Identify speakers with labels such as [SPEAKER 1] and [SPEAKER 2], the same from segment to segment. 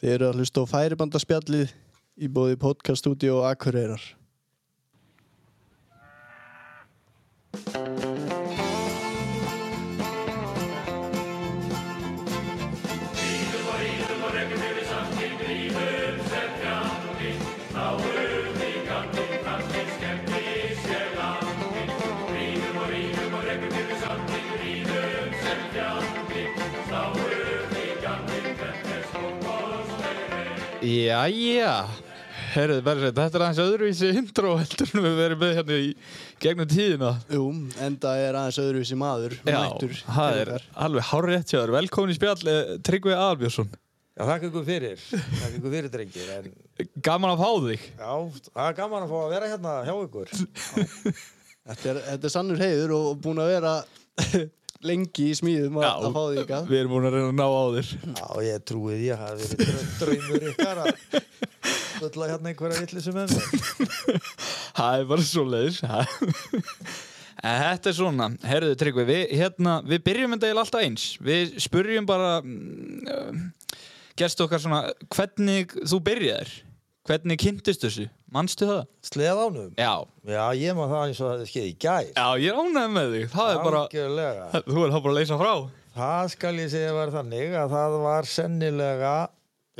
[SPEAKER 1] Þið eru að hlusta á færibandaspjallið í bóði podcaststudió Akureyrar.
[SPEAKER 2] Já, já, herrið verður þetta er aðeins öðruvísi intro heldur en við verðum með hérna í gegnum tíðina
[SPEAKER 1] Jú, enda er aðeins öðruvísi maður, mættur.
[SPEAKER 2] það
[SPEAKER 1] til
[SPEAKER 2] er
[SPEAKER 1] okkar.
[SPEAKER 2] alveg hárétt hjá þér, velkomin í spjall eh, Tryggvi Albjörnsson,
[SPEAKER 3] Já, þakka ykkur fyrir, þakka ykkur fyrir drengir en
[SPEAKER 2] gaman að fá þig
[SPEAKER 3] já, það er gaman að fá að vera hérna hjá ykkur
[SPEAKER 1] Þetta er, þetta er sannur heiður og og búin að vera lengi í smíðum að, að fá því ykkar.
[SPEAKER 2] við erum búin að reyna að ná á þér
[SPEAKER 3] Já, ég trúi því að það hafi verið drau- draumur ykkar að fulla hérna einhverja villisum með mér
[SPEAKER 2] Það er bara svo leiðis Þetta er svona, herruðu Tryggvi við, hérna, við byrjum þetta eiginlega alltaf eins við spurjum bara um, gestu okkar svona hvernig þú byrjaðir hvernig kynntist þessu, manstu það?
[SPEAKER 3] Sleð ánum
[SPEAKER 2] Já,
[SPEAKER 3] Já, ég maður það eins og það skeið í gær
[SPEAKER 2] Já, ég er ánægð með þig. Það er bara,
[SPEAKER 3] Algjörlega
[SPEAKER 2] þú er það bara að leysa frá.
[SPEAKER 3] Það skal ég segja var þannig að það var sennilega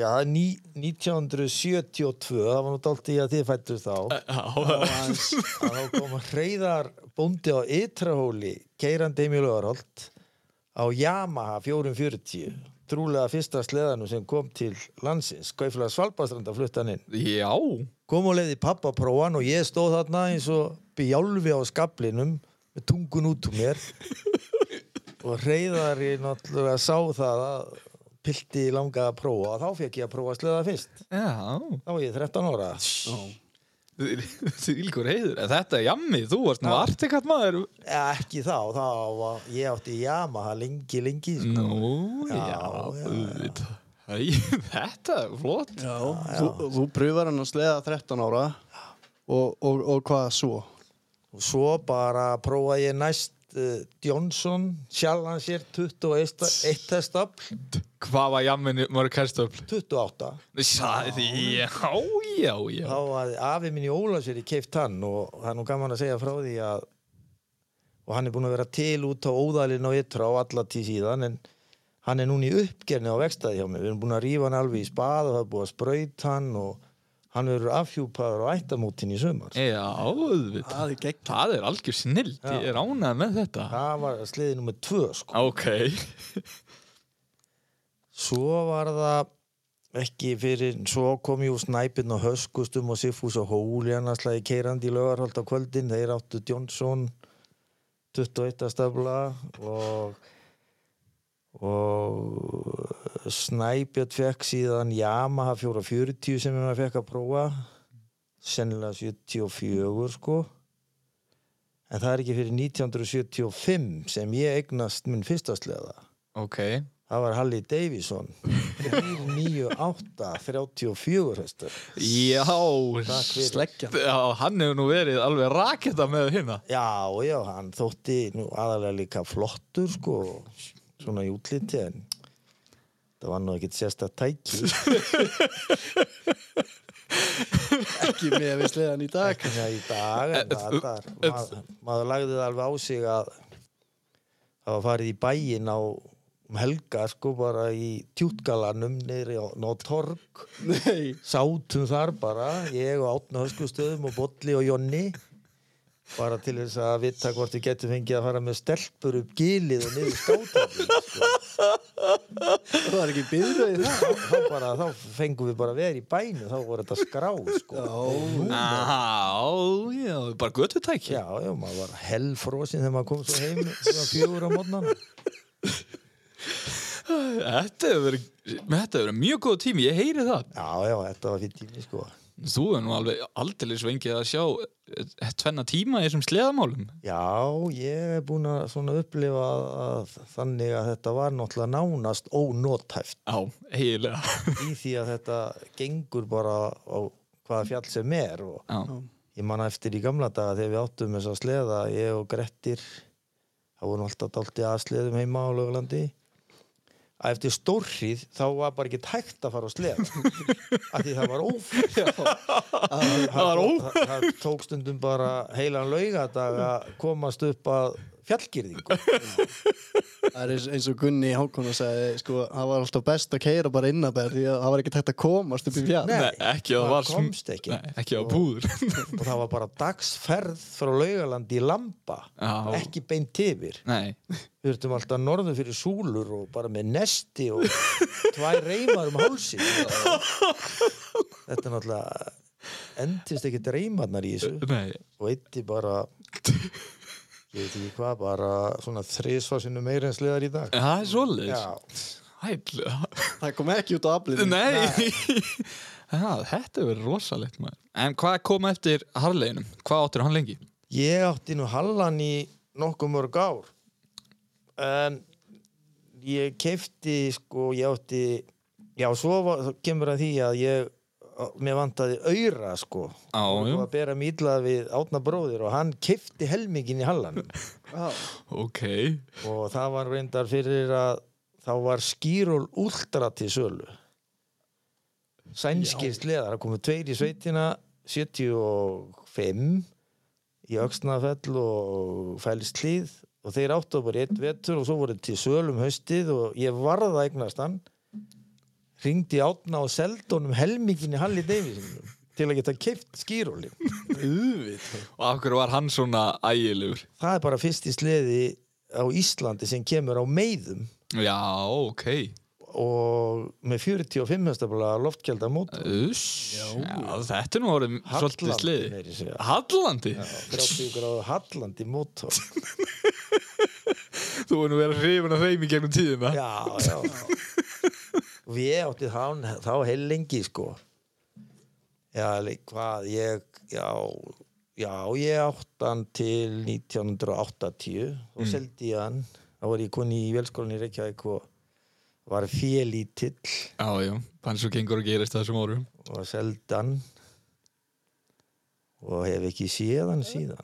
[SPEAKER 3] Já, það er ní, 1972, það var nú dálítið í að þið fættust þá
[SPEAKER 2] Já,
[SPEAKER 3] að þá kom hreyðar bóndi á Ytrahóli, keirandi Emil Öðarholt á Yamaha 440 trúlega fyrsta sleðanum sem kom til landsins, Kaufla Svalbastranda fluttan inn.
[SPEAKER 2] já,
[SPEAKER 3] Kom og leiði pappa prófan og ég stóð þarna eins og bjálfi á skablinum með tungun út úr mér og hreyðar ég náttúrulega sá það að pilti langaði að prófa og þá fekk ég að prófa sleða fyrst.
[SPEAKER 2] já.
[SPEAKER 3] Þá var ég 13 ára.
[SPEAKER 2] Þú líkur heiður. En Þetta er jammið, þú varst nú artikat maður.
[SPEAKER 3] Ja, Eh, ekki þá, þá var, ég átti Yamaha lengi, lengi sko.
[SPEAKER 2] Nú, já,
[SPEAKER 3] Já, já, já.
[SPEAKER 2] auðvitað. Æ, Þetta er flott.
[SPEAKER 1] Já, þú, þú pröfar hann að sleða 13 ára og, og, og hvað svo?
[SPEAKER 3] og svo bara prófaði ég næst uh, Johnson, Challenger 21 eitt testafl
[SPEAKER 2] Hvað var jamminu mörg kærstöfl?
[SPEAKER 3] 28
[SPEAKER 2] Sæði, já, já, já.
[SPEAKER 3] þá að afi minn í Ólasveri keift hann og það er nú gaman að segja frá því að og hann er búin að vera til út á óðalinn og ytra á alla tíð síðan en hann er núna í uppgerni á vekstaði hjá mér við erum búin að rífa hann alveg í spað og það er búin að spröyt hann og hann verður afhjúpaður á ættamótin í sömar
[SPEAKER 2] Já, auðvitað.
[SPEAKER 1] Það er gegn.
[SPEAKER 2] Það er algjör snill. Ég er ánægð með þetta.
[SPEAKER 3] það var sliðið nummer tvö sko
[SPEAKER 2] Ok.
[SPEAKER 3] Svo var það ekki fyrir, svo kom jú snæpinn og höskustum og Siffús og Hólian að slæði keirandi í lögarholt á kvöldin, þeir áttu Jónsson 21. stafla og og Snæbjörn fekk síðan Yamaha 440 sem hann fekk að prófa sennilega 74 sko en það er ekki fyrir 1975 sem ég eignast minn fyrsta sleða
[SPEAKER 2] Ok.
[SPEAKER 3] Það var Halli Davison 398 34 hestur
[SPEAKER 2] Já,
[SPEAKER 3] Takk fyrir.
[SPEAKER 1] Sleggja.
[SPEAKER 2] Já, hann hefur nú verið alveg raketa með hérna.
[SPEAKER 3] Já, já, hann þótti nú aðalega líka flottur sko svona í útliti en það var nú ekkit sérsta tæki
[SPEAKER 1] Ekki með við sleðan í dag.
[SPEAKER 3] Já, hérna í dag en það, það, maður, maður lagði það alveg á sig að það var farið í bæinn á um helga sko bara í tjútgalanum niðri á, á Torg
[SPEAKER 1] Nei,
[SPEAKER 3] sátum þar bara, ég og Átna Höskustöðum og Bolli og Jonni bara til þess að vita hvort við getum fengið að fara með stelpur upp gilið og niður skátaflið sko.
[SPEAKER 1] það var ekki byrðið það.
[SPEAKER 3] þá, bara, þá fengum við bara að vera í bænu þá voru þetta skrá sko.
[SPEAKER 1] Já,
[SPEAKER 2] Já, já, bara göttutæki.
[SPEAKER 3] já, já, maður var hellfrosin þegar maður kom svo heim svona fjögur á mótnan
[SPEAKER 2] Þetta hefur verið, þetta hefur verið mjög góð tími, ég heyri það.
[SPEAKER 3] já, já, þetta var fyrir tími sko.
[SPEAKER 2] Þú er nú alveg aldrei svengið að sjá eh, tvenna tíma í þessum sleðamálum.
[SPEAKER 3] já, ég er búin að svona upplifa að, þannig að þetta var náttúrulega nánast ónótæft
[SPEAKER 2] Já, eiginlega.
[SPEAKER 3] í því að þetta gengur bara á hvaða fjall sem er og
[SPEAKER 2] Já,
[SPEAKER 3] ég manna eftir í gamla daga þegar við áttum þess að sleða ég og Grettir það voru nú alltaf dálti að sleðum heima á lögulandi að eftir stórrið þá var bara ekki hægt að fara á sleða af því það var ófært það
[SPEAKER 2] var óf-
[SPEAKER 3] það, það tók stundum bara heilan laugadag að komast upp að fjallgirðingu
[SPEAKER 1] Það er eins, eins og Gunni Hákon og sagði, sko, það var alltaf best að keira bara innabæð því að það var ekki tægt að komast upp í fjall.
[SPEAKER 3] Nei,
[SPEAKER 2] Nei, ekki að það
[SPEAKER 3] maður
[SPEAKER 2] var sm-
[SPEAKER 3] komst ekki.
[SPEAKER 2] Nei, ekki að búður
[SPEAKER 3] og það var bara dagsferð frá laugalandi í Lamba
[SPEAKER 2] Já.
[SPEAKER 3] ekki beint yfir
[SPEAKER 2] Nei,
[SPEAKER 3] við ertum alltaf norðu fyrir súlur og bara með nesti og tvær reymar um hálsin þetta er náttúrulega endist ekki reymarnar í þessu
[SPEAKER 2] nei
[SPEAKER 3] og eitti bara ég veit ekki hvað, bara svona þrisvarsinu meira en sleðar í dag
[SPEAKER 2] Það er svoleiðis
[SPEAKER 3] Já,
[SPEAKER 2] Hæll
[SPEAKER 1] Það kom ekki út á aflinu.
[SPEAKER 2] Nei Já, Þetta verður rosalegt maður En hvað kom eftir harleginum? Hvað áttur hann lengi?
[SPEAKER 3] ég átti nú hallan í nokkuð mörg ár en ég kefti sko, ég átti já, svo var, þá kemur að því að ég mér vantaði auðra sko
[SPEAKER 2] Á,
[SPEAKER 3] og
[SPEAKER 2] jú.
[SPEAKER 3] var að bera mýtlað við átna bróðir og hann kefti helmingin í hallan
[SPEAKER 1] Já.
[SPEAKER 2] Ok
[SPEAKER 3] og það var reyndar fyrir að þá var skýról últra til sölu sænskir sleðar það komu tveir í sveitina 75 í Öxnafell og Fælslíð og þeir áttu bara í einn vetur og svo voru til sölu um haustið og ég varð að eignast hann ringdi átna og seldi honum helmingin í Halli Davidson til að geta keift skýróli
[SPEAKER 2] Og af hverju var hann svona ægilegur?
[SPEAKER 3] það er bara fyrst í sleði á Íslandi sem kemur á meiðum
[SPEAKER 2] Já, ok
[SPEAKER 3] og með 45 hestabla loftkjald að móta
[SPEAKER 2] Uss, já, þetta er nú orðið svolítið
[SPEAKER 3] meira að
[SPEAKER 2] sliði
[SPEAKER 3] segja.
[SPEAKER 2] Hallandi?
[SPEAKER 3] 30 gráðu hallandi mótor
[SPEAKER 2] Þú er nú verið hrifin að reymi gegnum tíðina
[SPEAKER 3] já, já og ég átti þá, þá heil lengi sko já, li- hvað ég já, já, ég átti hann til 1980 og seldi ég hann þá var ég kunni í velskólinni í Reykjavík og var félítill
[SPEAKER 2] Já, já, þannig svo gengur að gerist á þessum orðum
[SPEAKER 3] og seldi hann og hef ekki séð hann síðan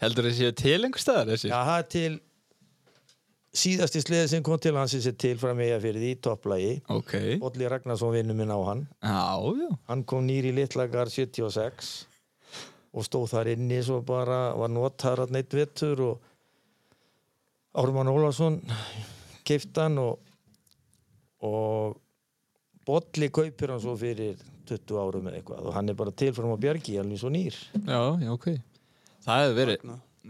[SPEAKER 2] Heldur þessi að til einhver staðar þessi?
[SPEAKER 3] Ah. Já, það er til síðasti sleðið sem kom til hans er til fram eiga fyrir því, topplagi
[SPEAKER 2] Ok, já,
[SPEAKER 3] Olli Ragnarsson vinnur minn á hann
[SPEAKER 2] já
[SPEAKER 3] hann kom nýri í Litlagar 76 og stóð þar inni svo bara, var notar að neitt vettur og Ármann Ólafsson keift hann og og Bolli kaupir hann svo fyrir 20 árum eða eitthvað og hann er bara til fram á bjargi, hann er svo nýr
[SPEAKER 2] Já, já, ok Það hefur verið,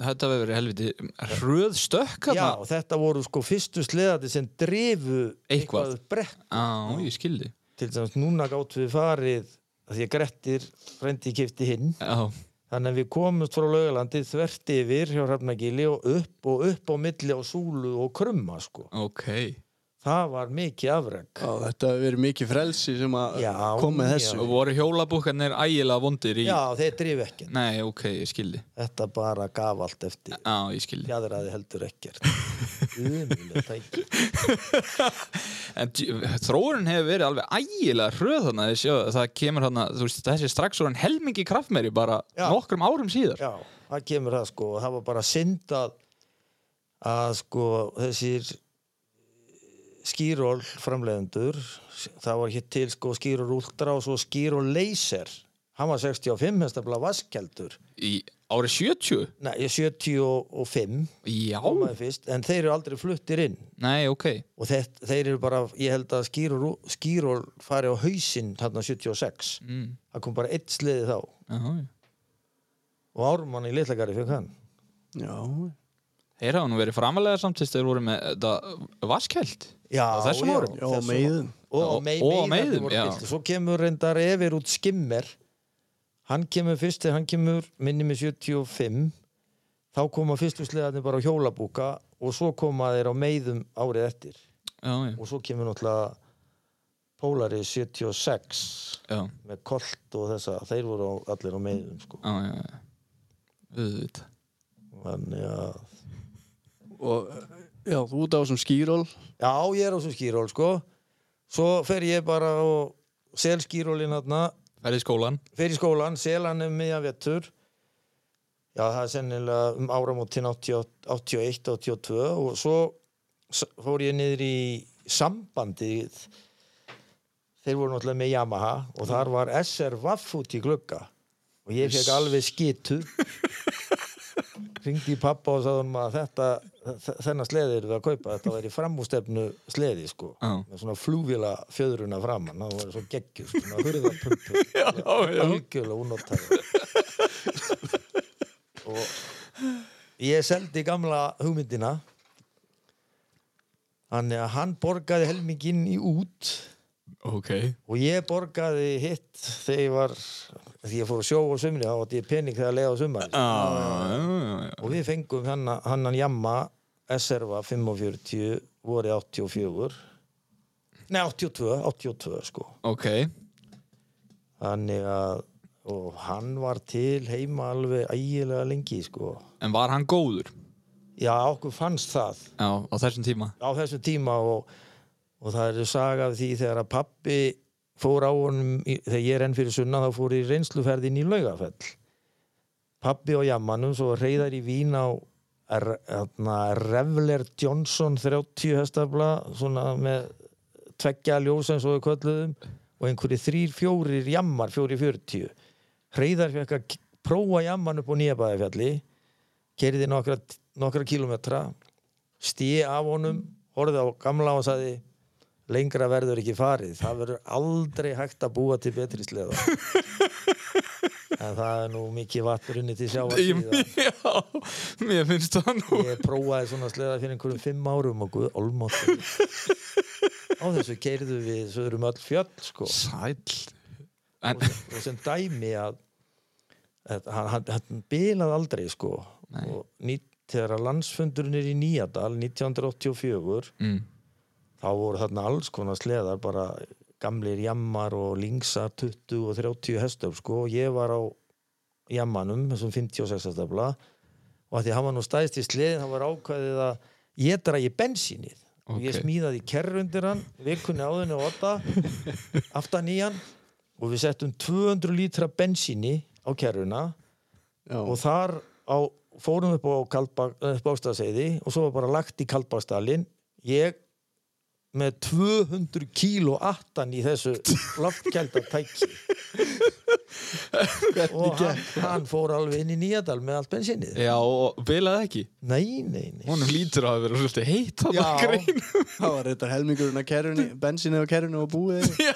[SPEAKER 2] þetta hefur verið helviti hröð stökk
[SPEAKER 3] Já,
[SPEAKER 2] þarna
[SPEAKER 3] og þetta voru sko fyrstu sleðati sem drifu
[SPEAKER 2] Eitthvað.
[SPEAKER 3] upp brekk
[SPEAKER 2] Já, ég skildi
[SPEAKER 3] til dæmis núna gátt við farið að því að Grettir frendi kipti hinn
[SPEAKER 2] Já,
[SPEAKER 3] þannig að við komumst frá laugalandi þvert yfir hjá Hrafnagili og upp og upp á milli á súlu og krumma sko.
[SPEAKER 2] ok
[SPEAKER 3] það var mikið afreg
[SPEAKER 1] Já, þetta hefur verið mikið frelsi sem að
[SPEAKER 3] Já,
[SPEAKER 1] koma með
[SPEAKER 3] já.
[SPEAKER 1] þessu.
[SPEAKER 2] Og voru hjólabúkarnir ægilega vondir í
[SPEAKER 3] já þeir drif ekkert
[SPEAKER 2] Nei, ok, ég skildi
[SPEAKER 3] þetta bara gaf allt eftir
[SPEAKER 2] Já, ég skildi
[SPEAKER 3] fjadraði heldur ekkert umulega tæki
[SPEAKER 2] En djú- þróunin hefur verið alveg ægilega hröð þarna þessi, það kemur þarna, þú veist, þessi er strax orðin helmingi kraftmeri bara
[SPEAKER 3] Já.
[SPEAKER 2] nokkrum árum síðar.
[SPEAKER 3] já það kemur það sko og það var bara synd að að sko þessir skýról framleiðendur það var hér til sko skýról úldra og svo skýról leyser hann var 65 hestafla vaskjaldur
[SPEAKER 2] Í árið 70?
[SPEAKER 3] Nei, ég er 75
[SPEAKER 2] Já.
[SPEAKER 3] komaði fyrst, en þeir eru aldrei fluttir inn
[SPEAKER 2] Nei, ok.
[SPEAKER 3] og þeir, þeir eru bara, ég held að skýról, skýról fari á hausinn þarna 76
[SPEAKER 2] Mm.
[SPEAKER 3] það kom bara eitt sliði þá
[SPEAKER 2] Já, já.
[SPEAKER 3] og Ármann í Litlagari fyrir hann
[SPEAKER 1] Já,
[SPEAKER 2] Þeir hafa nú verið framalega samt þess þeir voru með þetta vaskeld.
[SPEAKER 3] Já,
[SPEAKER 2] Á þessum
[SPEAKER 3] já,
[SPEAKER 2] árum?
[SPEAKER 1] já,
[SPEAKER 3] þessum-
[SPEAKER 1] meiðum.
[SPEAKER 3] og,
[SPEAKER 2] Já,
[SPEAKER 3] mei,
[SPEAKER 2] og á meiðum,
[SPEAKER 3] meiðum voru
[SPEAKER 2] já.
[SPEAKER 3] fyllt. svo kemur reyndar efir út skimmer hann kemur fyrst þegar hann kemur minni með 75 þá koma fyrstu sleðarnir bara á hjólabúka og svo koma þeir á meiðum árið eftir
[SPEAKER 2] Já, já.
[SPEAKER 3] og svo kemur náttúrulega Pólari 76
[SPEAKER 2] Já,
[SPEAKER 3] með kolt og þessa þeir voru á- allir á meiðum sko.
[SPEAKER 2] já, já. já. Auðvitað.
[SPEAKER 3] þannig að
[SPEAKER 1] og já, þú út á þessum skýról.
[SPEAKER 3] Já, ég er á svo skýról sko svo fer ég bara og sel skýrólin þarna
[SPEAKER 2] Færði í skólan.
[SPEAKER 3] fer í skólan, selan er miðjan vettur já það er sennilega um áramótin 88, 81, 82 og svo s- fór ég niður í sambandið þeir voru náttúrulega með Yamaha og þar var SR Vaff út í glugga og ég fekk alveg skitu ringdi í pappa og sagði honum að þetta þe- þennan sleði eru við að kaupa þetta væri framústefnu sleði sko
[SPEAKER 2] Já.
[SPEAKER 3] með svona flúvila fjöðruna framan það var svo geggjur svona hurðapumpur
[SPEAKER 2] já.
[SPEAKER 3] algjörlega unóttæð og ég seldi gamla hugmyndina þannig að hann borgaði helminginn í út
[SPEAKER 2] ok
[SPEAKER 3] og ég borgaði hitt þegar ég var því ég fór að sjó á sumri þá átti ég pening þegar að lega á sumari
[SPEAKER 2] ah,
[SPEAKER 3] og við fengum hann hannan jamma SRVA 45 voru 84 nei 82, 82 sko
[SPEAKER 2] ok
[SPEAKER 3] þannig að og hann var til heima alveg ægilega lengi sko
[SPEAKER 2] en var hann góður
[SPEAKER 3] já okkur fannst það
[SPEAKER 2] já, á þessum tíma
[SPEAKER 3] á þessum tíma og, og það eru saga af því þegar að pappi fór á honum í, þegar ég er enn fyrir sunna þá fór ég í reynsluferðin í laugafell pappi og jammanum svo reyðar í vín á R- þarna, Revler Johnson 30 hestafla svona með tveggja ljós eins og við kölluðum og einhverju þrýr fjórir jammar fjórir fjörtíu Hreiðar fekk að k- prófa jamman upp á nýjabæðafjalli kerði nokkra, nokkra kilometra stíi af honum horfði á gamla og sagði lengra verður ekki farið það verður aldrei hægt að búa til betri sleða en það er nú mikið vatnrunni til sjá að síðan
[SPEAKER 2] já, mér finnst það nú
[SPEAKER 3] ég prófaði svona sleða fyrir einhverjum fimm árum og guð olmátt á þessu keirðu við svo erum öll fjöll sko
[SPEAKER 2] sæll en,
[SPEAKER 3] og sem dæmi að, að hann, hann, hann bilað aldrei sko
[SPEAKER 2] Nei.
[SPEAKER 3] og nýtt, þegar að landsfundurinn er í Nýjadal 1984
[SPEAKER 2] mm,
[SPEAKER 3] þá voru þarna alls konar sleðar bara gamlir jammar og lingsar 20 og 30 hestöf sko og ég var á jammanum þessum 56 stafla og að því að hann var nú stæðst í sleðin þá var ákvæðið að ég dragi bensínið og ég
[SPEAKER 2] Ok.
[SPEAKER 3] smíðaði kerru undir hann vikunni áðunni og otta aftan í hann og við settum 200 lítra bensíni á kerruna og
[SPEAKER 1] já,
[SPEAKER 3] þar á, fórum upp á Kaldbak, Bástaðseiði og svo var bara lagt í Kaldbakstalin ég með 200 kíló attan í þessu loftkjælda tæki og hann, hann fór alveg inn í Nýjadal með allt bensinnið
[SPEAKER 2] já, og bilaði ekki
[SPEAKER 3] nei, nei, nei
[SPEAKER 2] honum lítur að hafa verið svolítið heitt hann að
[SPEAKER 3] Já.
[SPEAKER 2] grein
[SPEAKER 1] það var þetta helmingurinn að kerunni, bensinni á kerunni og búið
[SPEAKER 2] já,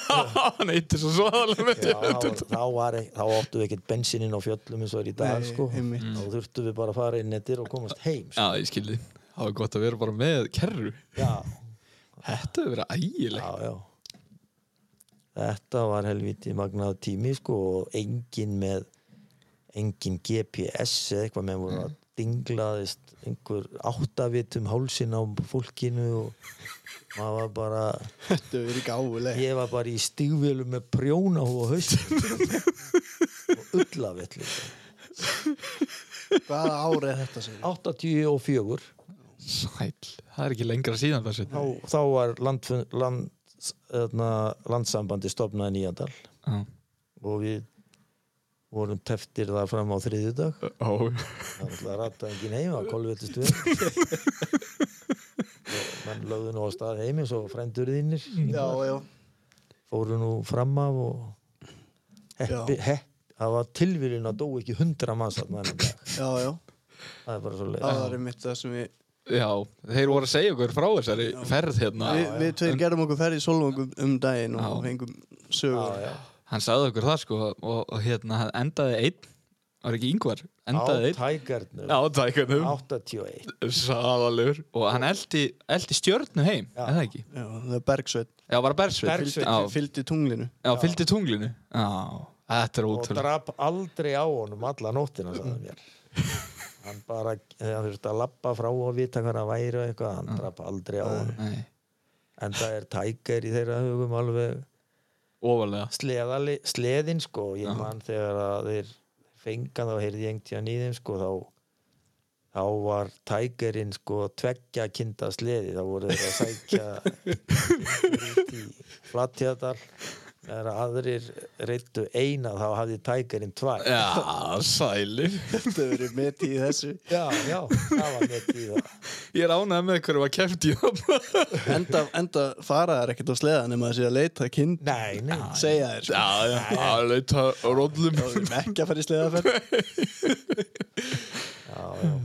[SPEAKER 2] hann heitir svo svaðalega með
[SPEAKER 3] Já, þá, þá, var, ek- þá áttu við ekkert bensinin á fjöllum eins og er í dag
[SPEAKER 1] Nei,
[SPEAKER 3] sko.
[SPEAKER 1] einmitt.
[SPEAKER 3] þá þurftum við bara að fara inn nettir og komast heim sko.
[SPEAKER 2] já, ég skildi það var gott að vera bara með kerru
[SPEAKER 3] já,
[SPEAKER 2] þetta hefur verið ægilegt
[SPEAKER 3] já, já. Þetta var helviti magnað tími sko og engin með engin GPS eða eitthvað með voru að dinglaðist einhver áttavitum hálsin á fólkinu og maður var bara
[SPEAKER 1] þetta er verið gáfuleg
[SPEAKER 3] ég var bara í stígvölu með prjóna og haust og ullavitt líka.
[SPEAKER 1] hvaða ár er þetta sem
[SPEAKER 3] 84
[SPEAKER 2] sæll, það er ekki lengra síðan þessu
[SPEAKER 3] þá, þá var landfund, hérna, land, öðna, landsambandi stopnaði nýjandal
[SPEAKER 2] já,
[SPEAKER 3] og við vorum teftir þar fram á þriðjudag
[SPEAKER 2] Ó,
[SPEAKER 3] það var alltaf rata engin heim að kolvetist við og menn lögðu nú á stað heim eins og frændur þínir
[SPEAKER 2] Mm.
[SPEAKER 1] já, já,
[SPEAKER 3] fóru nú fram af og heppi, heppi það var tilvílun að dó ekki hundra manns þarna þennan dag.
[SPEAKER 1] já, já
[SPEAKER 3] það er bara svo
[SPEAKER 1] það
[SPEAKER 3] leið
[SPEAKER 1] var einmitt það sem við
[SPEAKER 2] já, þeir voru að segja okkur frá þessari ferð hérna
[SPEAKER 1] við, við tveir gerðum okkur ferð í solvangum um daginn og fengum sögur
[SPEAKER 3] já, já.
[SPEAKER 2] hann sagði okkur það sko og, og hérna hann endaði einn var ekki yngvar,
[SPEAKER 3] á
[SPEAKER 2] endaði einn
[SPEAKER 3] tækarnum
[SPEAKER 2] á tækunum,
[SPEAKER 3] 81
[SPEAKER 2] sæðalegur og hann eldi, eldi stjörnu heim
[SPEAKER 3] Já.
[SPEAKER 2] er það ekki?
[SPEAKER 1] já, það er Bergsveit
[SPEAKER 2] Já, bara Bersveit
[SPEAKER 3] Bergsveinn.
[SPEAKER 2] Já,
[SPEAKER 1] fylgdi tunglinu
[SPEAKER 2] já, fylgdi tunglinu Já, þetta er
[SPEAKER 3] og
[SPEAKER 2] ótrúlega
[SPEAKER 3] drap aldrei á honum alla nóttina sagði hann mér hann bara, þegar hann þurfti að lappa frá og vita hvað það væri og eitthvað hann drap aldrei á honum
[SPEAKER 2] Nei,
[SPEAKER 3] en það er tækar í þeirra hugum alveg
[SPEAKER 2] ofalega
[SPEAKER 3] sleðali, sleðin sko ég man þegar að þeir fengan þá heyrði ég engtján í þeim sko þá þá var tækarinn sko tveggja kinda sleði þá voru þeir að sækja út í flatjadal þegar aðrir reyttu eina þá hafði tækarinn tvær
[SPEAKER 2] Já, sæli
[SPEAKER 1] Þetta verið mitt í þessu
[SPEAKER 3] já, já, það var mitt í það
[SPEAKER 2] Ég er ánægð með hverju var keft í það
[SPEAKER 1] Enda, enda fara þær ekkert á sleða nema þessi að leita kind
[SPEAKER 3] nei, nei,
[SPEAKER 1] segja þér sko.
[SPEAKER 2] Já, já, að leita róllum
[SPEAKER 1] Þá erum við ekki að fara í sleðaferð
[SPEAKER 3] já, já.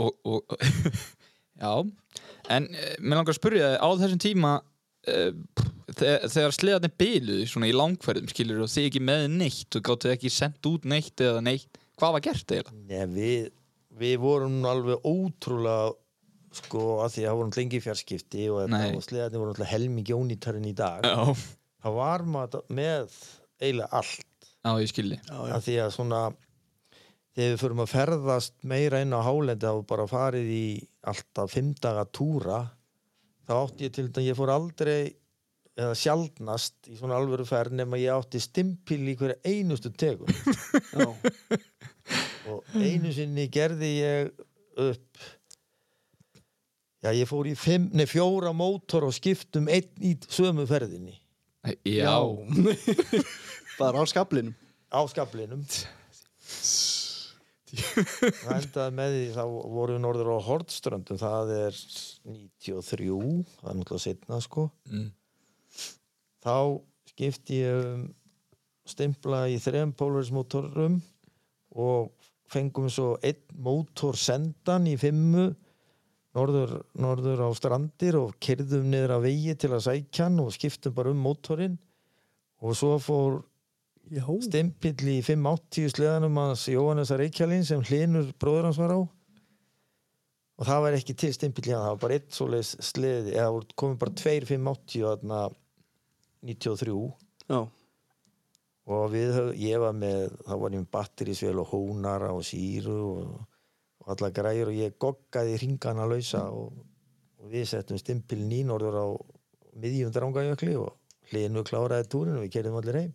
[SPEAKER 2] og, og já en uh, mér langar að spyrja þig á þessum tíma uh, þegar, þegar sleðarnir byluðu svona í langferðum skilur og þið ekki með neitt og gáttu ekki sendt út neitt eða neitt hvað var gert eiginlega?
[SPEAKER 3] Nei, við, við vorum nú alveg ótrúlega sko að því að það vorum lengi fjarskipti og,
[SPEAKER 2] Nei.
[SPEAKER 3] þetta, og sleðarnir voru alltaf helmingi ónýtarinn í dag
[SPEAKER 2] Já,
[SPEAKER 3] það var maður með eiginlega allt
[SPEAKER 2] já, ég skilji
[SPEAKER 1] Já, já.
[SPEAKER 3] að því að svona þegar við förum að ferðast meira inn á hálendi þá bara farið í alltaf fimm daga túra þá átti ég til þetta ég fór aldrei eða sjaldnast í svona alvöru ferð nema ég átti stimpil í hverja einustu tegum
[SPEAKER 1] Já.
[SPEAKER 3] og einu sinni gerði ég upp já ég fór í fimm, nei, fjóra mótor og skiptum einn í sömu ferðinni
[SPEAKER 2] Já,
[SPEAKER 1] Bara á skablinum
[SPEAKER 3] á skaflinum það endaði með því þá vorum við norður á Hortströndum það er 93 það er náttúrulega setna sko
[SPEAKER 2] Mm.
[SPEAKER 3] þá skipti ég um stimpla í þrem pólarismótorum og fengum svo einn mótor sendan í fimmu norður, norður á strandir og kyrðum niður að vegi til að sækja hann og skiptum bara um mótorinn og svo fór
[SPEAKER 1] Já,
[SPEAKER 3] stimpill í 580 sleðanum hans Jóhannes Reykjalín sem hlinur bróður hans var á og það var ekki til stimpill í hann það var bara eitt svoleiðis sleði eða voru- komu bara tveir 580 þarna 93
[SPEAKER 1] já.
[SPEAKER 3] og við, höf- ég var með þá var ég með batterísvél og hónara og síru og, og alla græjur og ég goggaði ringana lausa og, og við settum stimpillin í norður á miðjum drangajökli og hlinur kláraði túrin og við kerðum allir heim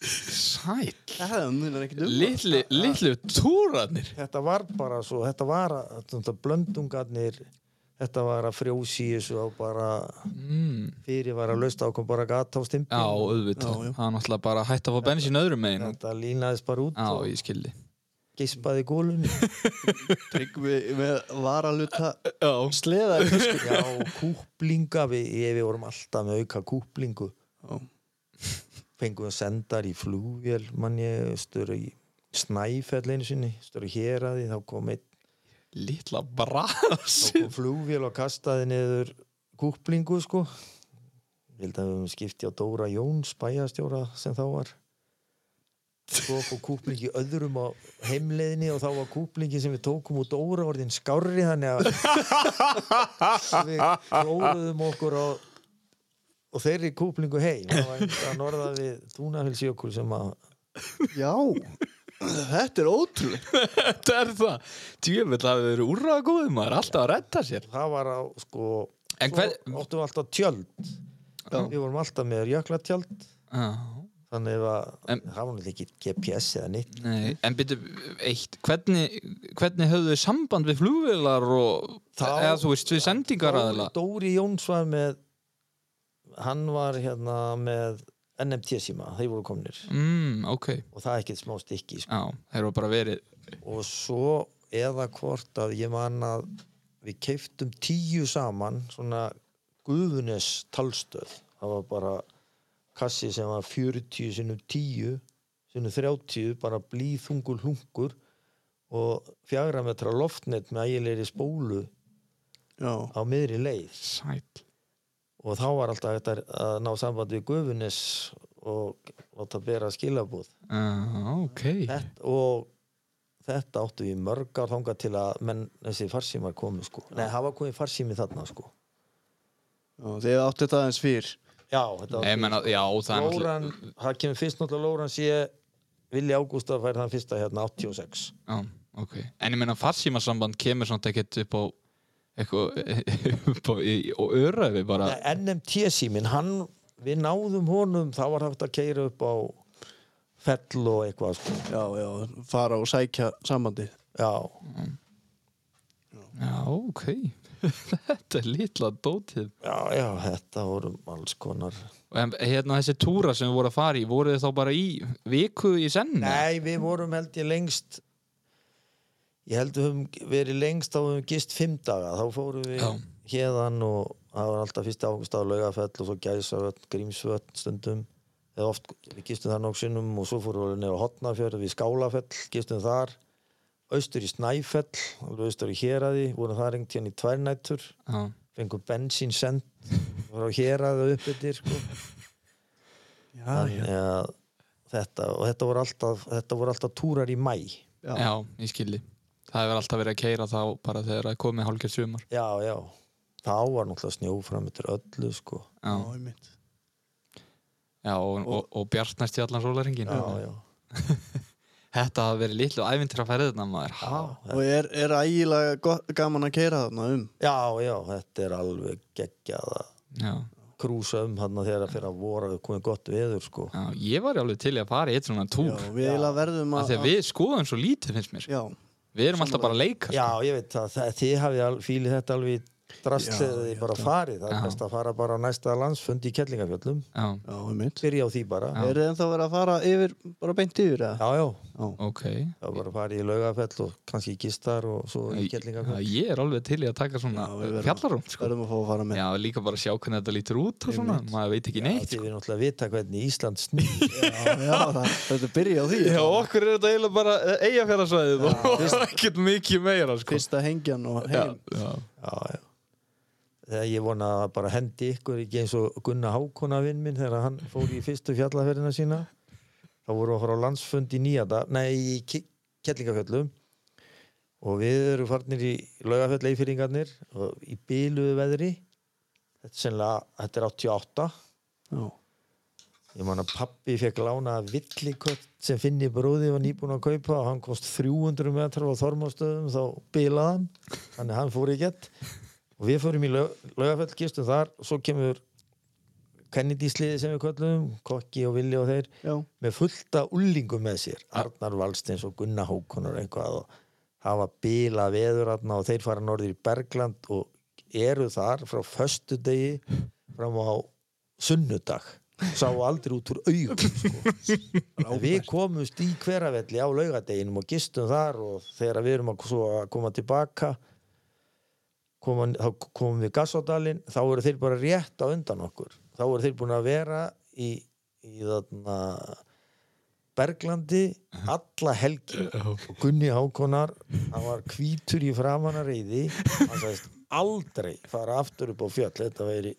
[SPEAKER 2] sæl
[SPEAKER 1] Það munar ekkert um það.
[SPEAKER 2] Litlu, litlu túrarnir
[SPEAKER 3] þetta var bara svo þetta var að þetta blöndungarnir þetta var að frjósi í þessu og bara
[SPEAKER 2] mm.
[SPEAKER 3] fyrir var að lösta ákom bara gata á stimpil
[SPEAKER 2] Já, auðvitað,
[SPEAKER 1] Já, já.
[SPEAKER 2] það er náttúrulega bara að hætta að fá bensin öðrum megin og-
[SPEAKER 3] þetta línaðist bara út
[SPEAKER 2] Já,
[SPEAKER 3] og
[SPEAKER 2] ég skilji
[SPEAKER 3] geispaði gólunni
[SPEAKER 1] Tryggvi með varaluta
[SPEAKER 2] Já,
[SPEAKER 1] sleða
[SPEAKER 3] já, kúplinga við, ég, við vorum alltaf með auka kúplingu
[SPEAKER 1] sko.
[SPEAKER 3] fengum við sendar í flugvél mann ég störu í snæfell einu sinni, störu hér að því þá kom einn
[SPEAKER 2] litla bras
[SPEAKER 3] þá kom flugvél og kastaði niður kúplingu sko ég held að við höfum skipti á Dóra Jóns bæjarstjóra sem þá var svo fór kúplingi öðrum á heimleiðinni og þá var kúplingi sem við tókum út Dóra orðin skárri þannig að við gróðum okkur á og þeirri kúplingu heim það var einhver að norða við Dúnafellsjökul sem að
[SPEAKER 1] Já, þetta er ótrúlegt
[SPEAKER 2] Þetta er það Tjöfull hafið verið úrraða góðum maður Alltaf að redda sér
[SPEAKER 3] það var á sko
[SPEAKER 2] En hver-
[SPEAKER 3] svo áttum við alltaf tjöld
[SPEAKER 1] Já.
[SPEAKER 3] við vorum alltaf með jöklatjöld
[SPEAKER 2] Já,
[SPEAKER 3] þannig að
[SPEAKER 2] En-
[SPEAKER 3] það var náttúrulega ekki GPS eða nýtt
[SPEAKER 2] Nei, en byrju, eitt, hvernig, hvernig höfðu þið samband við flugvélar og,
[SPEAKER 3] Þá-
[SPEAKER 2] eða þú veist, við sendingar aðeila?
[SPEAKER 3] Dóri, Dóri Jóns var með hann var hérna með NMT síma, þeir voru komnir
[SPEAKER 2] Mm, ok,
[SPEAKER 3] og það er ekkert smá stykki sko.
[SPEAKER 2] já, þeir eru bara verið,
[SPEAKER 3] og svo eða hvort að ég man að við keiftum tíu saman svona guðunes talstöð það var bara kassi sem var 40 sinnum 10 sinnum 30 bara blíþungul hungur og fjagra metra loftnet með ægilegri spólu
[SPEAKER 1] Já,
[SPEAKER 3] á miðri leið
[SPEAKER 2] sæl,
[SPEAKER 3] og þá var alltaf þetta að ná sambandi við gufunis og láta bera skilabúð
[SPEAKER 2] já, ok,
[SPEAKER 3] þetta, og þetta áttu við mörgar þangað til að menn þessi farsímar komu sko nei, hafa komið farsími þarna sko
[SPEAKER 1] já þið áttu þetta aðeins fyrr
[SPEAKER 3] já, þetta
[SPEAKER 2] Nei, menna, já, það er náttúrulega,
[SPEAKER 3] Lóran, það kemur fyrst náttúrulega Lóran sé Vili Ágústa fær þann fyrsta hérna 86
[SPEAKER 2] já, ok, en ég meina farsímasamband kemur svona ekkert upp á, eitthvað, upp á, í, og öraði bara,
[SPEAKER 3] nei, NMT símin, hann við náðum honum, þá var hægt að keira upp á fell og eitthvað sko
[SPEAKER 1] Já, já, fara og sækja sambandi
[SPEAKER 3] já,
[SPEAKER 2] já, ok, Þetta er litla dótið
[SPEAKER 3] já, já, þetta voru alls konar
[SPEAKER 2] En hérna þessi túra sem við vorum að fara í voru þið þá bara í viku í senni?
[SPEAKER 3] Nei, við vorum held ég lengst ég held við höfum verið lengst þá höfum við gist fimm daga þá fórum við
[SPEAKER 2] Já.
[SPEAKER 3] hérðan og það var alltaf fyrst águst á laugafell og svo gæsavöll, grímsvöll stundum eða oft við gistum það nokk sinnum og svo fórum við neður á hotnafjörð við skálafell, gistum þar austur í snæfell, alveg austur í héraði vorum það rengt hérna í tværnættur
[SPEAKER 2] Já.
[SPEAKER 3] fengum bensín send voru á héraði upp yfir sko
[SPEAKER 1] Já, já.
[SPEAKER 3] þannig að þetta og þetta voru alltaf, þetta voru alltaf túrar í mæ já,
[SPEAKER 2] Já. ég skilji. Það hefur alltaf verið að keira þá bara þegar það er komið hálfgerð sumar.
[SPEAKER 3] já þá var náttúrulega snjófram eftir öllu sko
[SPEAKER 2] Já,
[SPEAKER 1] Já, einmitt.
[SPEAKER 2] já og, og, og bjartnæst í allan sólaringin.
[SPEAKER 3] já, já,
[SPEAKER 2] Þetta hafa verið litlu ævintir að ferðina maður.
[SPEAKER 3] já, já,
[SPEAKER 1] Og er, er ægilega go- gaman að keira þarna um
[SPEAKER 3] já, já þetta er alveg geggjað að
[SPEAKER 2] Já.
[SPEAKER 3] krúsa um hann þegar að fyrir að voru komið gott veður sko
[SPEAKER 2] já, ég var alveg til í að fara í eitt svona túr.
[SPEAKER 1] Já, við eiginlega verðum
[SPEAKER 2] Af
[SPEAKER 1] að
[SPEAKER 2] því að við skoðum svo lítið finnst mér.
[SPEAKER 1] Já,
[SPEAKER 2] Við erum alltaf bara að leika.
[SPEAKER 3] já, ég veit það, það þið hafið al- fílið þetta alveg í drast
[SPEAKER 1] Já,
[SPEAKER 3] þegar
[SPEAKER 1] ég
[SPEAKER 3] þið bara farið það
[SPEAKER 2] Já.
[SPEAKER 3] er best að fara bara á næsta landsfund í Kellingafjöllum
[SPEAKER 2] Já,
[SPEAKER 1] já, einmitt
[SPEAKER 3] byrja á því bara já,
[SPEAKER 1] Er þið ennþá verið að fara yfir, bara beint yfir eða?
[SPEAKER 3] já,
[SPEAKER 1] Já,
[SPEAKER 2] ok.
[SPEAKER 3] það var bara að fara í laugafell og kannski í gistar og svo í Kellingafjöll
[SPEAKER 2] Já, Ég er alveg til í að taka svona
[SPEAKER 1] Já, við verðum-
[SPEAKER 2] fjallarum, sko.
[SPEAKER 1] verðum að fá að fara með
[SPEAKER 2] Já, líka bara sjá hvernig þetta lítur út og svona. Maður veit ekki neitt,
[SPEAKER 3] Já, því við náttúrulega vita hvernig Ísland snýr
[SPEAKER 1] Já, já, það- þetta byrja á því
[SPEAKER 2] Já, okkur er þetta eiginlega bara eigafjörðarsvæðið og ekkert mikið meira sko.
[SPEAKER 1] Fyrsta hengjan og
[SPEAKER 2] já,
[SPEAKER 1] hengjum
[SPEAKER 2] já.
[SPEAKER 3] já, já. Þegar ég vona að bara hendi ykkur ekki eins og Gunnar Hákona vinn minn þegar hann fór í fyrstu fjallaferðina sína þá voru að fara á landsfund í nýjada nei, í Ke- Kellingafjöllum og við eru farnir í laugafjöll eifyringarnir og í byluðu veðri þetta er sennilega, þetta er 88
[SPEAKER 1] Já,
[SPEAKER 3] ég man að pappi fekk lána villikött sem Finni bróði var nýbúin að kaupa og hann komst 300 metrar á þormástöðum þá bilaði hann þannig hann fór í gett og við fórum í lög, lögafell gistum þar og svo kemur Kennedy sliði sem við köllum Kokki og Villi og þeir
[SPEAKER 1] já,
[SPEAKER 3] með fullta ullingum með sér Arnar Valsteins og Gunnar Hákonar eitthvað og hafa bíla veður þarna og þeir fara norður í Bergland og eru þar frá föstudegi fram á sunnudag sá aldrei út úr augum sko. En við komumst í hveravelli á laugadeginum og gistum þar og þegar við erum að, svo að koma tilbaka koma, þá komum við gassadalinn þá eru þeir bara rétt á undan okkur þá eru þeir búin að vera í, í þarna Berglandi alla helgi og Gunni Hákonar hann var hvítur í framanna reyði hann sagðist aldrei fara aftur upp á fjöll þetta væri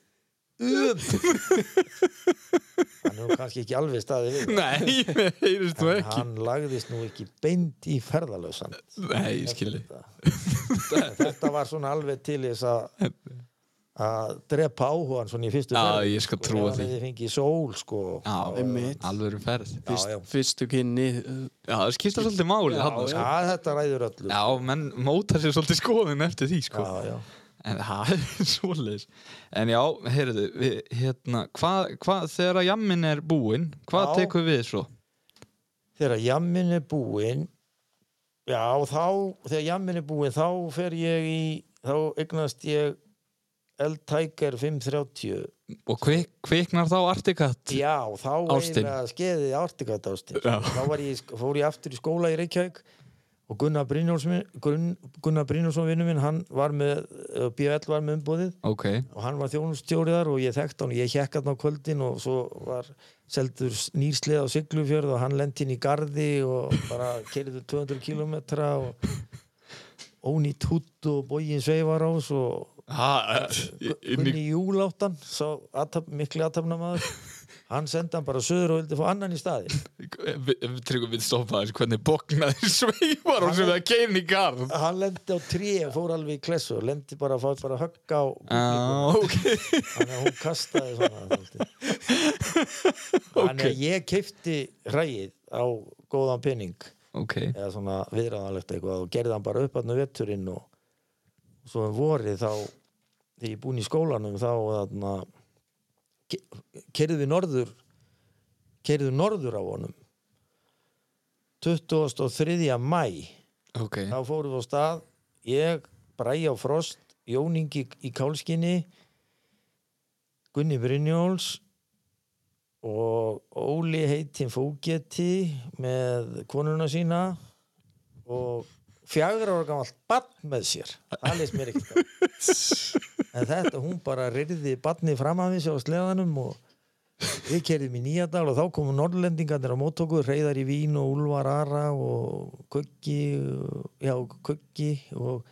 [SPEAKER 3] upp hann er nú kannski ekki alveg staði við
[SPEAKER 2] Nei, mér heyrist þú
[SPEAKER 3] en
[SPEAKER 2] ekki
[SPEAKER 3] hann lagðist nú ekki beint í ferðalösan
[SPEAKER 2] Nei, ég skilji
[SPEAKER 3] þetta Þetta var svona alveg til þess að að drepa áhugan svona í fyrstu
[SPEAKER 2] Já,
[SPEAKER 3] ferð,
[SPEAKER 2] ég skal
[SPEAKER 3] sko,
[SPEAKER 2] trúa
[SPEAKER 3] ef hann
[SPEAKER 2] því.
[SPEAKER 3] hefði fengið sól sko
[SPEAKER 2] Já,
[SPEAKER 1] einmitt
[SPEAKER 2] alveg um ferð Já,
[SPEAKER 1] Fyrst,
[SPEAKER 3] já.
[SPEAKER 1] Fyrstu kynni uh,
[SPEAKER 2] það skipta svolítið máli
[SPEAKER 1] Já,
[SPEAKER 2] þarna sko.
[SPEAKER 3] Já, þetta ræður öllu
[SPEAKER 2] Já, menn mótar sér svolítið skoðin eftir því sko.
[SPEAKER 3] já, já.
[SPEAKER 2] En það er svoleiðis En já, heyrðu, við, hérna hvað, hvað, þegar að jammin er búinn hvað
[SPEAKER 3] Já.
[SPEAKER 2] tekur við svo?
[SPEAKER 3] Þegar jammin er búinn Já, þá þegar jammin er búinn þá fer ég í þá eignast ég L-Tiger 530
[SPEAKER 2] Og kvik, kviknar þá artikatt?
[SPEAKER 3] Já, þá
[SPEAKER 2] Ástin.
[SPEAKER 3] eiginlega skeiði ártigat ástin
[SPEAKER 2] Já.
[SPEAKER 3] þá var ég, í sk- fór ég aftur í skóla í Reykjavík og Gunnar Brynjólfsson Gunn- Gunnar Brynjólfsson vinnu minn hann var með, eh, BFL var með umbúðið
[SPEAKER 2] Ok,
[SPEAKER 3] og hann var þjónustjóri þar og ég þekkt hann, ég hekk hann á kvöldin og svo var seldur nýrslið á Siglufjörð og hann lendi inn í gardi og bara keiriðu 200 kilometra og ónýtt hútt og bógin sveifar ás og
[SPEAKER 2] ha,
[SPEAKER 3] eh,
[SPEAKER 2] inn í
[SPEAKER 3] Gunni Júláttan sá athaf, mikli aðtapnamaður hann sendi hann bara söður og vildi fá annan í staði
[SPEAKER 2] Tryggum við stoppa þess hvernig bóknaði sveifar og sem það keirn í garð
[SPEAKER 3] hann lendi á tré og fór alveg í klessu og lendi bara að fá bara að högga á
[SPEAKER 2] ah, ok,
[SPEAKER 3] þannig að hún kastaði svona dálítið. þannig að ég keipti hræið á góðan penning
[SPEAKER 2] ok
[SPEAKER 3] eða svona viðræðanlegt eitthvað og gerði hann bara upp hann vetturinn og og svo um vorið þá þegar ég er búinn í skólanum þá þarna kerði norður kerði norður á honum 23. mæ
[SPEAKER 2] ok,
[SPEAKER 3] þá fórum við á stað ég, Bræja og Frost Jón Ingi í Kálskinni Gunni Brynjóls og Óli heitinn Fógeti með konuna sína og fjagra ára gamalt barn með sér það leist mér ekkert á. en þetta hún bara ryrði barni fram af þessu á sleðanum og við kerðum um í Nýjadal og þá komu Norrlendingarnir á móttöku Reyðar í Vín og Úlfar Ara og Kukki og- já, Kukki og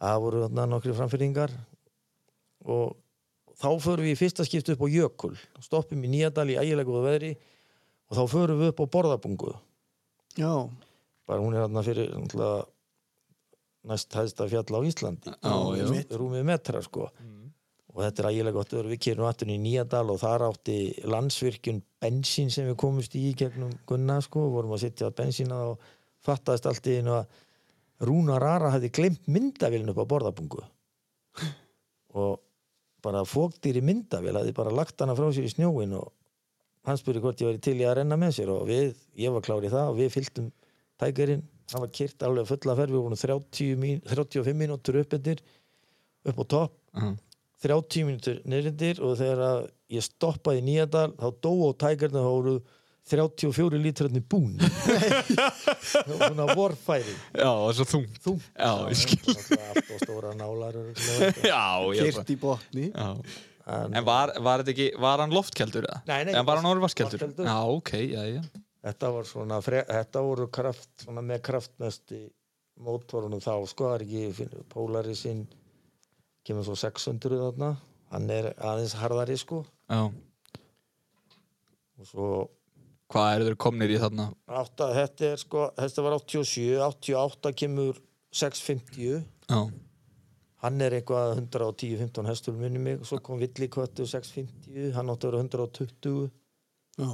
[SPEAKER 3] það voru þarna nokkri framfyrringar og þá förum við í fyrsta skipti upp á Jökul stoppum í Nýjadal í ægilega góða veðri og þá förum við upp á Borðabungu
[SPEAKER 1] Já,
[SPEAKER 3] bara hún er hérna fyrir náttúrulega, næst hæðsta fjall á Íslandi
[SPEAKER 2] Já, já.
[SPEAKER 3] Rúmi- rúmið metra sko og þetta er ægilega gott öðru við kýrum aftur í Nýjadal og þar átti landsvirkjun bensín sem við komumst í í gegnum Gunna sko, vorum að sitja að bensína og fattaðist allt í einu að Rúnar Ara hafði glemt myndavélinu upp á borðabungu og bara fóktir í myndavél hafði bara lagt hana frá sér í snjóin og hann spurði hvort ég væri til í að renna með sér og við, ég var klár í það og við fylgdum tækirinn, hann var kyrt alveg fulla ferð, við vorum 30, mín- 35 mínútur upp undir, upp á topp 30 mínútur neyrindir og þegar að ég stoppaði í Nýjadal þá dó á tækarna þá voru 34 lítrarnir búin svona vorfæri
[SPEAKER 2] Já, það er svo þung.
[SPEAKER 3] þú
[SPEAKER 2] Já, ég skil.
[SPEAKER 3] allt og stóra nálar örugglega.
[SPEAKER 2] Já, ég bara.
[SPEAKER 1] kyrt í botni
[SPEAKER 2] Já.
[SPEAKER 3] en
[SPEAKER 2] En var, var þetta ekki, var hann loftkeldur eða?
[SPEAKER 3] Nei, nei,
[SPEAKER 2] En var hann orðvarskeldur?
[SPEAKER 3] vatnskeldur.
[SPEAKER 2] Já, ok, já, já.
[SPEAKER 3] þetta var svona fre, þetta voru kraft, svona með kraftmesti mótorunum þá sko það er ekki Polarisinn kemur svo 600 þarna hann er aðeins harðari sko
[SPEAKER 2] Já.
[SPEAKER 3] og svo
[SPEAKER 2] Hvað eru þeir komnir í þarna?
[SPEAKER 3] átta, þetta er sko, þetta var 87 88 kemur 650
[SPEAKER 2] Já.
[SPEAKER 3] hann er eitthvað 110-15 hestur minni mig, svo kom Villiköttu 650, hann átti að vera 120
[SPEAKER 1] Já,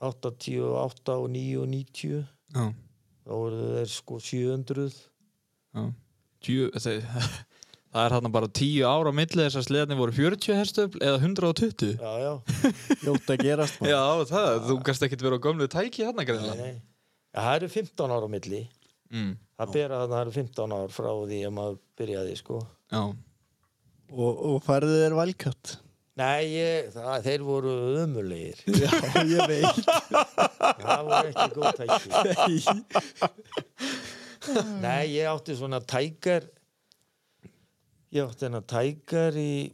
[SPEAKER 3] 88 og 9 og 90
[SPEAKER 2] Já.
[SPEAKER 3] þá voru þeir sko 700
[SPEAKER 2] Já. Djú, þeir, það er þarna bara 10 ára á milli þess að sleðarnir voru 40 herstöfl eða 120.
[SPEAKER 3] já, já,
[SPEAKER 1] ljótt að gerast maður.
[SPEAKER 2] Já, það, þú kannst ekkit verið á gömlu tæki þarna
[SPEAKER 3] nei,
[SPEAKER 2] greinlega.
[SPEAKER 3] nei. Já, það eru 15 ára á milli
[SPEAKER 2] Mm.
[SPEAKER 3] það bera þarna, það eru 15 ár frá því að maður byrjaði sko
[SPEAKER 2] Já.
[SPEAKER 1] og, og færðu þér valkatt
[SPEAKER 3] nei, ég, það, þeir voru ömulegir
[SPEAKER 1] Já, ég veit
[SPEAKER 3] það voru ekki góð tæki Nei, ég átti svona tækar ég átti hennar tækar í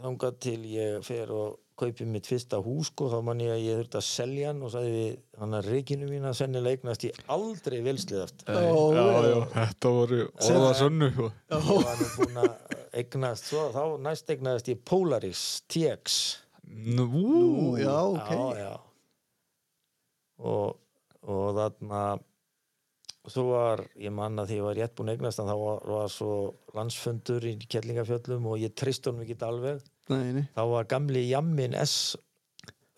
[SPEAKER 3] þangað til ég fer og kaupi mitt fyrsta hús sko, þá man ég að ég þurfti að selja hann og sagði við hann að reikinu mína sennilega eignast ég aldrei vilslið aftur
[SPEAKER 1] Ó, já.
[SPEAKER 2] þetta voru sko. orða sunnu.
[SPEAKER 3] ég var nú búin að eignast svo, þá næst eignast ég Polaris TX
[SPEAKER 2] Nú,
[SPEAKER 1] Ú, já, ok
[SPEAKER 3] já, já. Og, og þarna svo var, ég man að því ég var rétt búin að eignast en þá var, var svo landsfundur í Kellingafjöllum og ég treyst honum ekki alveg
[SPEAKER 1] Nei, nei.
[SPEAKER 3] þá var gamli jammin S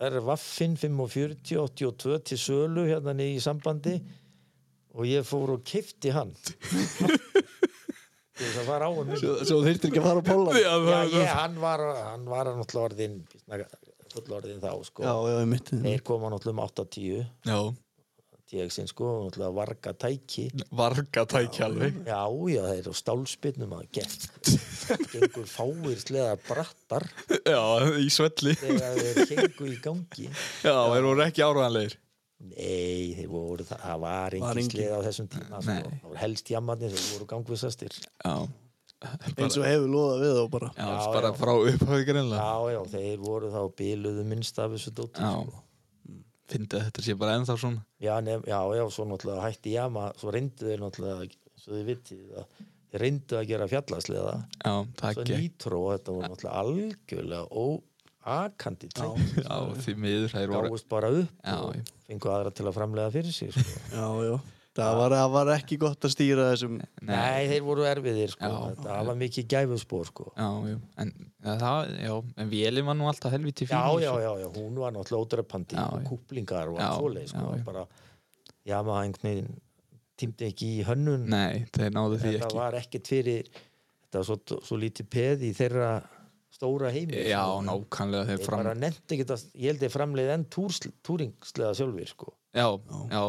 [SPEAKER 3] R Vaffin 45 82 til sölu hérna niður í sambandi og ég fór og kifti hann Til þess að fara á hann
[SPEAKER 1] Svo, svo þurftir ekki að fara á Póland Já,
[SPEAKER 2] Já,
[SPEAKER 3] Já,
[SPEAKER 2] það,
[SPEAKER 3] ég, hann var, hann var náttúrulega orðin fullorðin þá sko
[SPEAKER 1] já, ég mitt
[SPEAKER 3] Þeir koma náttúrulega um 8-10
[SPEAKER 2] já.
[SPEAKER 3] TX-in sko, náttúrulega varga tæki
[SPEAKER 2] Varga tæki alveg.
[SPEAKER 3] Já, já, þeir eru á stálspinnum að gekk gengur fáir sleðar brattar
[SPEAKER 2] Já, í svelli.
[SPEAKER 3] þegar þeir hengu í gangi
[SPEAKER 2] Já, þeir voru ekki áraðanlegir.
[SPEAKER 3] Nei, þeir voru, það, það var
[SPEAKER 1] Var
[SPEAKER 3] engin
[SPEAKER 1] engin.
[SPEAKER 3] sleða á þessum tíma sko.
[SPEAKER 2] Nei.
[SPEAKER 3] það voru helst jammarnir sem voru gangvissastir
[SPEAKER 2] Já.
[SPEAKER 1] Eins og hefur loðað við þá bara
[SPEAKER 2] Já,
[SPEAKER 3] Já,
[SPEAKER 2] bara
[SPEAKER 3] já.
[SPEAKER 2] frá upphafi greinlega.
[SPEAKER 3] Já, já, þeir voru þá bíluðu minnst af þessu dóttu
[SPEAKER 2] Já.
[SPEAKER 3] sko.
[SPEAKER 2] Fyndi að þetta sé bara ennþá svona.
[SPEAKER 3] já, nef, já, já, svo náttúrulega hætti jama svo reyndu þeir náttúrulega svo þið vitið að þeir reyndu að gera fjallasleða
[SPEAKER 2] Já, það
[SPEAKER 3] svo
[SPEAKER 2] ekki.
[SPEAKER 3] nýtró og þetta voru náttúrulega algjörlega óakandi tæki
[SPEAKER 2] Já, því miður þær voru.
[SPEAKER 3] gáðust bara upp
[SPEAKER 2] Já, já.
[SPEAKER 3] og fengu aðra til að framlega fyrir sig sko.
[SPEAKER 1] Já, já Það var, það var ekki gott að stýra þessum
[SPEAKER 2] Nei.
[SPEAKER 3] nei, þeir voru erfiðir sko.
[SPEAKER 2] Já,
[SPEAKER 3] þetta okay. var mikið gæfuspor sko.
[SPEAKER 2] Já, já. En ja, það, já, en vélum var nú alltaf helviti
[SPEAKER 3] já,
[SPEAKER 2] fín. sko. í
[SPEAKER 3] já,
[SPEAKER 2] þessu.
[SPEAKER 3] já, já, hún var náttúrulega ódrepandi
[SPEAKER 2] Já,
[SPEAKER 3] og
[SPEAKER 2] já.
[SPEAKER 3] kúplingar og
[SPEAKER 2] Já,
[SPEAKER 3] allt svoleið sko.
[SPEAKER 2] já, já.
[SPEAKER 3] bara, já, maður einhvern tímdi ekki í hönnun
[SPEAKER 2] Nei, þeir náðu því
[SPEAKER 3] þetta
[SPEAKER 2] ekki.
[SPEAKER 3] var ekkert fyrir þetta var svo, svo lítið peð í þeirra stóra heimi
[SPEAKER 2] Já,
[SPEAKER 3] sko.
[SPEAKER 2] nákvæmlega þeir
[SPEAKER 3] Þeir
[SPEAKER 2] fram.
[SPEAKER 3] bara nefndi ekki að, ég held ég framleið enn túringslega sjálfur sko.
[SPEAKER 2] Já, já,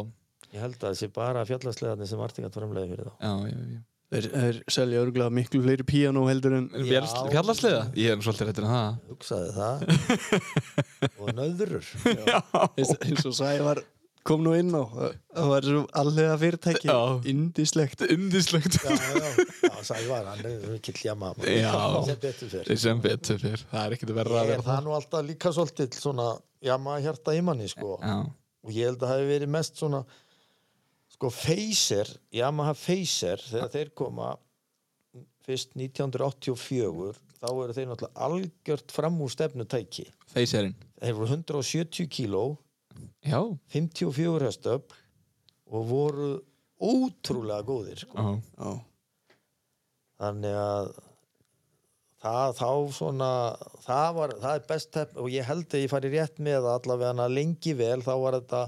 [SPEAKER 3] ég held að þessi bara fjallasleðarnir sem Artigat framleiði fyrir þá
[SPEAKER 2] já, já, já.
[SPEAKER 1] Þeir, þeir selja örgulega miklu fleiri píanó heldur en
[SPEAKER 2] Eru
[SPEAKER 3] Já.
[SPEAKER 2] bjarls- Bjallarsliða? Ég er nú svolítið réttur en það
[SPEAKER 3] hugsaði það og nöðrur
[SPEAKER 1] eins, eins og Sævar kom nú inn á það það var svo allega fyrirtæki
[SPEAKER 2] Já.
[SPEAKER 1] indislegt
[SPEAKER 2] Undislegt
[SPEAKER 3] já, já, já, Sævar, hann er mikill jama
[SPEAKER 2] Já.
[SPEAKER 3] sem betur fyrir
[SPEAKER 2] Sem betur fyrr, það er ekkert verra að
[SPEAKER 3] ég er
[SPEAKER 2] vera það
[SPEAKER 3] það nú alltaf líka svolítið svona jama hjarta í manni sko
[SPEAKER 2] Já,
[SPEAKER 3] og ég held að það hefði verið mest svona sko Facer, Yamaha Facer þegar þeir koma fyrst 1984 þá eru þeir náttúrulega algjört fram úr stefnutæki
[SPEAKER 2] feyserinn
[SPEAKER 3] þeir voru 170 kíló
[SPEAKER 2] Já,
[SPEAKER 3] 54 höstöp og voru ótrúlega góðir sko.
[SPEAKER 2] já,
[SPEAKER 1] Já.
[SPEAKER 3] þannig að það þá svona það, var, það er best tef- og ég held að ég fari rétt með að allavega hana lengi vel þá var þetta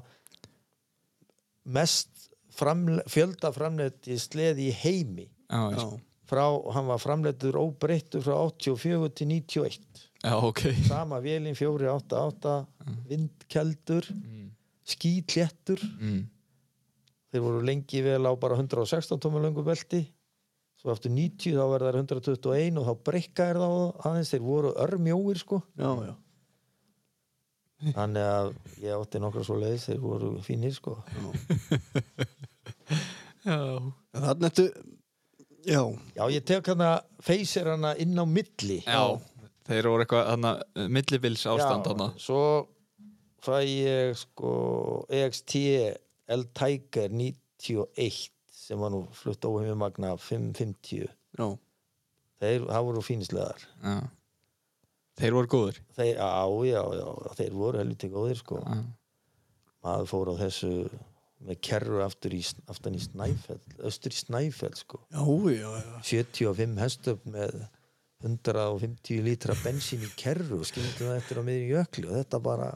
[SPEAKER 3] mest framle, fjölda framleitt í sleði í heimi
[SPEAKER 2] já, ég
[SPEAKER 1] Já.
[SPEAKER 2] skil.
[SPEAKER 3] frá, hann var framleittur óbreyttur frá 84 til 91
[SPEAKER 2] já, ok
[SPEAKER 3] sama vélinn 488 vindkeldur skítléttur
[SPEAKER 2] mm.
[SPEAKER 3] þeir voru lengi vel á bara 116 tómur löngu belti svo eftir 90 þá verða þær 121 og þá breyka er það aðeins þeir voru örmjóir sko
[SPEAKER 1] já, já
[SPEAKER 3] þannig að ég átti nokkra svo leiðis þeir voru fínir sko
[SPEAKER 2] Já,
[SPEAKER 1] En þarna ertu já,
[SPEAKER 3] já ég tek hana feysir hana inn á milli
[SPEAKER 2] Já, þeir voru eitthvað hana, millibils ástand hana
[SPEAKER 3] svo fæ ég sko EXT L Tiger 91 sem var nú flutt óheimi magna 550
[SPEAKER 1] já,
[SPEAKER 3] þeir, það voru fínislegar
[SPEAKER 2] já. Þeir voru góður
[SPEAKER 3] þeir, á, já, já, þeir voru helviti góðir sko
[SPEAKER 2] já.
[SPEAKER 3] maður fór á þessu með kerru aftur í, aftan í Snæfell austur í Snæfell sko
[SPEAKER 1] já, já, já.
[SPEAKER 3] 75 hestöp með 150 lítra bensín í kerru og skildum það eftir á miður jökli og þetta bara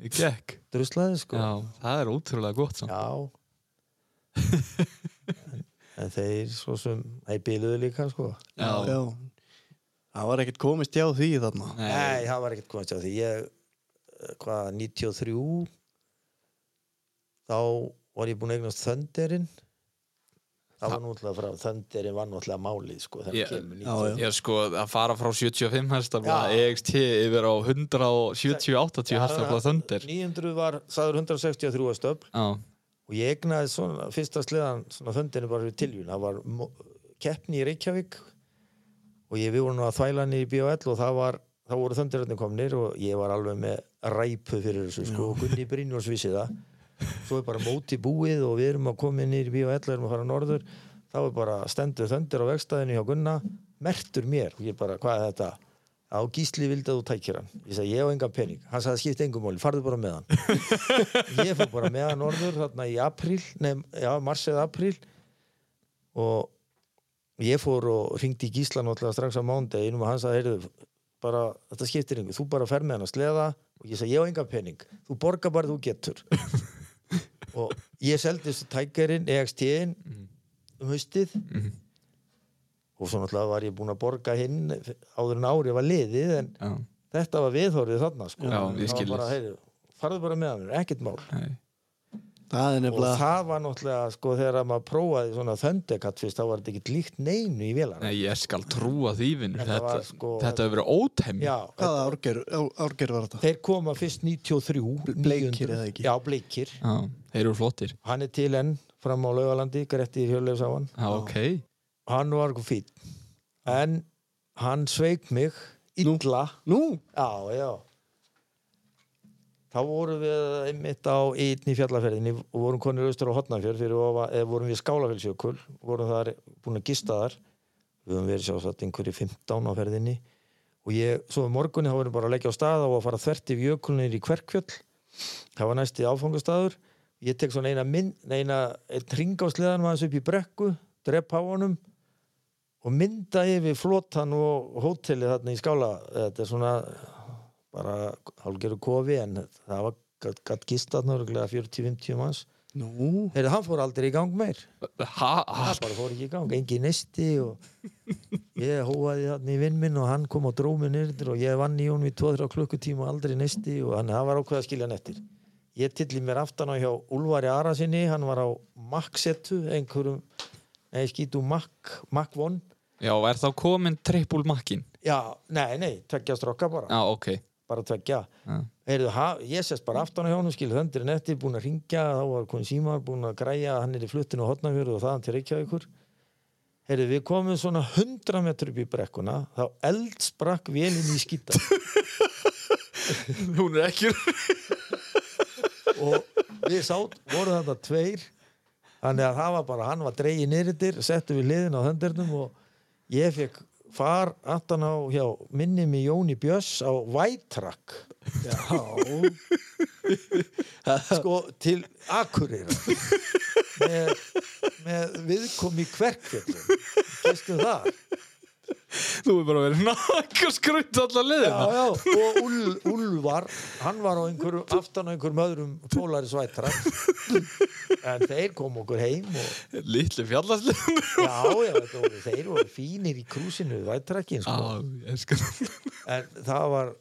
[SPEAKER 2] Gekk
[SPEAKER 3] druslaði sko
[SPEAKER 2] Já, það er ótrúlega gott samt.
[SPEAKER 3] Já. en, en þeir svo sem þeir biluðu líka sko
[SPEAKER 2] Já.
[SPEAKER 1] já. það var ekkert komist hjá því þarna
[SPEAKER 3] Nei, það var ekkert komast á því ég, eh, hvað, 93 þá var ég búinn að eignast Thunderinn það var náttúrulega frá Thunderinn var náttúrulega málið sko þegar
[SPEAKER 2] Ég-
[SPEAKER 3] yeah. kemur
[SPEAKER 1] já, já.
[SPEAKER 2] Ég sko að fara frá 75 hestafla
[SPEAKER 3] Já.
[SPEAKER 2] EXT E yfir á 170-80 hestafla þöndir
[SPEAKER 3] 900 var, sagður 163 að stöfl
[SPEAKER 2] Já,
[SPEAKER 3] og ég egnaði svona, fyrsta sleðan svona Thunderinn bara fyrir tiljun það var mo- keppni í Reykjavík og ég við vorum nú að þvæla hann í B.O.L og það var, þá voru Thunderinn komnir og ég var alveg með ræpu fyrir þessu sko og Gunni Brynjórs vissi það svo er bara móti búið og við erum að koma inn í B.O.L erum að fara norður þá er bara stendur Thunder á vegstæðinu hjá Gunna mertur mér og ég bara, hvað er þetta? Á gísli vildi að þú tækir hann Ég sagði, ég á engan pening Hann sagði, skipt engum máli, farðu bara með hann Ég fór bara með hann norður þarna í apríl Nei, já, mars eða apríl og ég fór og ringdi í Gísla náttúrulega strax á mándeginum og hann sagði, heyrðu, bara, þetta skiptir yngur, þú bara fer með hann að sleða og ég sagði, ég á engan pening, þú borgar bara þú getur og ég seldi þessu tækjarinn, EXT-in um haustið
[SPEAKER 2] mhm,
[SPEAKER 3] og svo náttúrulega var ég búinn að borga hinn áður en árið var liðið en
[SPEAKER 2] já,
[SPEAKER 3] þetta var viðhorfið þarna sko,
[SPEAKER 2] Já, ég
[SPEAKER 3] það
[SPEAKER 2] skil
[SPEAKER 3] var bara,
[SPEAKER 2] þig.
[SPEAKER 3] heyrðu, farðu bara með hann, ekkert mál
[SPEAKER 2] nei
[SPEAKER 1] það er
[SPEAKER 3] og
[SPEAKER 1] nefnilega
[SPEAKER 3] það var náttúrulega sko þegar að maður prófaði svona þöndekatt fyrst þá var þetta ekkert líkt neinu í vélar
[SPEAKER 2] Nei, ég skal trúa því vinnur
[SPEAKER 3] Þetta
[SPEAKER 2] Þetta,
[SPEAKER 3] var
[SPEAKER 2] þetta,
[SPEAKER 3] sko-
[SPEAKER 2] hefur verið ótemj
[SPEAKER 3] já,
[SPEAKER 1] hvaða árger, á- árger var þetta?
[SPEAKER 3] þeir koma fyrst 93
[SPEAKER 1] Bleikir
[SPEAKER 3] 900.
[SPEAKER 1] eða ekki?
[SPEAKER 3] já, bleikir,
[SPEAKER 2] já, þeir eru flottir
[SPEAKER 3] hann er til enn fram á laugalandi, Gretti Hjörleifs á hann
[SPEAKER 2] Já, ok
[SPEAKER 3] hann var fín en hann sveik mig illa
[SPEAKER 1] nú,
[SPEAKER 3] Já, já. Þá vorum við einmitt á einn í fjallaferðinni og vorum konir austur á Hotnafjörð fyrir ofa, eða vorum við skálafellsjökul, vorum þar búin að gista þar. Við höfum verið sjálfsagt einhverju 15 á ferðinni og ég, svo um morgunni þá vorum við bara að leggja á stað og að fara þvert yfir jökulnir í Kverkfjöll. Það var næsti áfangastaður. Ég tek svona eina mynd, neina, einn ring á sleðan var hans upp í brekku, drepp á honum og mynda yfir flotan og hótelið þarna í skála þetta er svona bara hálfgerðu kofi en það var gatt gat gist þarna örgulega 40-50 manns
[SPEAKER 1] nú
[SPEAKER 3] Heyrðu, hann fór aldrei í gang meir
[SPEAKER 2] ha, ha,
[SPEAKER 3] hann bara fór ekki í gang, engin nesti og ég hóaði þarna í vinn minn og hann kom og dró mig nyrður og ég vann í honum í 2-3 klukkutíma og aldrei nesti og hann, hann var ákveð að skilja hann eftir ég tilli mér aftan á hjá Úlfari Arasinni hann var á Maxetu einhverjum nei, skítu Mac, Mac 1
[SPEAKER 2] Já, er þá komin triple makkin?
[SPEAKER 3] já, nei, nei, tveggja strokka bara
[SPEAKER 2] Já, ok.
[SPEAKER 3] bara tveggja,
[SPEAKER 2] Já.
[SPEAKER 3] heyrðu, ha, ég sest bara aftan á hjónum, skil, höndurinn eftir, búin að ringja þá var hún símar, búin að græja að hann er í fluttinu og hotnafjörðu og þaðan til Reykjavíkur heyrðu, við komum svona 100 metr upp í brekkuna, þá eldsprakk vélinn í skýta
[SPEAKER 2] Hún er ekki...
[SPEAKER 3] og við sátt, voru þetta tveir þannig að það var bara, hann var dreigið nýritir, settum við liðin á höndurnum og ég fekk far aftan á hjá minni mig Jóni Björns á Vætrakk
[SPEAKER 1] Já,
[SPEAKER 3] sko til Akureyra með, með viðkom í kverkjöldum gestum það
[SPEAKER 2] Þú er bara verið nakka skrutt allar
[SPEAKER 3] já,
[SPEAKER 2] liðina.
[SPEAKER 3] já, og Úl, Úlvar hann var á einhverju, aftan á einhverjum öðrum pólari svætra en þeir kom okkur heim og
[SPEAKER 2] Lítli fjallarslið.
[SPEAKER 3] Já, já, þetta voru, þeir voru fínir í krúsinu, vættrakkin,
[SPEAKER 2] Já,
[SPEAKER 3] sko.
[SPEAKER 2] ég skal...
[SPEAKER 3] En það var,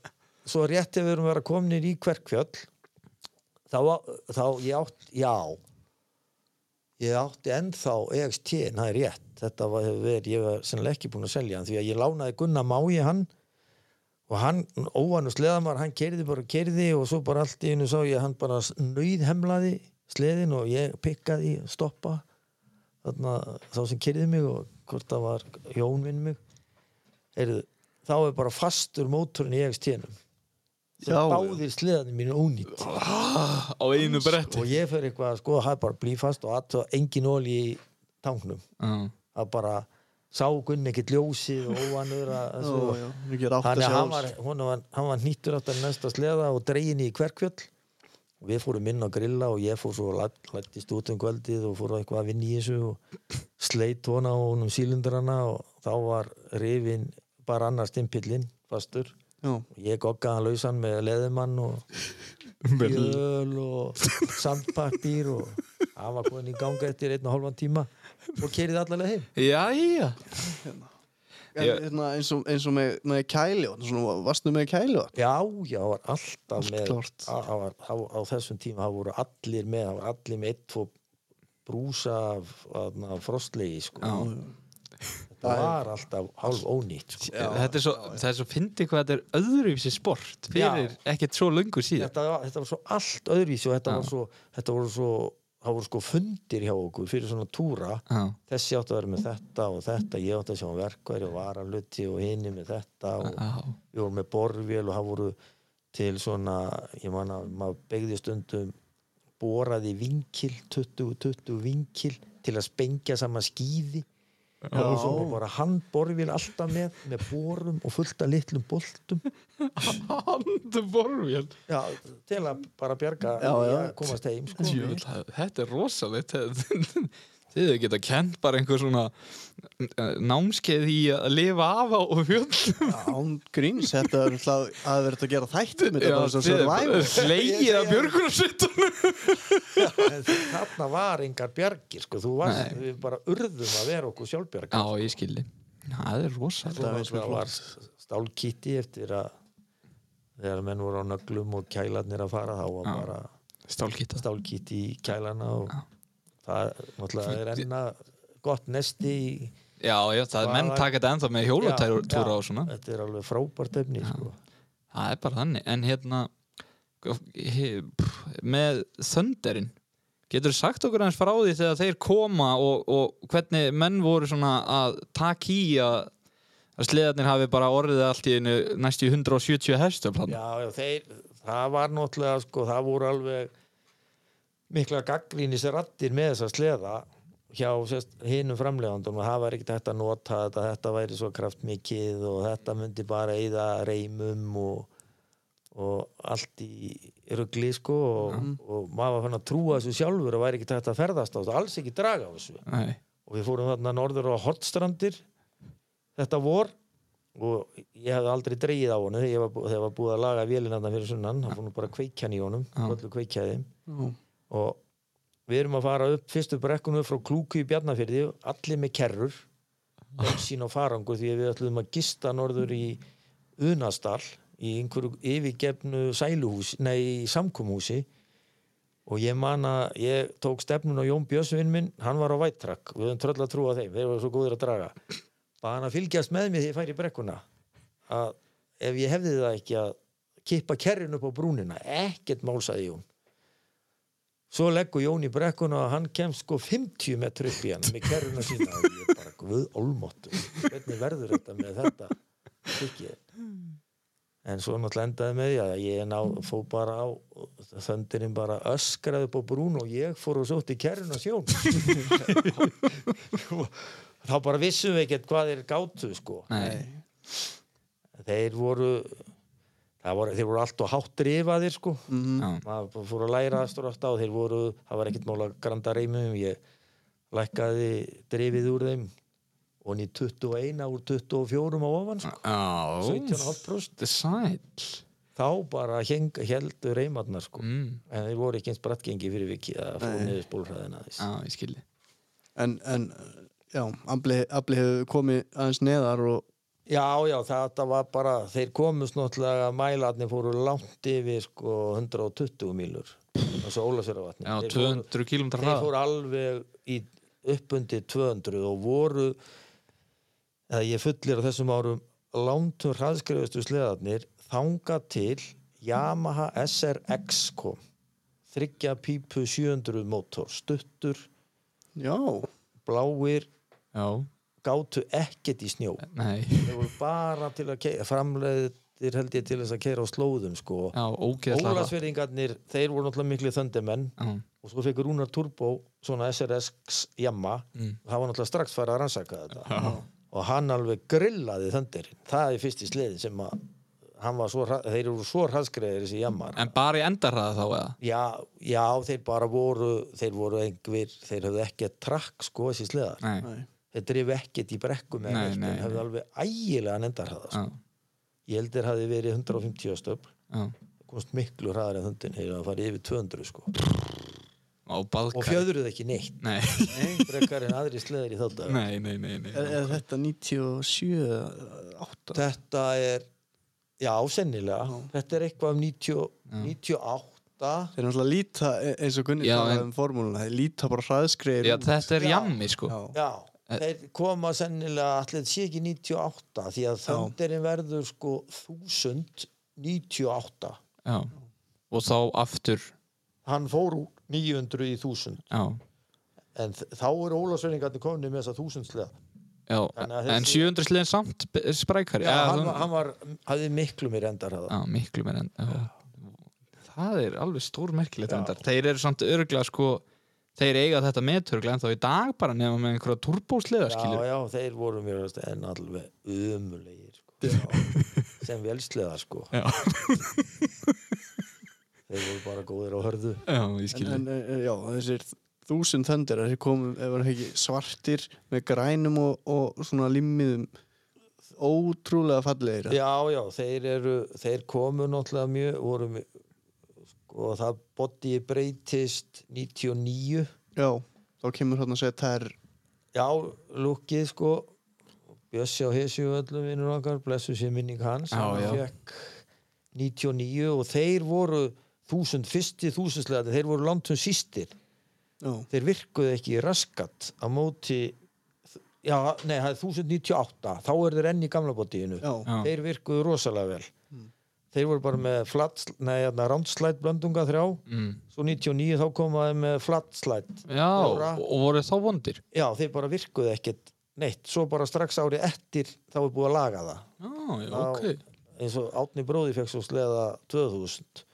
[SPEAKER 3] svo rétt ef við erum að vera komnir í Kverkfjöll, þá, var- þá ég átt, já, ég átti ennþá EXT, en það er rétt. Þetta var, hefur verið, ég var sennilega ekki búin að selja hann, því að ég lánaði Gunnar Mái hann og hann, óvann og sleðamar, hann keiriði bara og keiriði og svo bara allt í einu sá ég að hann bara nöyðhemlaði sleðin og ég pikkaði í að stoppa þarna, þá sem keiriði mig og hvort það var Jónvinn mig heyrðu, þá er bara fastur mótorinn í E EXT-num
[SPEAKER 1] Já, já.
[SPEAKER 3] báðir sleðanir mínu ónýtt
[SPEAKER 2] Á einu bretti.
[SPEAKER 3] og ég fer eitthvað að skoða, það er bara blífast og aðtöða engin ól í tanknum
[SPEAKER 2] Já.
[SPEAKER 3] að bara sá Gunni ekkert ljósið og óvanur að
[SPEAKER 1] já,
[SPEAKER 3] svo-
[SPEAKER 1] já, ekki rátt að
[SPEAKER 3] Þannig að
[SPEAKER 1] sjá
[SPEAKER 3] hann var, honum var, hann var nýttur aftur í næsta sleða og dregin í hverkvjöll og við fórum inn að grilla og ég fór svo og lættist út um kvöldið og fór eitthvað að vinna í þessu og sleit hona og honum sílindrana og þá var rifin bara annar stimpillinn fastur
[SPEAKER 1] Já,
[SPEAKER 3] og ég goggaði hann lausan með leðumann og jöl og sandpappír og hann var komin í ganga eftir einn og hálfan tíma og kerið allalega heim
[SPEAKER 2] Jæja.
[SPEAKER 1] En,
[SPEAKER 2] Ég-
[SPEAKER 1] hérna, eins og, eins og með, með kæljón, svona, varstu með kæljón?
[SPEAKER 3] Já, já, það var alltaf
[SPEAKER 1] Allt
[SPEAKER 3] með
[SPEAKER 1] klárt.
[SPEAKER 3] á, á, á, á þessum tíma, það voru allir með það voru allir með eitt, tvo brúsa af, af frostlegi sko.
[SPEAKER 2] Já.
[SPEAKER 3] það var alltaf hálf ónýtt sko.
[SPEAKER 2] þetta er svo, það er svo fyndi hvað þetta er öðruvísi sport fyrir ekkert svo löngu síðan
[SPEAKER 3] þetta, var- þetta var svo allt öðruvísi og
[SPEAKER 2] Já.
[SPEAKER 3] þetta, var svo, þetta voru svo það voru sko fundir hjá okkur fyrir svona túra
[SPEAKER 2] já,
[SPEAKER 3] þessi átti að vera með þetta og þetta ég átti að sjá um verkværi og varaluti og hinni með þetta og
[SPEAKER 1] Ah,
[SPEAKER 2] já,
[SPEAKER 3] við vorum með borvél og það voru til svona, ég man að maður begði stundum boraði vinkil, 20-20 vinkil til að spengja saman skýði og svo var bara handborvél alltaf með, með borum og fullt af litlum boltum
[SPEAKER 2] handu borvél
[SPEAKER 3] já, til að bara bjarga
[SPEAKER 1] Já,
[SPEAKER 3] því
[SPEAKER 1] já.
[SPEAKER 3] að komast heim sko.
[SPEAKER 2] Jöl, þetta er rosalegt Þetta- þið hefur geta kent bara einhver svona eh, námskeið í að lifa af á fjöldum
[SPEAKER 1] Án gríns, þetta er alltaf að verið að gera þættum, þetta er bara svo
[SPEAKER 2] þið
[SPEAKER 1] survival.
[SPEAKER 2] slegið að björgunarsveitunum
[SPEAKER 3] en þarna var engar bjargir sko. þú varst,
[SPEAKER 2] Nei.
[SPEAKER 3] við bara urðum að vera okkur sjálfbjarga
[SPEAKER 2] já, ég skildi það er rosalegt
[SPEAKER 1] Þetta er
[SPEAKER 3] Svo
[SPEAKER 1] eins og
[SPEAKER 3] náttúrulega var stálkitti eftir að þegar menn voru á nöglum og kælarnir að fara þá var
[SPEAKER 2] Já.
[SPEAKER 3] bara
[SPEAKER 2] stálkita
[SPEAKER 3] stálkitti í kælana og
[SPEAKER 2] Já.
[SPEAKER 3] það náttúrulega er enna gott nesti í-
[SPEAKER 2] já, já, það er menn taka þetta ennþá með
[SPEAKER 3] Já, já,
[SPEAKER 2] hjólatúra og svona
[SPEAKER 3] þetta er alveg frábært efni sko.
[SPEAKER 2] Það er bara þannig, en hérna he- pff, með þönderinn getur sagt okkur aðeins frá því þegar þeir koma og, og hvernig menn voru svona að taka í að, að sleðarnir hafi bara orðið allt í einu næstu í 170 hestum
[SPEAKER 3] já, já, þeir, það var náttúrulega sko, það voru alveg mikla gaggrínis rattir með þessa sleða hjá sérst, hinum framlegandum og það var ekkert hægt að nota þetta þetta væri svo kraftmikið og þetta myndi bara eyða reymum og, og allt í rugli sko og, og maður var fann að trúa þessu sjálfur og væri ekkert hægt að ferðast á þessu, alls ekki draga á þessu
[SPEAKER 2] Nei,
[SPEAKER 3] og við fórum þarna norður á Hortstrandir þetta vor og ég hefði aldrei dreigið á honum þegar ég var, bú- þegar var búið að laga vélinanna fyrir sunnan þá fórum við bara að kveikja hann í honum
[SPEAKER 2] Já.
[SPEAKER 3] öllu kveikjaði þeim.
[SPEAKER 1] Já.
[SPEAKER 3] og við erum að fara upp fyrstu brekkunum frá Klúku í Bjarnafyrði allir með kerrur bensín og farangur því að við ætlum að gista norður í Unastal í einhverju yfirgefnu sæluhús, nei, samkumhúsi og ég man að ég tók stefnun á Jón Björnsvinn minn hann var á vættrakk, við höfum tröll að trúa þeim þeir voru svo góðir að draga bara hann að fylgjast með mér þegar ég færi í brekkuna að ef ég hefði það ekki að kippa kerrin upp á brúnina ekkert málsaði Jón svo leggur Jón í brekkuna og hann kemst sko 50 metr upp í hann með kerruna sína og ég bara guð olmóttu hvernig verður þetta með þetta ekki en svo náttúrulega endaði með því að ég ná, fó bara á þöndirinn bara öskraði upp á brún og ég fór og sótti kerrin og sjón þá bara vissum við ekkert hvað þeir gátu sko
[SPEAKER 2] Nei.
[SPEAKER 3] þeir voru, það voru þeir voru allt og hátt drifaðir sko
[SPEAKER 1] Mhm.
[SPEAKER 2] Já.
[SPEAKER 3] maður bara fór að læra stort á þeir voru, það var ekkert mál að granda reymum ég lækkaði drifið úr þeim og hann í 21 úr 24 á ofan sko,
[SPEAKER 2] Á,
[SPEAKER 3] 17,5%
[SPEAKER 2] Þetta er sæl.
[SPEAKER 3] þá bara heng, heldur reymarnar sko
[SPEAKER 2] Mm.
[SPEAKER 3] en þeir voru ekki eins brattgengi fyrir vikið að fóra
[SPEAKER 1] Nei.
[SPEAKER 3] niður spólhraðina þess
[SPEAKER 2] Á, ég skilji.
[SPEAKER 1] En, en já, Abli, Abli hefur komið aðeins neðar og
[SPEAKER 3] já, já, þetta var bara þeir komust náttúrulega mælarnir fóru langt yfir sko 120 mílur þessu ólasverðavatni
[SPEAKER 2] Já,
[SPEAKER 3] Þeir fóru-
[SPEAKER 2] 200 km
[SPEAKER 3] þeir
[SPEAKER 2] hraða.
[SPEAKER 3] fóru alveg í uppundi 200 og voru eða ég fullir á þessum árum lántum hraðskrifustu sleðarnir þanga til Yamaha SRX kom þryggja pípu 700 mótor stuttur,
[SPEAKER 1] já,
[SPEAKER 3] bláir
[SPEAKER 2] Já,
[SPEAKER 3] gátu ekkert í snjó
[SPEAKER 2] nei.
[SPEAKER 3] þeir voru bara til að keira framleiðir held ég til þess að keira á slóðum sko
[SPEAKER 2] Já, ógeðslega. hratt.
[SPEAKER 3] Ólasverðingarnir, þeir voru náttúrulega miklu þöndimenn
[SPEAKER 2] Já,
[SPEAKER 3] og svo fekk Rúnar Turbo svona SRX jamma
[SPEAKER 2] Mm.
[SPEAKER 3] og það var náttúrulega strax fara að rannsaka þetta og hann alveg grillaði þöndirinn það er fyrst í sliðin sem að hann var svo, hra- þeir eru svo hraðskreiðir þessi jammar
[SPEAKER 2] En bara í endarhraða þá eða?
[SPEAKER 3] já, já, þeir bara voru þeir voru einhver, þeir höfðu ekki trakk sko þessi sliðar,
[SPEAKER 2] Nei.
[SPEAKER 1] nei,
[SPEAKER 3] þeir drifu ekkert í brekkum eða
[SPEAKER 2] Nei,
[SPEAKER 3] neitt,
[SPEAKER 2] nei,
[SPEAKER 3] en höfðu alveg ægilega nendarhraða sko.
[SPEAKER 2] Já, ég
[SPEAKER 3] ég held þeir hafi verið 150 stöfl
[SPEAKER 2] já.
[SPEAKER 3] komst miklu hraðar en þöndin þeir hafa farið yfir 200 sko
[SPEAKER 2] Á baðkar.
[SPEAKER 3] og fjöðruð ekki neitt
[SPEAKER 2] Nei.
[SPEAKER 3] frekar en aðri sleðir í þáttu
[SPEAKER 2] nei, nei, nei, nei.
[SPEAKER 1] er, er þetta 97, eða 8
[SPEAKER 3] þetta er já, sennilega, þetta er eitthvað um 90, 98
[SPEAKER 1] Þeir náttúrulega líta, e- eins og Gunni
[SPEAKER 2] Já,
[SPEAKER 1] talaði
[SPEAKER 2] en-
[SPEAKER 1] um formúluna, þeir líta bara hraðskreir
[SPEAKER 2] Já, þetta er
[SPEAKER 3] Já.
[SPEAKER 2] jammi, sko.
[SPEAKER 1] Já,
[SPEAKER 3] já, þeir koma sennilega allir sé ekki 98 því að þöndirinn verður sko 1098
[SPEAKER 2] Já. Og þá aftur,
[SPEAKER 3] hann fór úr 900 í 1000
[SPEAKER 2] já.
[SPEAKER 3] en þ- þá eru ólagsveiningarnir komin með þess að 1000 sleða
[SPEAKER 2] Já,
[SPEAKER 3] Þannig að
[SPEAKER 2] en
[SPEAKER 3] þessi-
[SPEAKER 2] 700 sliðin samt b- sprækari.
[SPEAKER 3] já, hann,
[SPEAKER 2] þú-
[SPEAKER 3] var- hann var, hafði miklu mér endar
[SPEAKER 2] Já, miklu meira en já. Það er alveg stór merkilegt endar Þeir eru samt örgla sko Þeir eiga þetta meturgla en þá í dag bara nefnum með einhverja turbósliða
[SPEAKER 3] já,
[SPEAKER 2] skilur
[SPEAKER 3] já, þeir voru mér veist, en alveg umulegir sko. sem velslega sko
[SPEAKER 2] Já.
[SPEAKER 3] þeir voru bara góðir á hörðu
[SPEAKER 2] Já, ég
[SPEAKER 1] en,
[SPEAKER 2] skilur
[SPEAKER 1] en e, já, þessir þúsund þöndir, þeir komum, ef hann ekki svartir, með grænum og, og svona limmiðum, ótrúlega fallegir
[SPEAKER 3] já, já, þeir eru þeir komu náttúrulega mjög voru, mjög- sko, það boddi breytist 99
[SPEAKER 1] já, þá kemur hann að segja þær
[SPEAKER 3] já, lukkið sko Bjössi á Hesju öllum vinnur okkar blessu sér minning hans
[SPEAKER 2] Já,
[SPEAKER 3] hann
[SPEAKER 2] já.
[SPEAKER 3] fekk 99 og þeir voru þúsund, fyrsti þúsundslega þeir voru landum sístir
[SPEAKER 1] já,
[SPEAKER 3] þeir virkuðu ekki í raskat á móti já, nei, það er 1098 þá eru þeir enn í gamla botíinu
[SPEAKER 1] já,
[SPEAKER 2] Já.
[SPEAKER 3] þeir virkuðu rosalega vel þeir voru bara með flat, nei, roundslætt blöndunga þrjá
[SPEAKER 2] mm.
[SPEAKER 3] svo 99 þá komaði með flatslætt
[SPEAKER 2] Já,
[SPEAKER 3] Þóra.
[SPEAKER 2] og og voru þá vondir
[SPEAKER 3] já, þeir bara virkuðu ekkert neitt svo bara strax árið eftir þá er búið að laga það
[SPEAKER 2] Já, já,
[SPEAKER 3] Já.
[SPEAKER 2] ok
[SPEAKER 3] eins og Átni bróði fekk svo sleða 2000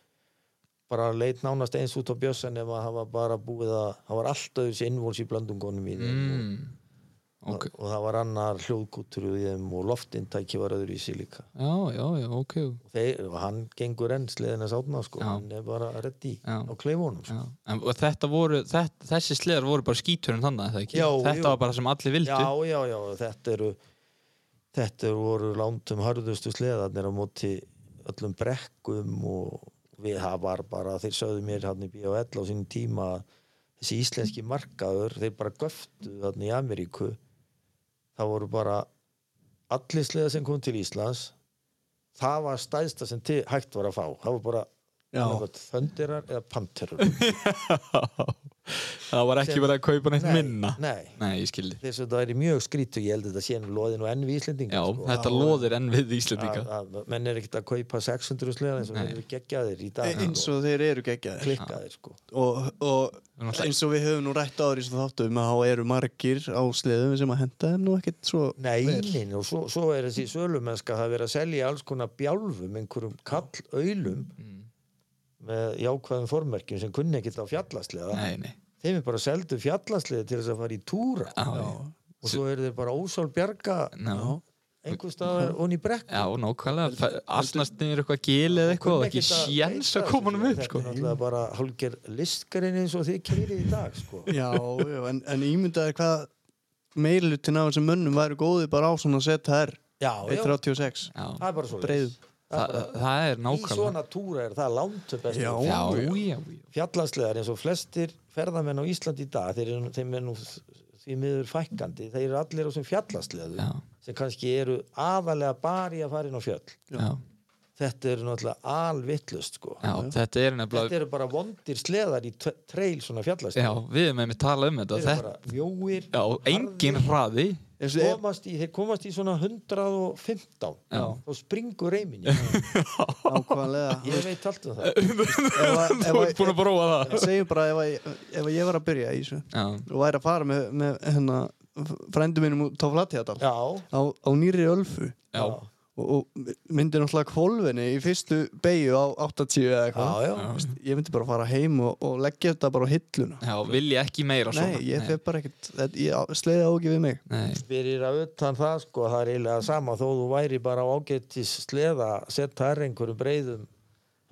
[SPEAKER 3] bara leit nánast eins út á Bjössa nema að hafa bara búið að það var alltaf þessi innvóls í blöndungunum í þeim og-
[SPEAKER 2] mm. Ok,
[SPEAKER 3] og það var annar hljóðkútur í þeim og loftintæki var öðru í sig líka
[SPEAKER 2] já, já, já, ok
[SPEAKER 3] og, þeir, og hann gengur enn sleðina sátna sko,
[SPEAKER 2] Já.
[SPEAKER 3] hann er bara reddi
[SPEAKER 2] Já.
[SPEAKER 3] á kleifunum sko.
[SPEAKER 2] Já. En og þetta voru, þetta, þessi sliðar voru bara skíturinn þannig að það ekki
[SPEAKER 3] Já,
[SPEAKER 2] Þetta
[SPEAKER 3] jú.
[SPEAKER 2] var bara sem allir vildu
[SPEAKER 3] já, já, já, þetta eru þetta eru voru lántum harðustu sleðarnir á móti öllum brekkum og við það var bara, þeir sögðu mér hann í B.O.L. á sínum tíma að þessi íslenski markaður, þeir bara göftu þarna í Ameríku það voru bara allir sleðar sem kom til Íslands það var stæðsta sem til, hægt var að fá það var bara
[SPEAKER 1] Já.
[SPEAKER 3] Þöndirar eða panterur
[SPEAKER 2] það var ekki
[SPEAKER 3] Sem-
[SPEAKER 2] verið að kaupa neitt minna
[SPEAKER 3] Nei,
[SPEAKER 2] nei, ég skildi
[SPEAKER 3] þess að það er mjög skrítu ég held að þetta sé nú loðin og enn við sko. Íslendinga
[SPEAKER 2] já, þetta loðir enn við Íslandinga
[SPEAKER 3] að, að menn er ekkert að kaupa 600 slegar eins og
[SPEAKER 2] Nei.
[SPEAKER 3] menn eru geggjaðir í dag
[SPEAKER 1] e,
[SPEAKER 3] sko.
[SPEAKER 1] eins og þeir eru geggjaðir
[SPEAKER 3] klikkaðir sko
[SPEAKER 1] og, og eins og við höfum nú rætt áður í þessum þáttum að þá eru margir á sleðum sem að henda þeim nú ekkert svo
[SPEAKER 3] Nei, nein, og svo, svo er þessi sölumennska það er verið að selja alls konar bjálfum einhverjum kallauðlum
[SPEAKER 2] Mm.
[SPEAKER 3] með jákvæðum formerkjum sem kunni ekkert á fjallaslega
[SPEAKER 2] nei, nei
[SPEAKER 3] þeim er bara seldu fjallaslega til þess að fara í túra
[SPEAKER 2] Já,
[SPEAKER 3] og svo eru þeir bara ósál bjarga
[SPEAKER 2] Já.
[SPEAKER 3] einhver staðar onni í brekk
[SPEAKER 2] Mm. já, nákvæmlega asnast niður eitthvað gil eða eitthvað og ekki sjens að koma hann upp sko.
[SPEAKER 3] þetta er hérna, náttúrulega bara hálger listgarinn eins og þið keirið í dag sko.
[SPEAKER 1] já, já, en, en ímyndaði hvað meirlutin af þessum mönnum væri góði bara á svona ZR
[SPEAKER 3] já, já,
[SPEAKER 1] 136
[SPEAKER 2] Já,
[SPEAKER 3] það er bara svo
[SPEAKER 1] breiðum.
[SPEAKER 2] það, það er
[SPEAKER 3] í
[SPEAKER 2] nákvæmlega
[SPEAKER 3] svona túra er það langt best
[SPEAKER 1] Já.
[SPEAKER 2] já, já, já,
[SPEAKER 3] fjallaslegar eins og flestir ferðamenn á Íslandi í dag þeir eru, þeim er nú því miður fækkandi þeir eru allir á sem fjallasleðu
[SPEAKER 2] já,
[SPEAKER 3] sem kannski eru aðalega bara í að fara inn á fjöll
[SPEAKER 2] já,
[SPEAKER 3] þetta eru náttúrulega alvittlust sko.
[SPEAKER 2] já þetta er
[SPEAKER 3] þetta
[SPEAKER 2] nefnilega
[SPEAKER 3] eru bara vondir sleðar í t- trail svona
[SPEAKER 2] já,
[SPEAKER 3] fjallasleðar
[SPEAKER 2] við erum með tala um þetta
[SPEAKER 3] þeir eru
[SPEAKER 2] þetta,
[SPEAKER 3] bara mjóir
[SPEAKER 2] já, engin hraði
[SPEAKER 1] Eins og er-
[SPEAKER 3] komast í, þeir komast í svona 115
[SPEAKER 2] Já.
[SPEAKER 3] og springur reyminni
[SPEAKER 1] nákvæmlega
[SPEAKER 3] ég veit allt um það
[SPEAKER 1] Ef
[SPEAKER 2] þú
[SPEAKER 1] að-
[SPEAKER 2] ert búin að prófa það
[SPEAKER 1] segjum bara ef, að, ef að ég var að byrja í þessu
[SPEAKER 2] já,
[SPEAKER 1] og væri að fara með, með hérna, frændu mínum út á Flatjadal á,
[SPEAKER 3] já,
[SPEAKER 1] á nýri ölfu
[SPEAKER 2] já,
[SPEAKER 1] og, og myndi náttúrulega kvolfinni í fyrstu beigju á 80 eða eitthvað
[SPEAKER 3] já, já.
[SPEAKER 1] Veist, ég myndi bara fara heim og, og leggja þetta bara á hilluna
[SPEAKER 2] já, vilji ekki meira svona
[SPEAKER 1] nei, ég fer bara ekkert þetta- ég á- sleiði á ekki við mig
[SPEAKER 2] nei,
[SPEAKER 3] fyrir að utan það sko það er eiginlega sama þó þú væri bara á ágættis sleða setta er einhverjum breyðum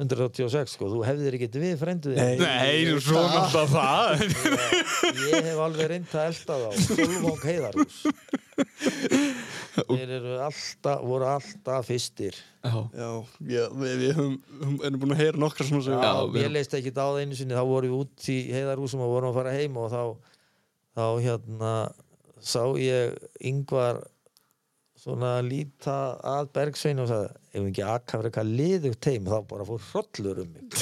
[SPEAKER 3] 186 sko, þú hefðir ekki við frendu
[SPEAKER 1] Nei. Ah.
[SPEAKER 3] þig
[SPEAKER 2] nei, svona það það
[SPEAKER 3] ég hef alveg reynd að elda þá Solvang Heiðarús þeir eru alltaf voru alltaf fyrstir
[SPEAKER 2] já,
[SPEAKER 1] já, já við, við höfum, höfum erum búin að heyra nokkra svona sögur.
[SPEAKER 2] Já. við
[SPEAKER 3] ég
[SPEAKER 2] erum-
[SPEAKER 3] leist ekki á það einu sinni þá vorum við út í Heiðarúsum og vorum að fara heim og þá þá hérna sá ég yngvar svona líta að Bergsvein og sagði ef ekki akka fyrir eitthvað liðugt teim þá bara fór hrollur um mig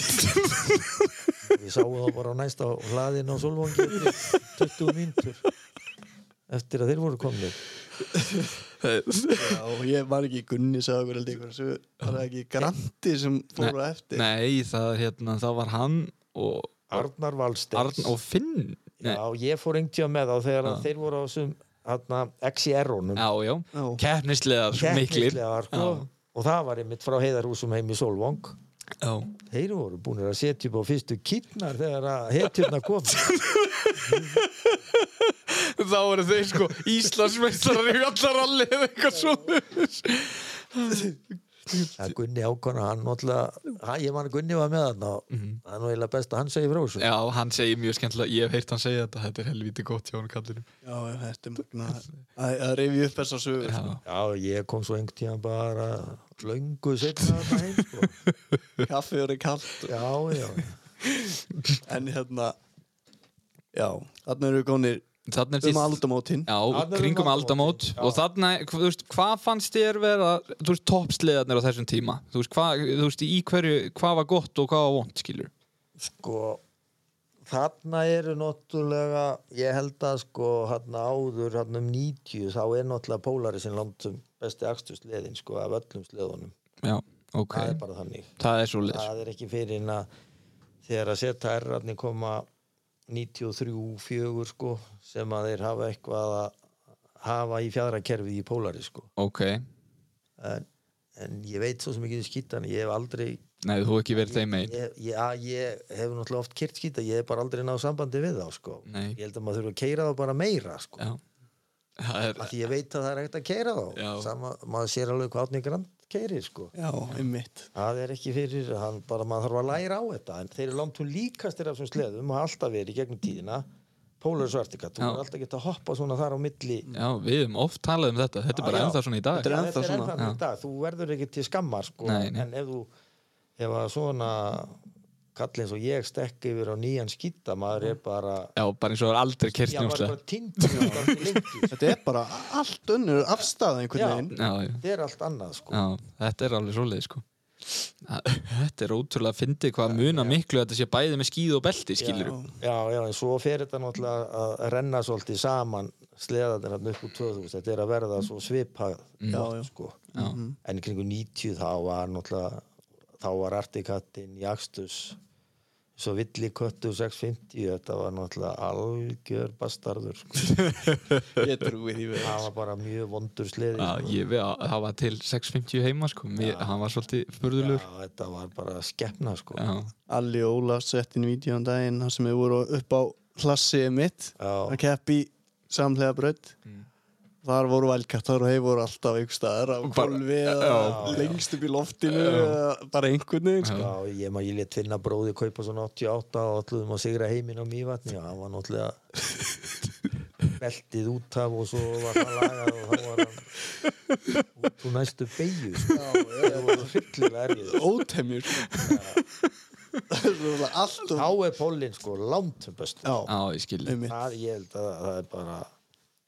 [SPEAKER 3] við sáum þá bara á næsta hlaðin á Solvangi eftir 20 mínútur eftir að þeir voru komnir
[SPEAKER 1] já, og ég var ekki í gunni sagði okkur held ég eitthvað sögur. var það ekki grandi sem fór á eftir
[SPEAKER 2] nei, það, hérna, það var hann og
[SPEAKER 3] Arnar Valsteins
[SPEAKER 2] Arn og Finn nei,
[SPEAKER 3] Já, ég fór einhvern tíma með þá þegar
[SPEAKER 2] Já.
[SPEAKER 3] að þeir voru á þessum hérna, XR-unum
[SPEAKER 2] já, já,
[SPEAKER 1] Já.
[SPEAKER 2] keppnislegar miklir
[SPEAKER 3] Keppnislegar, sko.
[SPEAKER 2] Já.
[SPEAKER 3] og það var einmitt frá heiðarhúsum heim í Solvang
[SPEAKER 2] já,
[SPEAKER 3] þeir voru búinir að setja upp á fyrstu kýtnar þegar að hetjurna kom
[SPEAKER 2] þá eru þeir sko Íslandsmeistarar í allaralli eða eitthvað svona
[SPEAKER 3] að Gunni ákona, hann náttúrulega hann, ég man að Gunni var með hann og það er nú eiginlega best að hann segi frá þessu
[SPEAKER 2] Mhm. já, hann segir mjög skemmtilega, ég hef heyrt hann segja þetta þetta er helviti gott hjá hann kallinum
[SPEAKER 1] já, þetta er magna að, að rifja upp þessar sögur
[SPEAKER 2] já,
[SPEAKER 3] Já, ég kom svo einhvern tíma bara löngu setna þarna heim sko.
[SPEAKER 1] kaffi voru kalt
[SPEAKER 3] Já, já,
[SPEAKER 1] En hérna Já, þarna eru við konir
[SPEAKER 2] þannig er
[SPEAKER 1] um
[SPEAKER 2] því
[SPEAKER 1] aldamótin
[SPEAKER 2] Já,
[SPEAKER 3] Þarna er
[SPEAKER 2] kringum
[SPEAKER 3] um aldamót.
[SPEAKER 2] aldamót og þarna, þú veist, hvað fannst þér vera, þú veist, toppsliðarnir á þessum tíma þú veist, hvað, þú veist, í hverju hvað var gott og hvað var vond, skilur
[SPEAKER 3] sko þarna eru náttúrulega ég held að sko hann áður hann um 90 þá er náttúrulega Polarisinn landum besti akstusleðin sko af öllum sleðunum
[SPEAKER 2] já, ok,
[SPEAKER 3] það er bara þannig
[SPEAKER 2] það er svo leis
[SPEAKER 3] það er ekki fyrir en að þegar að setja errarni koma 93, 4 sko sem að þeir hafa eitthvað að hafa í fjadrakerfið í Polaris sko
[SPEAKER 2] ok,
[SPEAKER 3] en, en ég veit svo sem ekki skýtan ég hef aldrei
[SPEAKER 2] nei, þú hef ekki verið þeim einn
[SPEAKER 3] ég, ég, já, ég hef náttúrulega oft kyrt skýta ég hef bara aldrei náð sambandi við þá sko
[SPEAKER 2] nei,
[SPEAKER 3] ég held að maður þurfa að keira þá bara meira sko.
[SPEAKER 2] já það er,
[SPEAKER 3] af því ég veit að það er ekkert að keira þá
[SPEAKER 2] Já.
[SPEAKER 3] Sama, maður sér alveg hvað átni grand keirir sko.
[SPEAKER 1] Já, einmitt
[SPEAKER 3] það er ekki fyrir, hann, bara maður þarf að læra á þetta en þeir eru langt hún líkastir af þessum sleðum og hafa alltaf verið í gegnum tíðina Pólar Svartikat, þú
[SPEAKER 2] Já.
[SPEAKER 3] er alltaf geta að hoppa svona þar á milli
[SPEAKER 2] já, við hefum oft talað um þetta þetta er
[SPEAKER 3] Já,
[SPEAKER 2] bara
[SPEAKER 3] já.
[SPEAKER 2] ennþá svona í dag
[SPEAKER 1] Þetta er
[SPEAKER 3] Já,
[SPEAKER 1] ennþá
[SPEAKER 3] þetta
[SPEAKER 1] svona,
[SPEAKER 2] já.
[SPEAKER 3] í dag, þú verður ekki til skammar sko.
[SPEAKER 2] Nei, nei.
[SPEAKER 3] en ef þú ef að svona kallið eins og ég stekk yfir á nýjan skýta maður er bara
[SPEAKER 2] já, bara eins og það er aldrei
[SPEAKER 3] já,
[SPEAKER 2] kerst
[SPEAKER 3] maður er
[SPEAKER 2] njómslega
[SPEAKER 3] bara tindur þetta
[SPEAKER 1] Þetta er bara allt önnur afstæða einhvern
[SPEAKER 3] Já.
[SPEAKER 1] veginn
[SPEAKER 2] já, já,
[SPEAKER 3] er allt annað sko.
[SPEAKER 2] já, þetta er alveg svo leis sko Þetta er ótrúlega að fyndi hvað muna miklu að þetta sé bæði með skíð og belti, skilur
[SPEAKER 1] Já.
[SPEAKER 3] Já, já, en svo fer þetta náttúrulega að renna svolítið saman sleðanir hann upp úr 2000, þetta er að verða svo svipað
[SPEAKER 2] Mm.
[SPEAKER 1] Já,
[SPEAKER 3] gott,
[SPEAKER 1] já.
[SPEAKER 3] sko.
[SPEAKER 1] Mhm.
[SPEAKER 3] en í kringu 90 þá var náttúrulega þá var Artikattin, Jakstus svo Villiköttu 650, þetta var náttúrulega algjör bastarður sko.
[SPEAKER 1] Ég trúi því við
[SPEAKER 3] það var bara mjög vondur sleði
[SPEAKER 2] Já,
[SPEAKER 3] sko.
[SPEAKER 2] ég veit að það var til 6.50 heima, sko, Mér, hann var svolítið
[SPEAKER 3] já,
[SPEAKER 2] spurðulur.
[SPEAKER 3] þetta var bara skepna sko.
[SPEAKER 2] Já.
[SPEAKER 1] Alli og Óla sett inn vídeo á daginn þar sem við voru upp á hlassið mitt að
[SPEAKER 3] Já, Mm.
[SPEAKER 1] keppi samlega brödd þar voru vælkattar og þeir voru alltaf einhver staðar á
[SPEAKER 2] Bara-
[SPEAKER 1] kolvi
[SPEAKER 3] já.
[SPEAKER 1] eða lengst upp í loftinu eða bara einhvern veginn sko.
[SPEAKER 3] já, ég maður ég létt finna bróði kaupa svona 88 og alluðum að sigra heiminn á mývatni og hann var náttúrulega beltið út af og svo var það lagað og þá var hann út úr næstu beigju sko. það var hryllilega erfið
[SPEAKER 1] ótemjur sko. Það er svona allt og
[SPEAKER 3] þá er pólinn sko langt um bestu
[SPEAKER 1] já,
[SPEAKER 2] Já, ég skilji.
[SPEAKER 1] einmitt.
[SPEAKER 3] það ég held að það er bara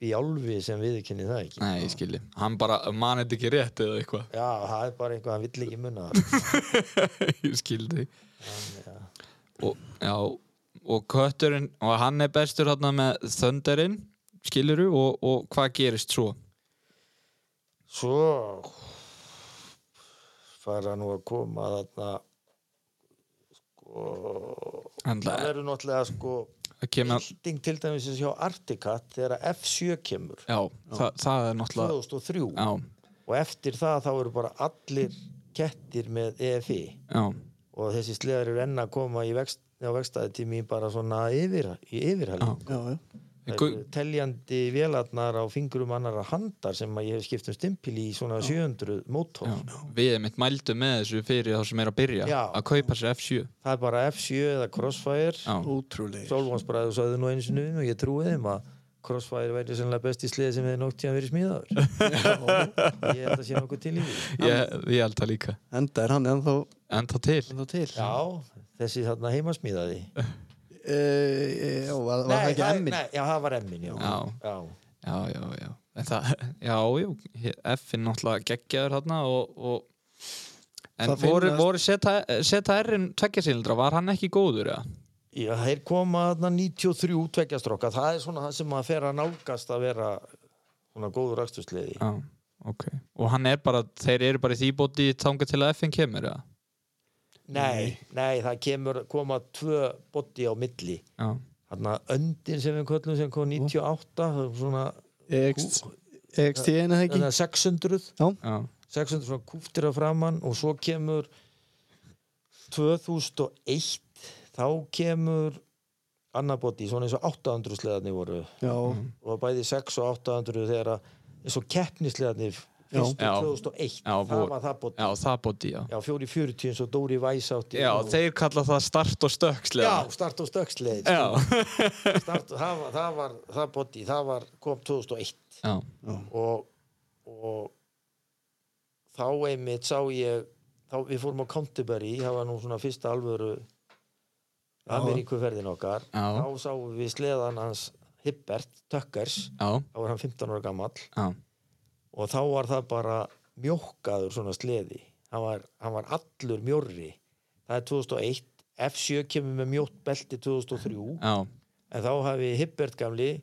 [SPEAKER 3] bjálfi sem viðkynni það ekki
[SPEAKER 2] Nei, ég skilji. Hann bara manið þetta ekki rétt eða eitthvað.
[SPEAKER 3] já það er bara eitthvað hann vill ekki munna það.
[SPEAKER 2] ég skildi.
[SPEAKER 3] Þannig að-
[SPEAKER 2] og, já, og kötturinn og hann er bestur þarna með þöndarinn skiluru og, og hvað gerist svo
[SPEAKER 3] svo fara nú að koma þarna sko það
[SPEAKER 2] Handla,
[SPEAKER 3] verður náttúrulega sko
[SPEAKER 2] það kemur
[SPEAKER 3] bilding til dæmis hjá Articat þegar að F7 kemur
[SPEAKER 2] já, það, það er náttúrulega
[SPEAKER 3] 2003
[SPEAKER 2] já,
[SPEAKER 3] og eftir það þá eru bara allir kettir með EFI
[SPEAKER 2] já,
[SPEAKER 3] og þessi sleðar eru enn að koma í vext, á vegstæðitími bara svona yfir, í yfirhæli.
[SPEAKER 1] já, já.
[SPEAKER 3] Það
[SPEAKER 2] Gu-
[SPEAKER 3] eru Teljandi vélarnar á fingurum annara handar sem að ég hef skipt um stimpil í svona 700 mótor.
[SPEAKER 2] já. við erum eitt mældu með þessu fyrir þá sem er að byrja
[SPEAKER 3] Já.
[SPEAKER 2] að kaupa sér F7
[SPEAKER 3] Það er bara F7 eða Crossfire.
[SPEAKER 2] já,
[SPEAKER 1] ótrúlega
[SPEAKER 3] Solvansbræðu sagði nú einu sinni um og ég trúi þeim að Crossfire væri sennilega besti sleði sem hefði nótt tíðan verið smíðaður. ég held að sé nokkuð til í því.
[SPEAKER 2] ég, ég held það líka
[SPEAKER 1] enda er hann ennþá,
[SPEAKER 2] enda til
[SPEAKER 1] ennþá til
[SPEAKER 3] Já, þessi þarna heimasmíðaði.
[SPEAKER 1] e, e, já var, var það ekki
[SPEAKER 3] það-
[SPEAKER 1] emmin
[SPEAKER 3] Nei, já, það var emmin, já.
[SPEAKER 2] Já.
[SPEAKER 3] já.
[SPEAKER 2] já, já, já En það, já, já, F er náttúrulega geggjaður þarna og, og en
[SPEAKER 1] Það
[SPEAKER 2] voru,
[SPEAKER 1] finnast-
[SPEAKER 2] voru ZR-in tveggjasildra, var hann ekki góður eða?
[SPEAKER 3] Já, þeir koma þarna 93 tveggjastróka, það er svona það sem maður fer að nálgast að vera svona góður rakstursliði.
[SPEAKER 2] Já, ok. Og hann er bara, þeir eru bara í því bóti þangað til að FN kemur, eða?
[SPEAKER 3] Nei, nei, það kemur, koma tvö botti á milli.
[SPEAKER 2] Já.
[SPEAKER 3] Þarna öndin sem við köllum sem kom 98, það er svona
[SPEAKER 1] EXT en það ekki
[SPEAKER 3] þarna 600,
[SPEAKER 2] Já,
[SPEAKER 3] 600 svona kúftir að framann og svo kemur 2001, þá kemur annar botti, svona eins og 800 sleðarnir voru.
[SPEAKER 1] já,
[SPEAKER 3] og það var bæði 6 og 800 þegar að eins og keppnislegarnir fyrstu
[SPEAKER 2] Já.
[SPEAKER 3] 2001
[SPEAKER 2] Já,
[SPEAKER 3] það
[SPEAKER 2] vor-
[SPEAKER 3] var það bótt
[SPEAKER 2] já það bóti, já.
[SPEAKER 3] já, 440 eins og Dóri Væs átti
[SPEAKER 2] Já,
[SPEAKER 3] og,
[SPEAKER 2] þeir kalla það start og stökslega.
[SPEAKER 3] já start og stöksleð
[SPEAKER 2] Já.
[SPEAKER 3] start, það, var, það var það bótti, það var, kom 2001
[SPEAKER 2] Já,
[SPEAKER 3] og, og þá einmitt sá ég þá, við fórum á Canterbury það var nú svona fyrsta alvöru Ameríkuferðin okkar
[SPEAKER 2] Já.
[SPEAKER 3] þá sáum við sleðan hans Hibbert Tuckers,
[SPEAKER 2] já,
[SPEAKER 3] þá var hann 15 ára gamall
[SPEAKER 2] já.
[SPEAKER 3] og þá var það bara mjókkaður svona sleði hann var, hann var allur mjórri það er 2001 F7 kemur með mjótt belti 2003
[SPEAKER 2] Já,
[SPEAKER 3] en þá hafi Hibbert gamli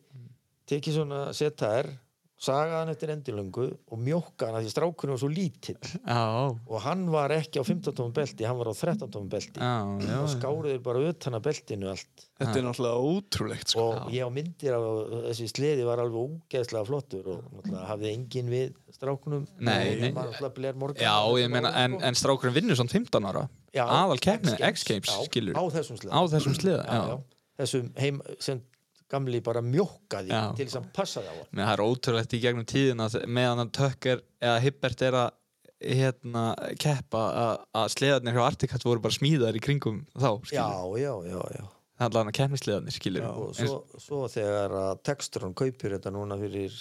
[SPEAKER 3] tekið svona ZR sagði hann eftir endilöngu og mjókkaði hann að því strákunum var svo lítill
[SPEAKER 2] já,
[SPEAKER 3] og hann var ekki á 15 tómum belti hann var á 13 tómum belti
[SPEAKER 2] já, já.
[SPEAKER 3] og skáruður bara utan að beltinu allt
[SPEAKER 1] þetta er náttúrulega ótrúlegt sko.
[SPEAKER 3] og ég á myndir af þessi sleði var alveg ógeðslega flottur og náttúrulega hafði engin við strákunum
[SPEAKER 2] Nei, nei.
[SPEAKER 3] Það var náttúrulega Blair Morgan
[SPEAKER 2] Já, ég meina, en, en strákurinn vinnur samt 15 ára.
[SPEAKER 3] Já,
[SPEAKER 2] aðal keppnin,
[SPEAKER 3] X-Games,
[SPEAKER 2] X-Games,
[SPEAKER 3] já,
[SPEAKER 2] skilur.
[SPEAKER 3] á þessum sleða
[SPEAKER 2] Á þessum sliða,
[SPEAKER 3] já,
[SPEAKER 2] já.
[SPEAKER 3] já. þessum heim sem gamli bara mjókkaði
[SPEAKER 2] Já.
[SPEAKER 3] til þess að passa það á hann
[SPEAKER 2] Mér það er ótrúlegt í gegnum tíðina að meðan hann tökkar eða Hibbert er að hérna, keppa að- að sleðarnir hjá Artikat voru bara smíðar í kringum þá,
[SPEAKER 3] já,
[SPEAKER 2] skilur.
[SPEAKER 3] já, já, já
[SPEAKER 2] Það er alveg hann að keppnisleðarnir, skilur.
[SPEAKER 3] og svo, svo þegar að Textron kaupir þetta núna fyrir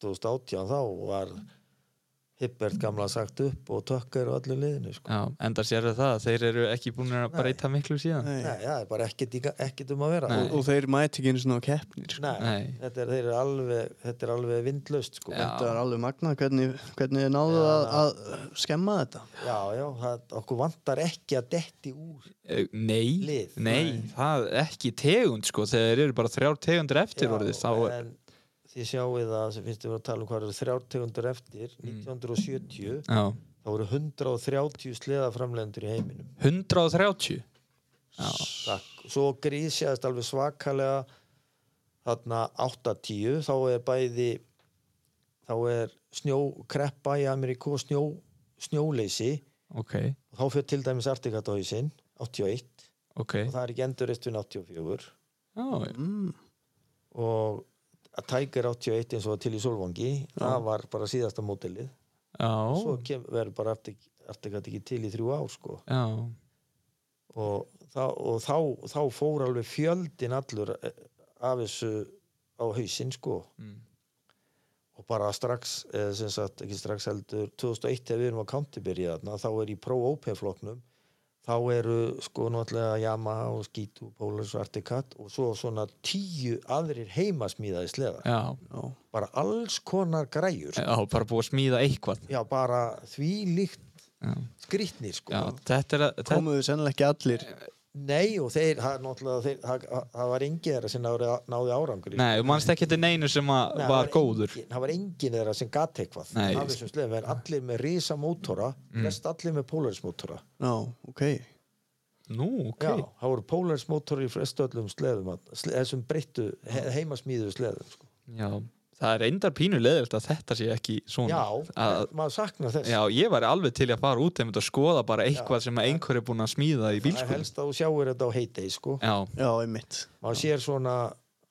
[SPEAKER 3] 2018 þá var Hibbert gamla sagt upp og tökkar og allir liðinu sko.
[SPEAKER 2] Já, enda sérðu það, þeir eru ekki búin að
[SPEAKER 3] Nei.
[SPEAKER 2] breyta miklu síðan.
[SPEAKER 1] Nei.
[SPEAKER 3] Nei, já, það er bara ekkert, í ga- ekkert um að vera
[SPEAKER 2] Nei.
[SPEAKER 1] og, og þeir mæti ekki einu svona á keppnir sko.
[SPEAKER 3] Nei,
[SPEAKER 2] Nei.
[SPEAKER 3] Þetta, er, þeir eru alveg, þetta er alveg vindlaust sko.
[SPEAKER 2] Já.
[SPEAKER 3] já.
[SPEAKER 1] þetta er alveg magnað hvernig, hvernig þið náðu að, að skemma þetta
[SPEAKER 3] já, það, okkur vantar ekki að detti úr
[SPEAKER 2] Nei, nei,
[SPEAKER 3] Lið.
[SPEAKER 2] nei, það er ekki tegund sko, þegar þeir eru bara þrjár tegundir eftir
[SPEAKER 3] Já,
[SPEAKER 2] orðið, þá er,
[SPEAKER 3] en þið sjáuð að sem finnst við að tala um hvað eru þrjártegundur eftir
[SPEAKER 2] Mm.
[SPEAKER 3] 1970
[SPEAKER 2] já,
[SPEAKER 3] þá voru 130 sleðaframlendur í heiminum
[SPEAKER 2] 130. Já,
[SPEAKER 3] Takk. Svo grísjaðist alveg svakalega þarna 8-10 þá er bæði þá er snjókreppa í Ameríku og snjó, snjóleysi
[SPEAKER 2] ok,
[SPEAKER 3] og þá fyrir til dæmis Artikatahauðsinn 81
[SPEAKER 2] ok,
[SPEAKER 3] og það er ekki enduristun 84
[SPEAKER 2] já, já,
[SPEAKER 1] mm.
[SPEAKER 3] og að Tiger 81 eins og var til í Solvangi það var bara síðasta mótilið svo
[SPEAKER 2] já,
[SPEAKER 3] kem, verður bara Artik- Articat ekki til í þrjú ár sko
[SPEAKER 2] já,
[SPEAKER 3] og, þá, og þá, þá fór alveg fjöldin allur eh, af þessu á hausinn sko
[SPEAKER 2] mm,
[SPEAKER 3] og bara strax, eh, sem sagt ekki strax heldur, 2001 þegar við erum á Countybyrja þarna, þá er í pro-open flokknum þá eru sko náttúrulega Yamaha og Skitu, Polars og Articat og svo svona tíu aðrir heimasmíðaði sleða
[SPEAKER 2] já,
[SPEAKER 1] já,
[SPEAKER 3] bara alls konar græjur
[SPEAKER 2] já, bara búið að smíða eitthvað,
[SPEAKER 3] já bara því líkt
[SPEAKER 2] já,
[SPEAKER 3] skrýtnir sko
[SPEAKER 2] já, þetta er að, þetta,
[SPEAKER 1] komuðu sennilega ekki allir
[SPEAKER 3] nei og þeir, það, er náttúrulega, þeir, það, það var engin þeirra sem náði, náði árangri
[SPEAKER 2] nei, þú manst ekki þetta neinu sem að
[SPEAKER 3] Nei, það
[SPEAKER 2] var góður,
[SPEAKER 3] engin, það var engin þeirra sem gat eitthvað um
[SPEAKER 2] Nei. Mm.
[SPEAKER 3] af þessum slefum, en allir með risa mótora mest allir með Polaris mótora
[SPEAKER 1] já, ok
[SPEAKER 2] nú, ok,
[SPEAKER 3] já, það voru Polaris mótora í flest öllum slefum þarna, sle- þessum breyttu he, heimasmíðu slefum sko.
[SPEAKER 2] já, það er endar pínu leðilt að þetta sé ekki svona,
[SPEAKER 3] já,
[SPEAKER 2] að,
[SPEAKER 3] maður saknar þess
[SPEAKER 2] Já, ég væri alveg til í að fara út einmitt og skoða bara eitthvað sem að einhver er búinn að smíða í
[SPEAKER 3] það er
[SPEAKER 2] bílskóli.
[SPEAKER 3] helst að þú sjáir þetta á heitei sko.
[SPEAKER 2] Já,
[SPEAKER 1] já, einmitt
[SPEAKER 3] maður sér svona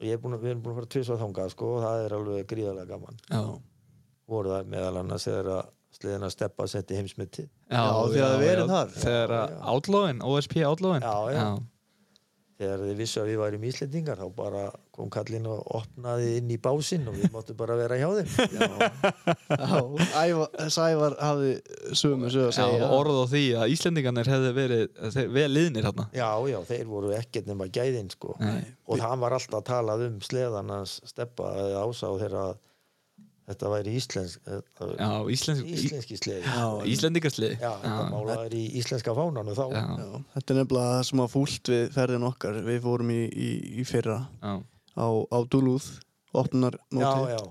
[SPEAKER 3] ég er búin, að- við erum búin að fara tvisvað þangað sko, og það er alveg gríðarlega gaman
[SPEAKER 2] já,
[SPEAKER 3] voru það meðal annars þegar sleðina steppa setti heimsmyndi
[SPEAKER 2] já.
[SPEAKER 1] því að það verið
[SPEAKER 2] já,
[SPEAKER 1] þar.
[SPEAKER 2] Þegar að Outlawin, OSP Outlawin.
[SPEAKER 3] Já, já. þegar þið vissu að við værum íslendingar þá bara kom kallinn og opnaði inn í básinn og við máttum bara vera hjá þeim
[SPEAKER 1] já, Ævar, Sævar hafði sömu sög að
[SPEAKER 2] Já,
[SPEAKER 1] segja
[SPEAKER 2] orð á því að Íslendingarnir hefði verið þeir- vel liðnir hérna.
[SPEAKER 3] já, já, þeir voru ekkert nema gæðin sko. og það var alltaf talað um sleðan hans steppa eða ásá þegar að þetta væri íslensk þetta,
[SPEAKER 2] Já, Íslendingarsliði.
[SPEAKER 3] íslenski sleði já,
[SPEAKER 1] já, einmitt.
[SPEAKER 2] Íslendingarsliði.
[SPEAKER 3] þetta málaður í íslenska fánanu þá
[SPEAKER 2] já,
[SPEAKER 1] já, þetta er nefnilega það sem var fúlt við ferðin okkar við fórum í, í, í fyrra
[SPEAKER 2] já,
[SPEAKER 1] á, á Duluth opnar
[SPEAKER 3] já,
[SPEAKER 1] móti
[SPEAKER 3] já,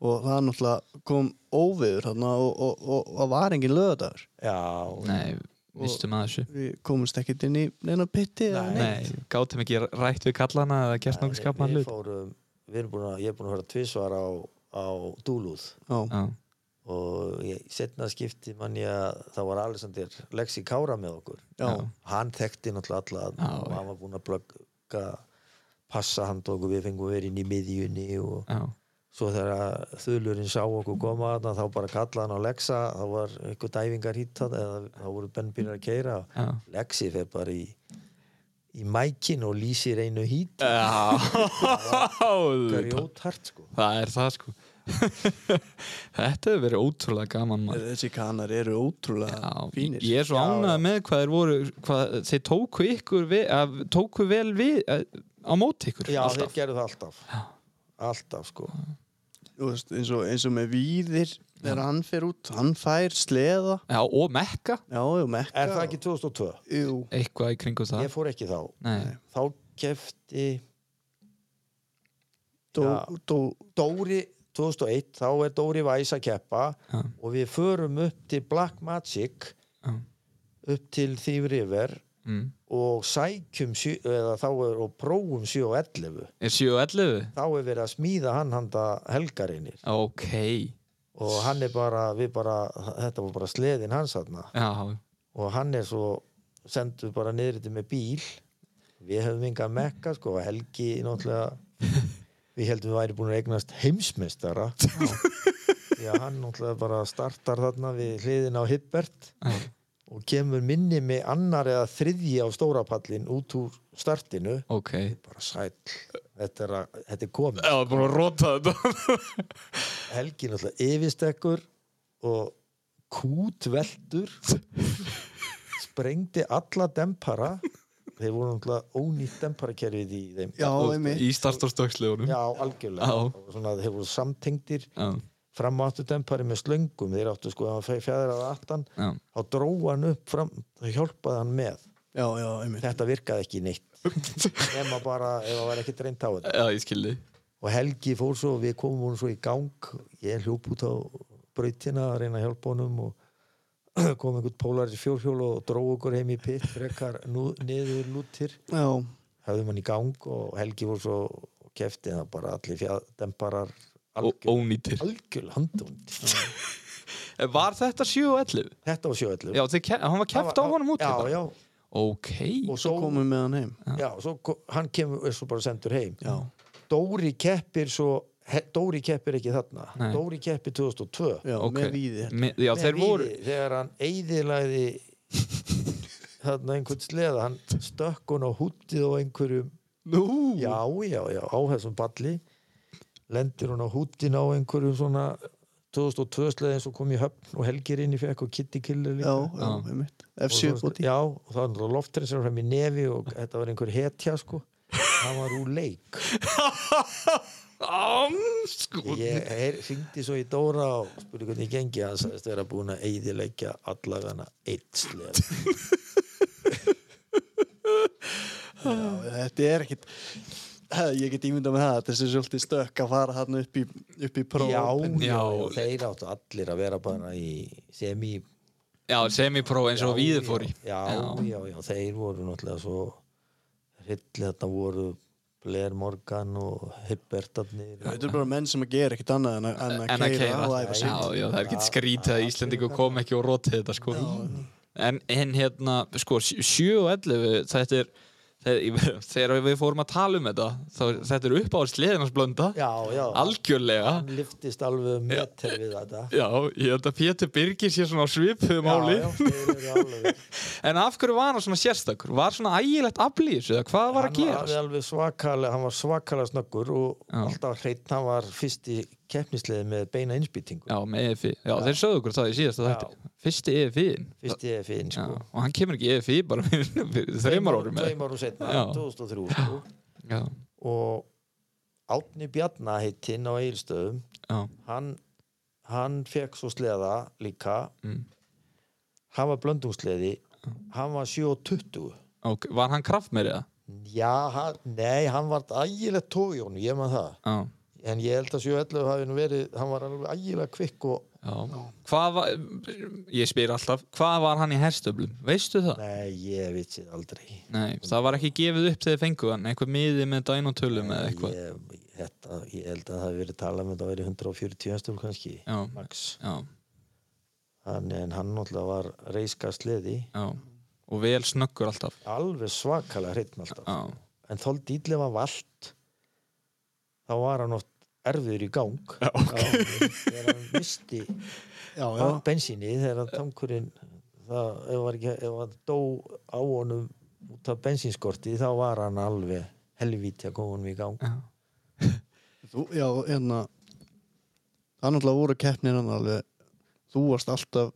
[SPEAKER 1] og það náttúrulega kom óviður þarna og, og, og, og það var engin lögadagur
[SPEAKER 3] já.
[SPEAKER 2] nei, vistum að þessu.
[SPEAKER 1] við komumst ekkert inn í neina pitti eða
[SPEAKER 3] Nei.
[SPEAKER 1] neitt.
[SPEAKER 2] Nei, gátum ekki rætt við kallana eða gert nokkuð skapaðan
[SPEAKER 3] við
[SPEAKER 2] hlut.
[SPEAKER 3] fórum við erum búin að, ég er búin að höra tvisvar á, á Dúluð
[SPEAKER 1] Já,
[SPEAKER 2] Já,
[SPEAKER 3] og ég setna skipti mann ég að það var Alexander Lexi Kára með okkur
[SPEAKER 1] já,
[SPEAKER 2] já.
[SPEAKER 3] hann þekkti náttúrulega alla
[SPEAKER 2] Já,
[SPEAKER 3] og hann var búinn að blögga passa hann tók og við fengum verið inn í miðjunni og
[SPEAKER 2] já,
[SPEAKER 3] svo þegar þulurinn sá okkur koma þarna þá bara kallaði hann á Lexa þá var einhver dæfingar hýttað eða þá voru benn byrjar að keira
[SPEAKER 2] já.
[SPEAKER 3] Lexi fer bara í í mækin og lýsir einu hýtt
[SPEAKER 2] Já,
[SPEAKER 3] grjóthart sko
[SPEAKER 2] Það er það sko Þetta hefur verið ótrúlega gaman maður
[SPEAKER 1] þessi kanar eru ótrúlega
[SPEAKER 2] Já,
[SPEAKER 1] fínir
[SPEAKER 2] ég er svo ánægð með hvað þeir voru hvað, þeir tóku ykkur við, að, tóku vel við að, á móti ykkur
[SPEAKER 3] já
[SPEAKER 2] alltaf.
[SPEAKER 3] þeir gerðu það alltaf
[SPEAKER 2] Já.
[SPEAKER 3] alltaf sko
[SPEAKER 1] Þú veist, eins, og, eins og með víðir þegar hann fer út, hann fær sleða
[SPEAKER 2] já, og mekka
[SPEAKER 1] já, og mekka
[SPEAKER 3] er það ekki 2002?
[SPEAKER 1] Jú,
[SPEAKER 2] eitthvað í kringu það
[SPEAKER 3] ég fór ekki þá
[SPEAKER 2] Nei,
[SPEAKER 3] þá kefti
[SPEAKER 1] dó,
[SPEAKER 3] Já.
[SPEAKER 1] dó,
[SPEAKER 3] Dóri 2001, þá er Dóri Væs að keppa
[SPEAKER 2] Já.
[SPEAKER 3] og við förum upp til Black Magic
[SPEAKER 2] Já.
[SPEAKER 3] upp til Thief River
[SPEAKER 2] mm.
[SPEAKER 3] og sækjum sjö, eða þá er og prófum 7 og 11
[SPEAKER 2] er 7 og 11
[SPEAKER 3] þá er verið að smíða hann handa helgarinir
[SPEAKER 2] ok,
[SPEAKER 3] og hann er bara, við bara þetta var bara sleðin hans þarna
[SPEAKER 2] já,
[SPEAKER 3] og hann er svo sendur bara niður þetta með bíl við höfum enga mekka sko og Helgi náttúrulega við heldum við væri búin að eignast heimsmeistara því að hann náttúrulega bara startar þarna við hliðin á Hibbert
[SPEAKER 2] já,
[SPEAKER 3] og kemur minni með annar eða þriðji á stóra pallin út úr startinu
[SPEAKER 2] ok
[SPEAKER 3] bara sæll, þetta er, að, þetta er komið
[SPEAKER 2] Já, búin að rota þetta
[SPEAKER 3] Helgi náttúrulega yfirst ekkur og kútveldur sprengdi alla dempara þeir voru náttúrulega ónýtt demparakerfið í þeim
[SPEAKER 1] Já,
[SPEAKER 2] Og-
[SPEAKER 1] einmitt.
[SPEAKER 2] Í starfstókslegunum
[SPEAKER 3] Já, algjörlega
[SPEAKER 2] Já.
[SPEAKER 3] Og svona, þeir voru samtengdir
[SPEAKER 2] Já,
[SPEAKER 3] fram og aftur dempari með slöngum þeir áttu sko að hann fjæðir að aftan
[SPEAKER 2] já.
[SPEAKER 3] þá dróa hann upp fram þá hjálpaði hann með
[SPEAKER 1] já, já, einmitt
[SPEAKER 3] þetta virkaði ekki neitt nema bara ef það var ekki reynd á þetta
[SPEAKER 2] já ég skildi
[SPEAKER 3] og Helgi fór svo, við komum hún svo í gang ég hljóp út á brautina að reyna að hjálpa honum og kom einhvern pólari fjórhjól og dró okkur heim í pitt frekar nú, niður lútir
[SPEAKER 1] já,
[SPEAKER 3] höfðum hann í gang og Helgi fór svo og kefti það bara allir fjaddemparar
[SPEAKER 2] Ó- Ónýtir Eh,
[SPEAKER 3] algjörl handund
[SPEAKER 2] Var þetta 7 og 11?
[SPEAKER 3] þetta var sjöðallur
[SPEAKER 2] Já, þið, ke- hann var keft á honum út hérna.
[SPEAKER 3] já,
[SPEAKER 2] þetta?
[SPEAKER 3] já,
[SPEAKER 2] Ok
[SPEAKER 3] og
[SPEAKER 1] svo
[SPEAKER 3] svo,
[SPEAKER 1] komum við með hann heim
[SPEAKER 3] já, svo kom, hann kemur er svo bara sendur heim
[SPEAKER 1] já,
[SPEAKER 3] Dóri keppir svo he, Dóri keppir ekki þarna
[SPEAKER 2] Nei.
[SPEAKER 3] Dóri keppir 2002
[SPEAKER 1] já,
[SPEAKER 2] Ok.
[SPEAKER 1] með víði
[SPEAKER 2] Me, Já,
[SPEAKER 3] Með
[SPEAKER 2] þeir
[SPEAKER 3] Víði,
[SPEAKER 2] voru
[SPEAKER 3] þegar hann eyðilaði þarna einhvern sleða hann stökk hún á húttið á einhverjum
[SPEAKER 1] nú,
[SPEAKER 3] já, já, já, á þessum balli lendir hún á húttin á einhverjum svona 2002 sleði eins og kom í höfn og helgir inn í fekk og kitty killer
[SPEAKER 1] já,
[SPEAKER 3] líka
[SPEAKER 1] já,
[SPEAKER 2] Já. um
[SPEAKER 1] einmitt
[SPEAKER 3] Og
[SPEAKER 1] F7
[SPEAKER 3] svo-
[SPEAKER 1] bóti,
[SPEAKER 3] já, og það var lofturinn sem var fram í nefi og þetta var einhver hetja sko það var úr leik
[SPEAKER 2] Ám, sko
[SPEAKER 3] ég heyr, hringdi svo í Dóra og spurði hvernig gengi hann sagðist vera búin að eyðileggja allagana eitt sleð
[SPEAKER 1] já, þetta er ekkit Ha, ég get ímyndað með það, þessi er svolítið stökk að fara hann upp í, upp í próf
[SPEAKER 3] já,
[SPEAKER 1] en-
[SPEAKER 3] já, já,
[SPEAKER 2] Já.
[SPEAKER 3] þeir áttu allir að vera bara í semi
[SPEAKER 2] Já, semipro eins og víði fór í
[SPEAKER 3] já, já, já, já, þeir voru náttúrulega svo hryllið þarna voru Blair Morgan og Hippertarnir
[SPEAKER 1] þetta er bara menn sem að gera ekkit annað en að, en að
[SPEAKER 2] En að
[SPEAKER 1] keyra
[SPEAKER 2] keira
[SPEAKER 1] og æfa sig
[SPEAKER 2] Já, já, það er ekki skrítið að Íslendingu kom ekki og rótið þetta sko en, en hérna, sko, 7 og 11 þetta er þegar þegar við fórum að tala um þetta þá, þetta er uppáður sliðinans blönda
[SPEAKER 3] já, já,
[SPEAKER 2] algjörlega
[SPEAKER 3] hann liftist alveg um meter við þetta
[SPEAKER 2] Já, ég held að Pétur Birgir sé svona á svipu máli
[SPEAKER 3] já, já, þeir eru alveg
[SPEAKER 2] En af hverju var hann svona sérstakur? Var svona ægilegt aflýs eða hvað var að
[SPEAKER 3] hann var
[SPEAKER 2] gerast?
[SPEAKER 3] alveg- alveg svakalega hann var svakalega snöggur og
[SPEAKER 2] Já.
[SPEAKER 3] alltaf hreitt hann var fyrst í keppnisliði með beina innspýtingu
[SPEAKER 2] Já, með EFI. Já, þeir sögðu okkur það í síðasta
[SPEAKER 3] Já.
[SPEAKER 2] þætti. Fyrsti EFI-in.
[SPEAKER 3] fyrst í EFI-in
[SPEAKER 2] Já,
[SPEAKER 3] sko
[SPEAKER 2] og hann kemur ekki í EFI bara fyrir þreymar árum með.
[SPEAKER 3] tveim árum setna,
[SPEAKER 2] Já.
[SPEAKER 3] 2003 sko.
[SPEAKER 2] Já,
[SPEAKER 3] og Átni Bjarna heitinn á Egilstöðum
[SPEAKER 2] já,
[SPEAKER 3] hann, hann fekk svo sleða líka
[SPEAKER 2] Mm.
[SPEAKER 3] hann var blöndungsleði hann var 7.20
[SPEAKER 2] ok. Var hann kraftmeiri það?
[SPEAKER 3] já, hann, nei, hann var ægilegt tójónu, ég maður það
[SPEAKER 2] Já,
[SPEAKER 3] en ég held að 7.11 hafi nú verið hann var alveg ægilega kvikk og
[SPEAKER 2] já. Hvað var, ég spyr alltaf, hvað var hann í herstöflum? Veistu það?
[SPEAKER 3] Nei, ég vitsi það aldrei
[SPEAKER 2] Nei, það var ekki gefið upp þegar fengu hann. Einhver miði með dænotölum eða eitthvað.
[SPEAKER 3] ég, þetta, ég held að það hafi verið talað með það verið 140 hestum kannski
[SPEAKER 2] Já,
[SPEAKER 3] max
[SPEAKER 2] já,
[SPEAKER 3] hann, en hann náttúrulega var reiska sleði
[SPEAKER 2] já. Og vel snöggur alltaf.
[SPEAKER 3] alveg svakalega hreitn alltaf
[SPEAKER 2] Já,
[SPEAKER 3] en þóld dýtlega var vald þá var hann oft erfiður í gang já, þegar hann misti
[SPEAKER 1] já, já,
[SPEAKER 3] bensíni þegar hann tankurinn það, ef, var ekki, ef hann dó á honum út af bensínskorti þá var hann alveg helvíti að koma honum í gang
[SPEAKER 2] já.
[SPEAKER 1] Þú, já, hérna Það er náttúrulega voru keppnir hann alveg Þú varst alltaf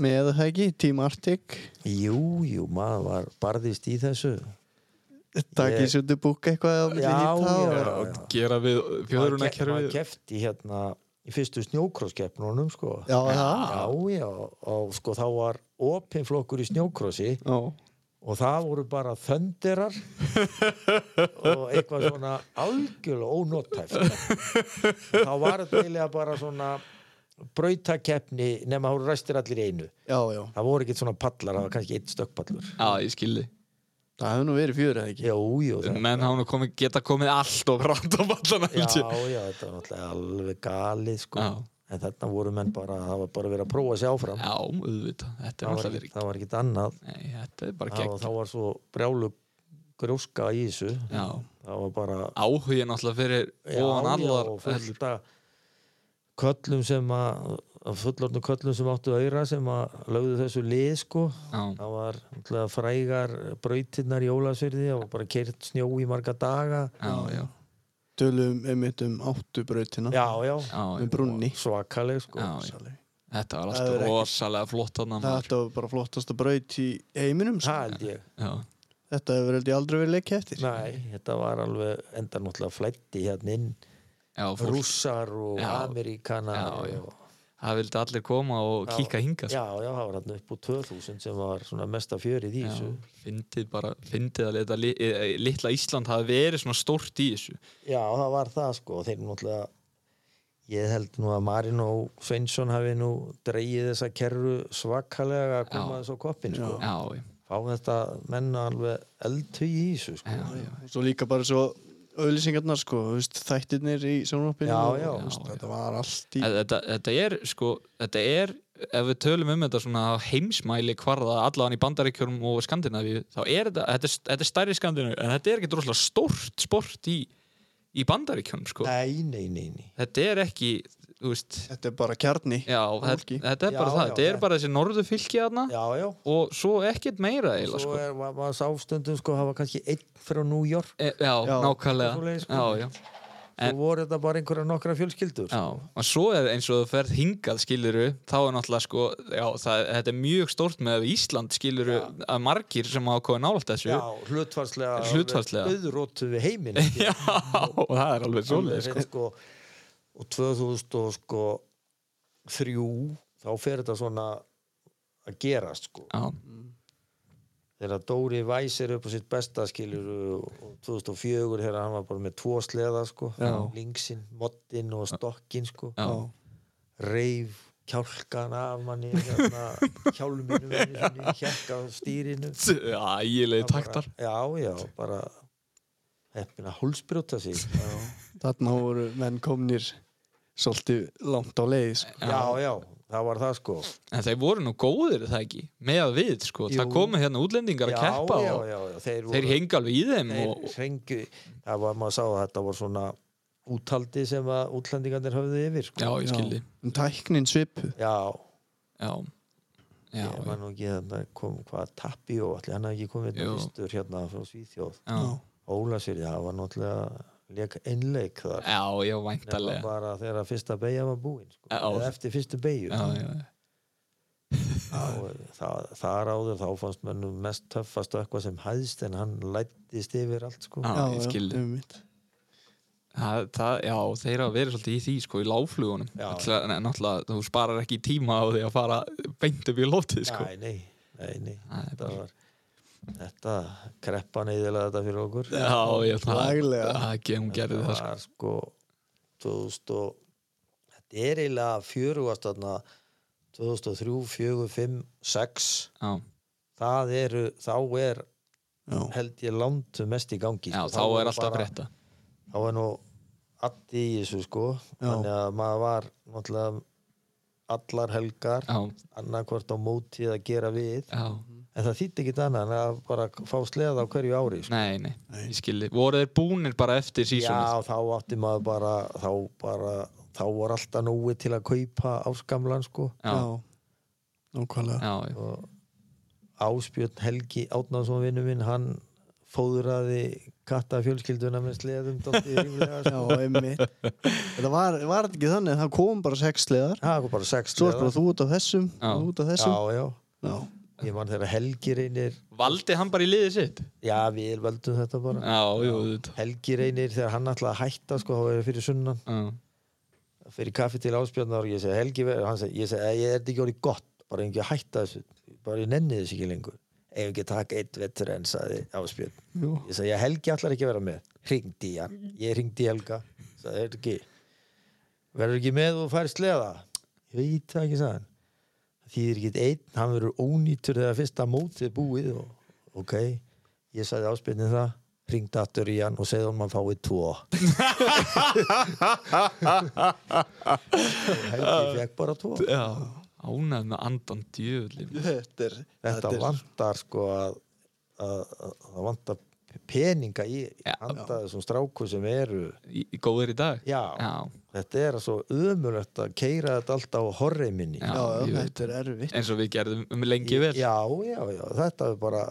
[SPEAKER 1] með það ekki Team Arctic,
[SPEAKER 3] Jú, jú, maður var barðist í þessu
[SPEAKER 1] Takk í
[SPEAKER 3] Ég-
[SPEAKER 1] sjöndi búk eitthvað á milli hita og-
[SPEAKER 3] já,
[SPEAKER 2] að gera við
[SPEAKER 3] Maður ke-
[SPEAKER 2] fjöðrunakerfið
[SPEAKER 3] Maður kefti hérna í fyrstu snjókrosskeppnunum sko
[SPEAKER 1] Já, það
[SPEAKER 3] Já, já, og sko þá var opin flokkur í snjókrossi
[SPEAKER 1] Já,
[SPEAKER 3] og það voru bara þöndirar og eitthvað svona algjörlega ónóttæft þá var þetta eiginlega bara svona brautakeppni nema það voru ræstir allir í einu
[SPEAKER 1] já, já
[SPEAKER 3] það voru ekkert svona pallar, það var kannski eitt stökkpallur
[SPEAKER 2] Já, ég skildi
[SPEAKER 1] Það hefur nú verið fjör eða ekki
[SPEAKER 3] Jú, jú, það
[SPEAKER 2] Menn hafa nú komið, geta komið allt og brand á ballan
[SPEAKER 3] Já,
[SPEAKER 2] held ég
[SPEAKER 3] já, þetta var náttúrulega alveg galið sko.
[SPEAKER 2] Já.
[SPEAKER 3] en þarna voru menn bara það var bara verið að prófa sig áfram
[SPEAKER 2] Já, auðvitað, þetta er
[SPEAKER 3] það, var
[SPEAKER 2] alltaf
[SPEAKER 3] ekki,
[SPEAKER 2] verið
[SPEAKER 3] það var ekkit annað
[SPEAKER 2] Nei, þetta er bara
[SPEAKER 3] það, og
[SPEAKER 2] gegn
[SPEAKER 3] þá var svo brjálu grjóska í þessu
[SPEAKER 2] Já,
[SPEAKER 3] það var bara
[SPEAKER 2] áhugin alltaf fyrir
[SPEAKER 3] já,
[SPEAKER 2] ofan
[SPEAKER 3] já,
[SPEAKER 2] allar
[SPEAKER 3] og fullt að köllum sem að af fullorðnu köllum sem áttu auðra sem að lögðu þessu lið sko
[SPEAKER 2] Já,
[SPEAKER 3] það var náttúrulega frægar brautinnar í ólasverði það var bara kert snjó í marga daga
[SPEAKER 2] já, já,
[SPEAKER 1] Tölum einmitt um áttubrautina
[SPEAKER 3] já, já,
[SPEAKER 2] já,
[SPEAKER 1] Með brunni
[SPEAKER 3] svakaleg sko
[SPEAKER 2] Já, já.
[SPEAKER 1] Það
[SPEAKER 2] Þetta var alltaf
[SPEAKER 1] er ekki-
[SPEAKER 2] rosalega flott þarna maður.
[SPEAKER 1] Þetta var bara flottasta braut í heiminum sko.
[SPEAKER 3] það held ég
[SPEAKER 2] Já,
[SPEAKER 1] Þetta hefur held ég aldrei verið leikið eftir
[SPEAKER 3] Nei, þetta var alveg enda náttúrulega flætti hérna inn
[SPEAKER 2] já fólk,
[SPEAKER 3] rússar og
[SPEAKER 2] Já.
[SPEAKER 3] ameríkanar
[SPEAKER 2] Já, já.
[SPEAKER 3] og,
[SPEAKER 2] það vildi allir koma og
[SPEAKER 3] Já.
[SPEAKER 2] kíka hingað sko.
[SPEAKER 3] já, já, það var hann upp úr 2000 sem var svona mesta fjörið í þessu
[SPEAKER 2] Fyndið bara, fyndið að leta, eh, litla Ísland hafi verið svona stórt í þessu
[SPEAKER 3] Já, það var það sko og þeir náttúrulega ég held nú að Marino Sveinsson hafi nú dreigið þessa kerru svakalega að koma
[SPEAKER 2] Já.
[SPEAKER 3] þess á koppin sko.
[SPEAKER 2] Já, já,
[SPEAKER 3] fá þetta menna alveg eldhugi í þessu sko.
[SPEAKER 2] já, já.
[SPEAKER 1] Svo líka bara svo auðlýsingarnar sko, þú veist, þættirnir í sjónvarpinu
[SPEAKER 3] Já,
[SPEAKER 1] og-
[SPEAKER 3] já.
[SPEAKER 1] þú veist,
[SPEAKER 2] Já,
[SPEAKER 1] Þetta var allt í
[SPEAKER 2] Þetta, þetta- þetta er sko, þetta er ef við tölum um þetta svona á heimsmæli hvarða allan í bandaríkjörum og Skandinavíu þá er þetta, þetta er, þetta er stærri Skandinavíu en þetta er ekki droslega stórt sport í, í bandaríkjörum sko
[SPEAKER 3] Nei, nei, nei, nei
[SPEAKER 2] þetta er ekki, þú veist
[SPEAKER 1] Þetta er bara kjarni
[SPEAKER 2] já, þetta,
[SPEAKER 1] fólki.
[SPEAKER 2] þetta er bara
[SPEAKER 3] Já,
[SPEAKER 2] það,
[SPEAKER 3] já,
[SPEAKER 2] þetta er
[SPEAKER 3] þetta-
[SPEAKER 2] bara þessi norðu fylki þarna
[SPEAKER 3] Já, já,
[SPEAKER 2] og svo ekkert meira
[SPEAKER 3] svo
[SPEAKER 2] eiginlega sko
[SPEAKER 3] er, ma- maður sá stundum sko, hafa kannski einn frá New York
[SPEAKER 2] e, já,
[SPEAKER 1] Já,
[SPEAKER 2] nákvæmlega
[SPEAKER 3] svoleiðis, sko.
[SPEAKER 2] já, já, En-
[SPEAKER 3] svo voru þetta bara einhverja nokkra fjölskyldur
[SPEAKER 2] Eh. já, og svo er eins og þú ferð hingað skiluru, þá er náttúrulega sko já, það, þetta er mjög stórt með Ísland skiluru að margir sem hafa komið nálægt þessu
[SPEAKER 3] Já, hlutfarslega
[SPEAKER 2] Hlutfallslega.
[SPEAKER 3] auðrótu við heiminn sko.
[SPEAKER 2] Já, og það er alveg
[SPEAKER 3] Alveg
[SPEAKER 2] svolítið
[SPEAKER 3] hreint,
[SPEAKER 2] sko.
[SPEAKER 3] sko. og 2003 sko, þrjú, þá fer þetta svona að gerast sko.
[SPEAKER 2] já,
[SPEAKER 3] þegar Dóri Væs er upp á sitt besta skilur og 2004 þegar hann var bara með tvo sleða sko.
[SPEAKER 2] Já.
[SPEAKER 3] lingsinn, moddinn og stokkinn sko.
[SPEAKER 2] já,
[SPEAKER 3] reif kjálkan af manni hérna, hjálminu hjálka á stýrinu
[SPEAKER 2] já ægilegi taktar
[SPEAKER 3] já, já, bara heppin að hólsbrjóta sig já,
[SPEAKER 1] Þarna voru menn komnir svolítið langt á leið sko.
[SPEAKER 3] já, það var það sko
[SPEAKER 2] en þeir voru nú góðir er það ekki með að við sko,
[SPEAKER 3] Jú.
[SPEAKER 2] það komu hérna útlendingar
[SPEAKER 3] já,
[SPEAKER 2] að keppa
[SPEAKER 3] já,
[SPEAKER 2] og
[SPEAKER 3] já, já, þeir,
[SPEAKER 2] þeir
[SPEAKER 3] voru,
[SPEAKER 2] hengi alveg í þeim
[SPEAKER 3] þeir
[SPEAKER 2] og,
[SPEAKER 3] hringu það var, maður sá að þetta var svona úthaldi sem að útlandingarnir höfðu yfir
[SPEAKER 2] já,
[SPEAKER 3] sko.
[SPEAKER 2] ég skildi já,
[SPEAKER 1] En tæknin svipu
[SPEAKER 3] já,
[SPEAKER 2] já, já,
[SPEAKER 3] ég var nú ekki þarna kom hvað tappi og allir hann hafði ekki
[SPEAKER 2] Jú.
[SPEAKER 3] komið hérna fyrstur hérna frá Svíþjóð
[SPEAKER 2] já,
[SPEAKER 3] Ólasýrði, það var náttúrulega leik einleik þar
[SPEAKER 2] já, já
[SPEAKER 3] nema
[SPEAKER 2] væntalega
[SPEAKER 3] bara þegar fyrsta beigja var búin sko.
[SPEAKER 2] Já.
[SPEAKER 3] eða eftir fyrstu beigju
[SPEAKER 2] já, já, já,
[SPEAKER 3] það, þar áður þá fannst mönnum mest töffast og eitthvað sem hæðst en hann lættist yfir allt sko.
[SPEAKER 2] já, ég skildi
[SPEAKER 1] einmitt.
[SPEAKER 2] það, það, já, þeir hafa verið svolítið í því sko, í láflugunum
[SPEAKER 3] Já.
[SPEAKER 2] Ætla- nei, náttúrulega, þú sparar ekki tíma á því að fara beint upp í lótið sko.
[SPEAKER 3] Nei, nei, nei, nei.
[SPEAKER 2] Nei,
[SPEAKER 3] þetta
[SPEAKER 2] bara-
[SPEAKER 3] var þetta kreppa neyðilega þetta fyrir okkur
[SPEAKER 2] já, ég það,
[SPEAKER 1] Laglega.
[SPEAKER 2] það, það, hún gerði það sko.
[SPEAKER 3] var sko 2000 og þetta er eiginlega fjörugast þarna 2003, 4, 5, 6
[SPEAKER 2] já,
[SPEAKER 3] það eru, þá er
[SPEAKER 1] Já.
[SPEAKER 3] held ég landu mest í gangi
[SPEAKER 2] já,
[SPEAKER 3] sko.
[SPEAKER 2] þá er alltaf
[SPEAKER 3] bara-
[SPEAKER 2] breytta
[SPEAKER 3] þá er nú allt í þessu sko
[SPEAKER 1] Já.
[SPEAKER 3] þannig að maður var náttúrulega allar helgar
[SPEAKER 2] já,
[SPEAKER 3] annarkvort á mótið að gera við
[SPEAKER 2] já
[SPEAKER 3] en það þýtti ekki annað en að bara fá sleða á hverju ári sko.
[SPEAKER 2] Nei, nei, ég skildi Voru þeir búnir bara eftir sísonið?
[SPEAKER 3] já þá átti maður bara þá, bara, þá var alltaf nógu til að kaupa áskamlan sko
[SPEAKER 1] Já.
[SPEAKER 2] já,
[SPEAKER 1] Nákvæmlega
[SPEAKER 2] já, já,
[SPEAKER 3] og Áspjörn Helgi Átnarsson vinnu minn hann fóðraði katta fjölskylduna með sleðum dóttið ríflega
[SPEAKER 1] Já,
[SPEAKER 3] sko.
[SPEAKER 1] einmitt Þetta var, var þetta ekki þannig að það kom bara sex leiðar
[SPEAKER 3] það var bara sex
[SPEAKER 1] Svo er bara þú út af þessum
[SPEAKER 2] Já.
[SPEAKER 1] þú út af þessum
[SPEAKER 3] já já
[SPEAKER 1] Já.
[SPEAKER 3] ég man þegar Helgi reynir
[SPEAKER 2] Valdi hann bara í liðið sitt?
[SPEAKER 3] Já, við veldum þetta bara
[SPEAKER 2] Já, jú, þetta
[SPEAKER 3] Helgi reynir þegar hann ætlaði að hætta sko, þá verið fyrir sunnan, fyrir kaffi til áspjörnar og ég segi, Helgi, verður, hann segi, ég segi, "Æ, ég er þetta ekki orðið gott, bara ekki að hætta þessu bara ég nenni þessu ekki lengur ef ekki taka eitt vettur enn, sagði áspjörn
[SPEAKER 1] Jú.
[SPEAKER 3] ég segi, "Já, Helgi ætlar ekki að vera með hringdi í hann, ég hringdi í Helga sagði, er ekki verður ekki með og fær sleða ég veit það ekki, sagði hann þýðir ekki einn, hann verður ónýtur þegar fyrsta mótið er búið og, ok, ég sagði áspilni það ringd aftur í hann og segði hann mann fáið tvo Helgi fekk bara tvo
[SPEAKER 2] Já, ánæð með andan djöfli
[SPEAKER 1] Þetta er
[SPEAKER 3] þetta vantar sko að, að, að það vantar peninga í
[SPEAKER 2] Já.
[SPEAKER 3] handa þessum stráku sem eru
[SPEAKER 2] í, í góðir í dag
[SPEAKER 3] já,
[SPEAKER 2] já,
[SPEAKER 3] þetta er svo ömulegt að keira þetta alltaf á horreiminni
[SPEAKER 2] já,
[SPEAKER 1] Já, já,
[SPEAKER 2] ég veit.
[SPEAKER 1] þetta er erfitt
[SPEAKER 2] Eins og við gerðum um lengi vel
[SPEAKER 3] já, já, já, þetta er bara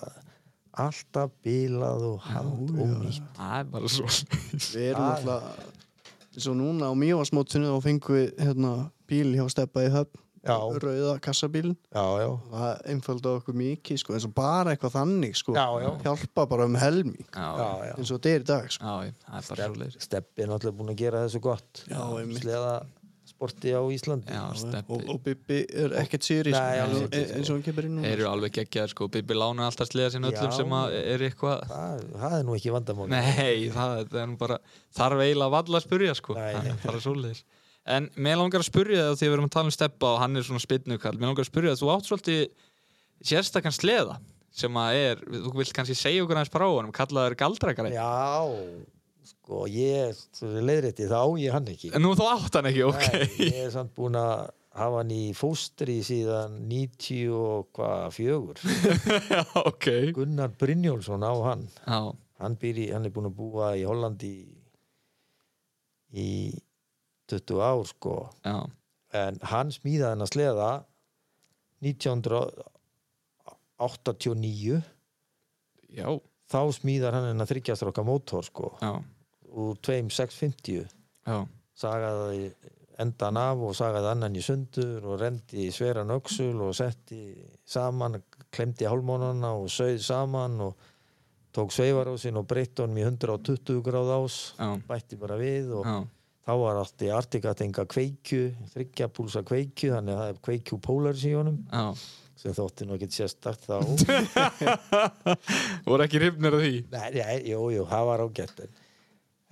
[SPEAKER 3] alltaf bílað og hand ónýtt
[SPEAKER 2] Það er bara svo
[SPEAKER 1] Við erum
[SPEAKER 3] Já.
[SPEAKER 1] alltaf eins og núna á mjóasmótinu þá fengum við hérna, bíl hjá steppa í höfn
[SPEAKER 3] Já.
[SPEAKER 1] rauða kassabíl
[SPEAKER 3] já, já,
[SPEAKER 1] það einfalda okkur mikið sko, eins og bara eitthvað þannig sko,
[SPEAKER 3] Já, já.
[SPEAKER 1] hjálpa bara um helming
[SPEAKER 2] já,
[SPEAKER 3] já, já.
[SPEAKER 1] eins og þetta er í dag sko.
[SPEAKER 2] já, já, það er bara
[SPEAKER 3] Steb-
[SPEAKER 2] svoleiðis.
[SPEAKER 3] Stebbi er náttúrulega búin að gera þessu gott
[SPEAKER 1] Já, einmitt.
[SPEAKER 3] sleða sporti á Íslandi
[SPEAKER 2] Já,
[SPEAKER 1] og,
[SPEAKER 2] steppi
[SPEAKER 1] og Bibi er ekkert sýri
[SPEAKER 3] Nei,
[SPEAKER 1] sko,
[SPEAKER 3] alls
[SPEAKER 1] e-
[SPEAKER 3] ekki.
[SPEAKER 1] eins og hann kemur inn
[SPEAKER 2] Þeir eru alveg geggjaðir sko, Bibi lána alltaf sleða sinna öllum
[SPEAKER 3] Já.
[SPEAKER 2] sem að er eitthvað
[SPEAKER 3] það, það er nú ekki vandamál
[SPEAKER 2] Nei, það, það er nú bara þarf eiginlega valla að spurja sko
[SPEAKER 3] Nei, nei.
[SPEAKER 2] Það er bara svoleiðis En mér langar að spurja það því að við erum að tala um steppa og hann er svona spinnukall Mér langar að spurja það, þú átt svolítið sérstakann sleða sem að er, þú vilt kannski segja okkur aðeins frá honum, kallaður galdrakar
[SPEAKER 3] já, sko ég leiðrétti þá, ég hann ekki
[SPEAKER 2] Nú þú átt hann ekki, ok
[SPEAKER 3] Nei, ég er samt búin að hafa hann í fóstri síðan 94
[SPEAKER 2] Já, ok
[SPEAKER 3] Gunnar Brynjólfsson á hann
[SPEAKER 2] Já,
[SPEAKER 3] hann, býr í, hann er búin að búa í Hollandi í, í 20 ár sko
[SPEAKER 2] já,
[SPEAKER 3] en hann smíðaði hann að sleða 1989
[SPEAKER 2] já,
[SPEAKER 3] þá smíðar hann hennar þryggjastróka mótor sko
[SPEAKER 2] já,
[SPEAKER 3] úr 2650
[SPEAKER 2] já
[SPEAKER 3] sagaði endan af og sagaði annan í sundur og rendi í sveran öxul og setti saman, klemdi hálmónana og sögð saman og tók sveifarósin og breytti honum í 120 gráð ás
[SPEAKER 2] Já.
[SPEAKER 3] bætti bara við og
[SPEAKER 2] Já,
[SPEAKER 3] þá var allt í Artigat enga kveikju, þryggja púlsa kveikju þannig að það er kveikju pólars í honum
[SPEAKER 2] já
[SPEAKER 3] sem þótti nú ekki sérstakt þá
[SPEAKER 2] Voru ekki hrifnir af því?
[SPEAKER 3] Nei, nei, jú, jú, það var ágætt en,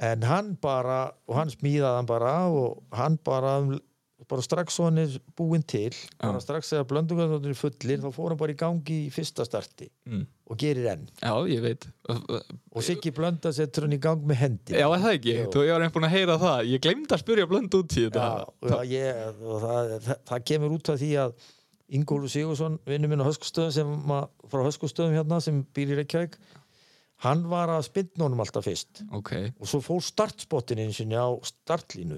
[SPEAKER 3] en hann bara og hann smíðaði hann bara af og hann bara, um- bara strax svo hann er búinn til, bara strax þegar blöndungarnóttur er fullir, þá fór hann bara í gangi í fyrsta starti
[SPEAKER 2] Mm. Eh,
[SPEAKER 3] og gerir enn
[SPEAKER 2] Já, ég veit
[SPEAKER 3] og Siggi Blönda setur hann í gang með hendi
[SPEAKER 2] Já, er það ekki,
[SPEAKER 3] Jú.
[SPEAKER 2] þú ég var einn búin að heyra það Ég glemdi að spyrja blönd út í þetta
[SPEAKER 3] Já, og það, ég, og það, það, það kemur út af því að Ingólu Sigursson, vinnu minn á höskustöðum sem að, frá höskustöðum hérna sem býr í Reykjavík hann var að spynna honum alltaf fyrst
[SPEAKER 2] Ok,
[SPEAKER 3] og svo fór startspottin einu sinni á startlínu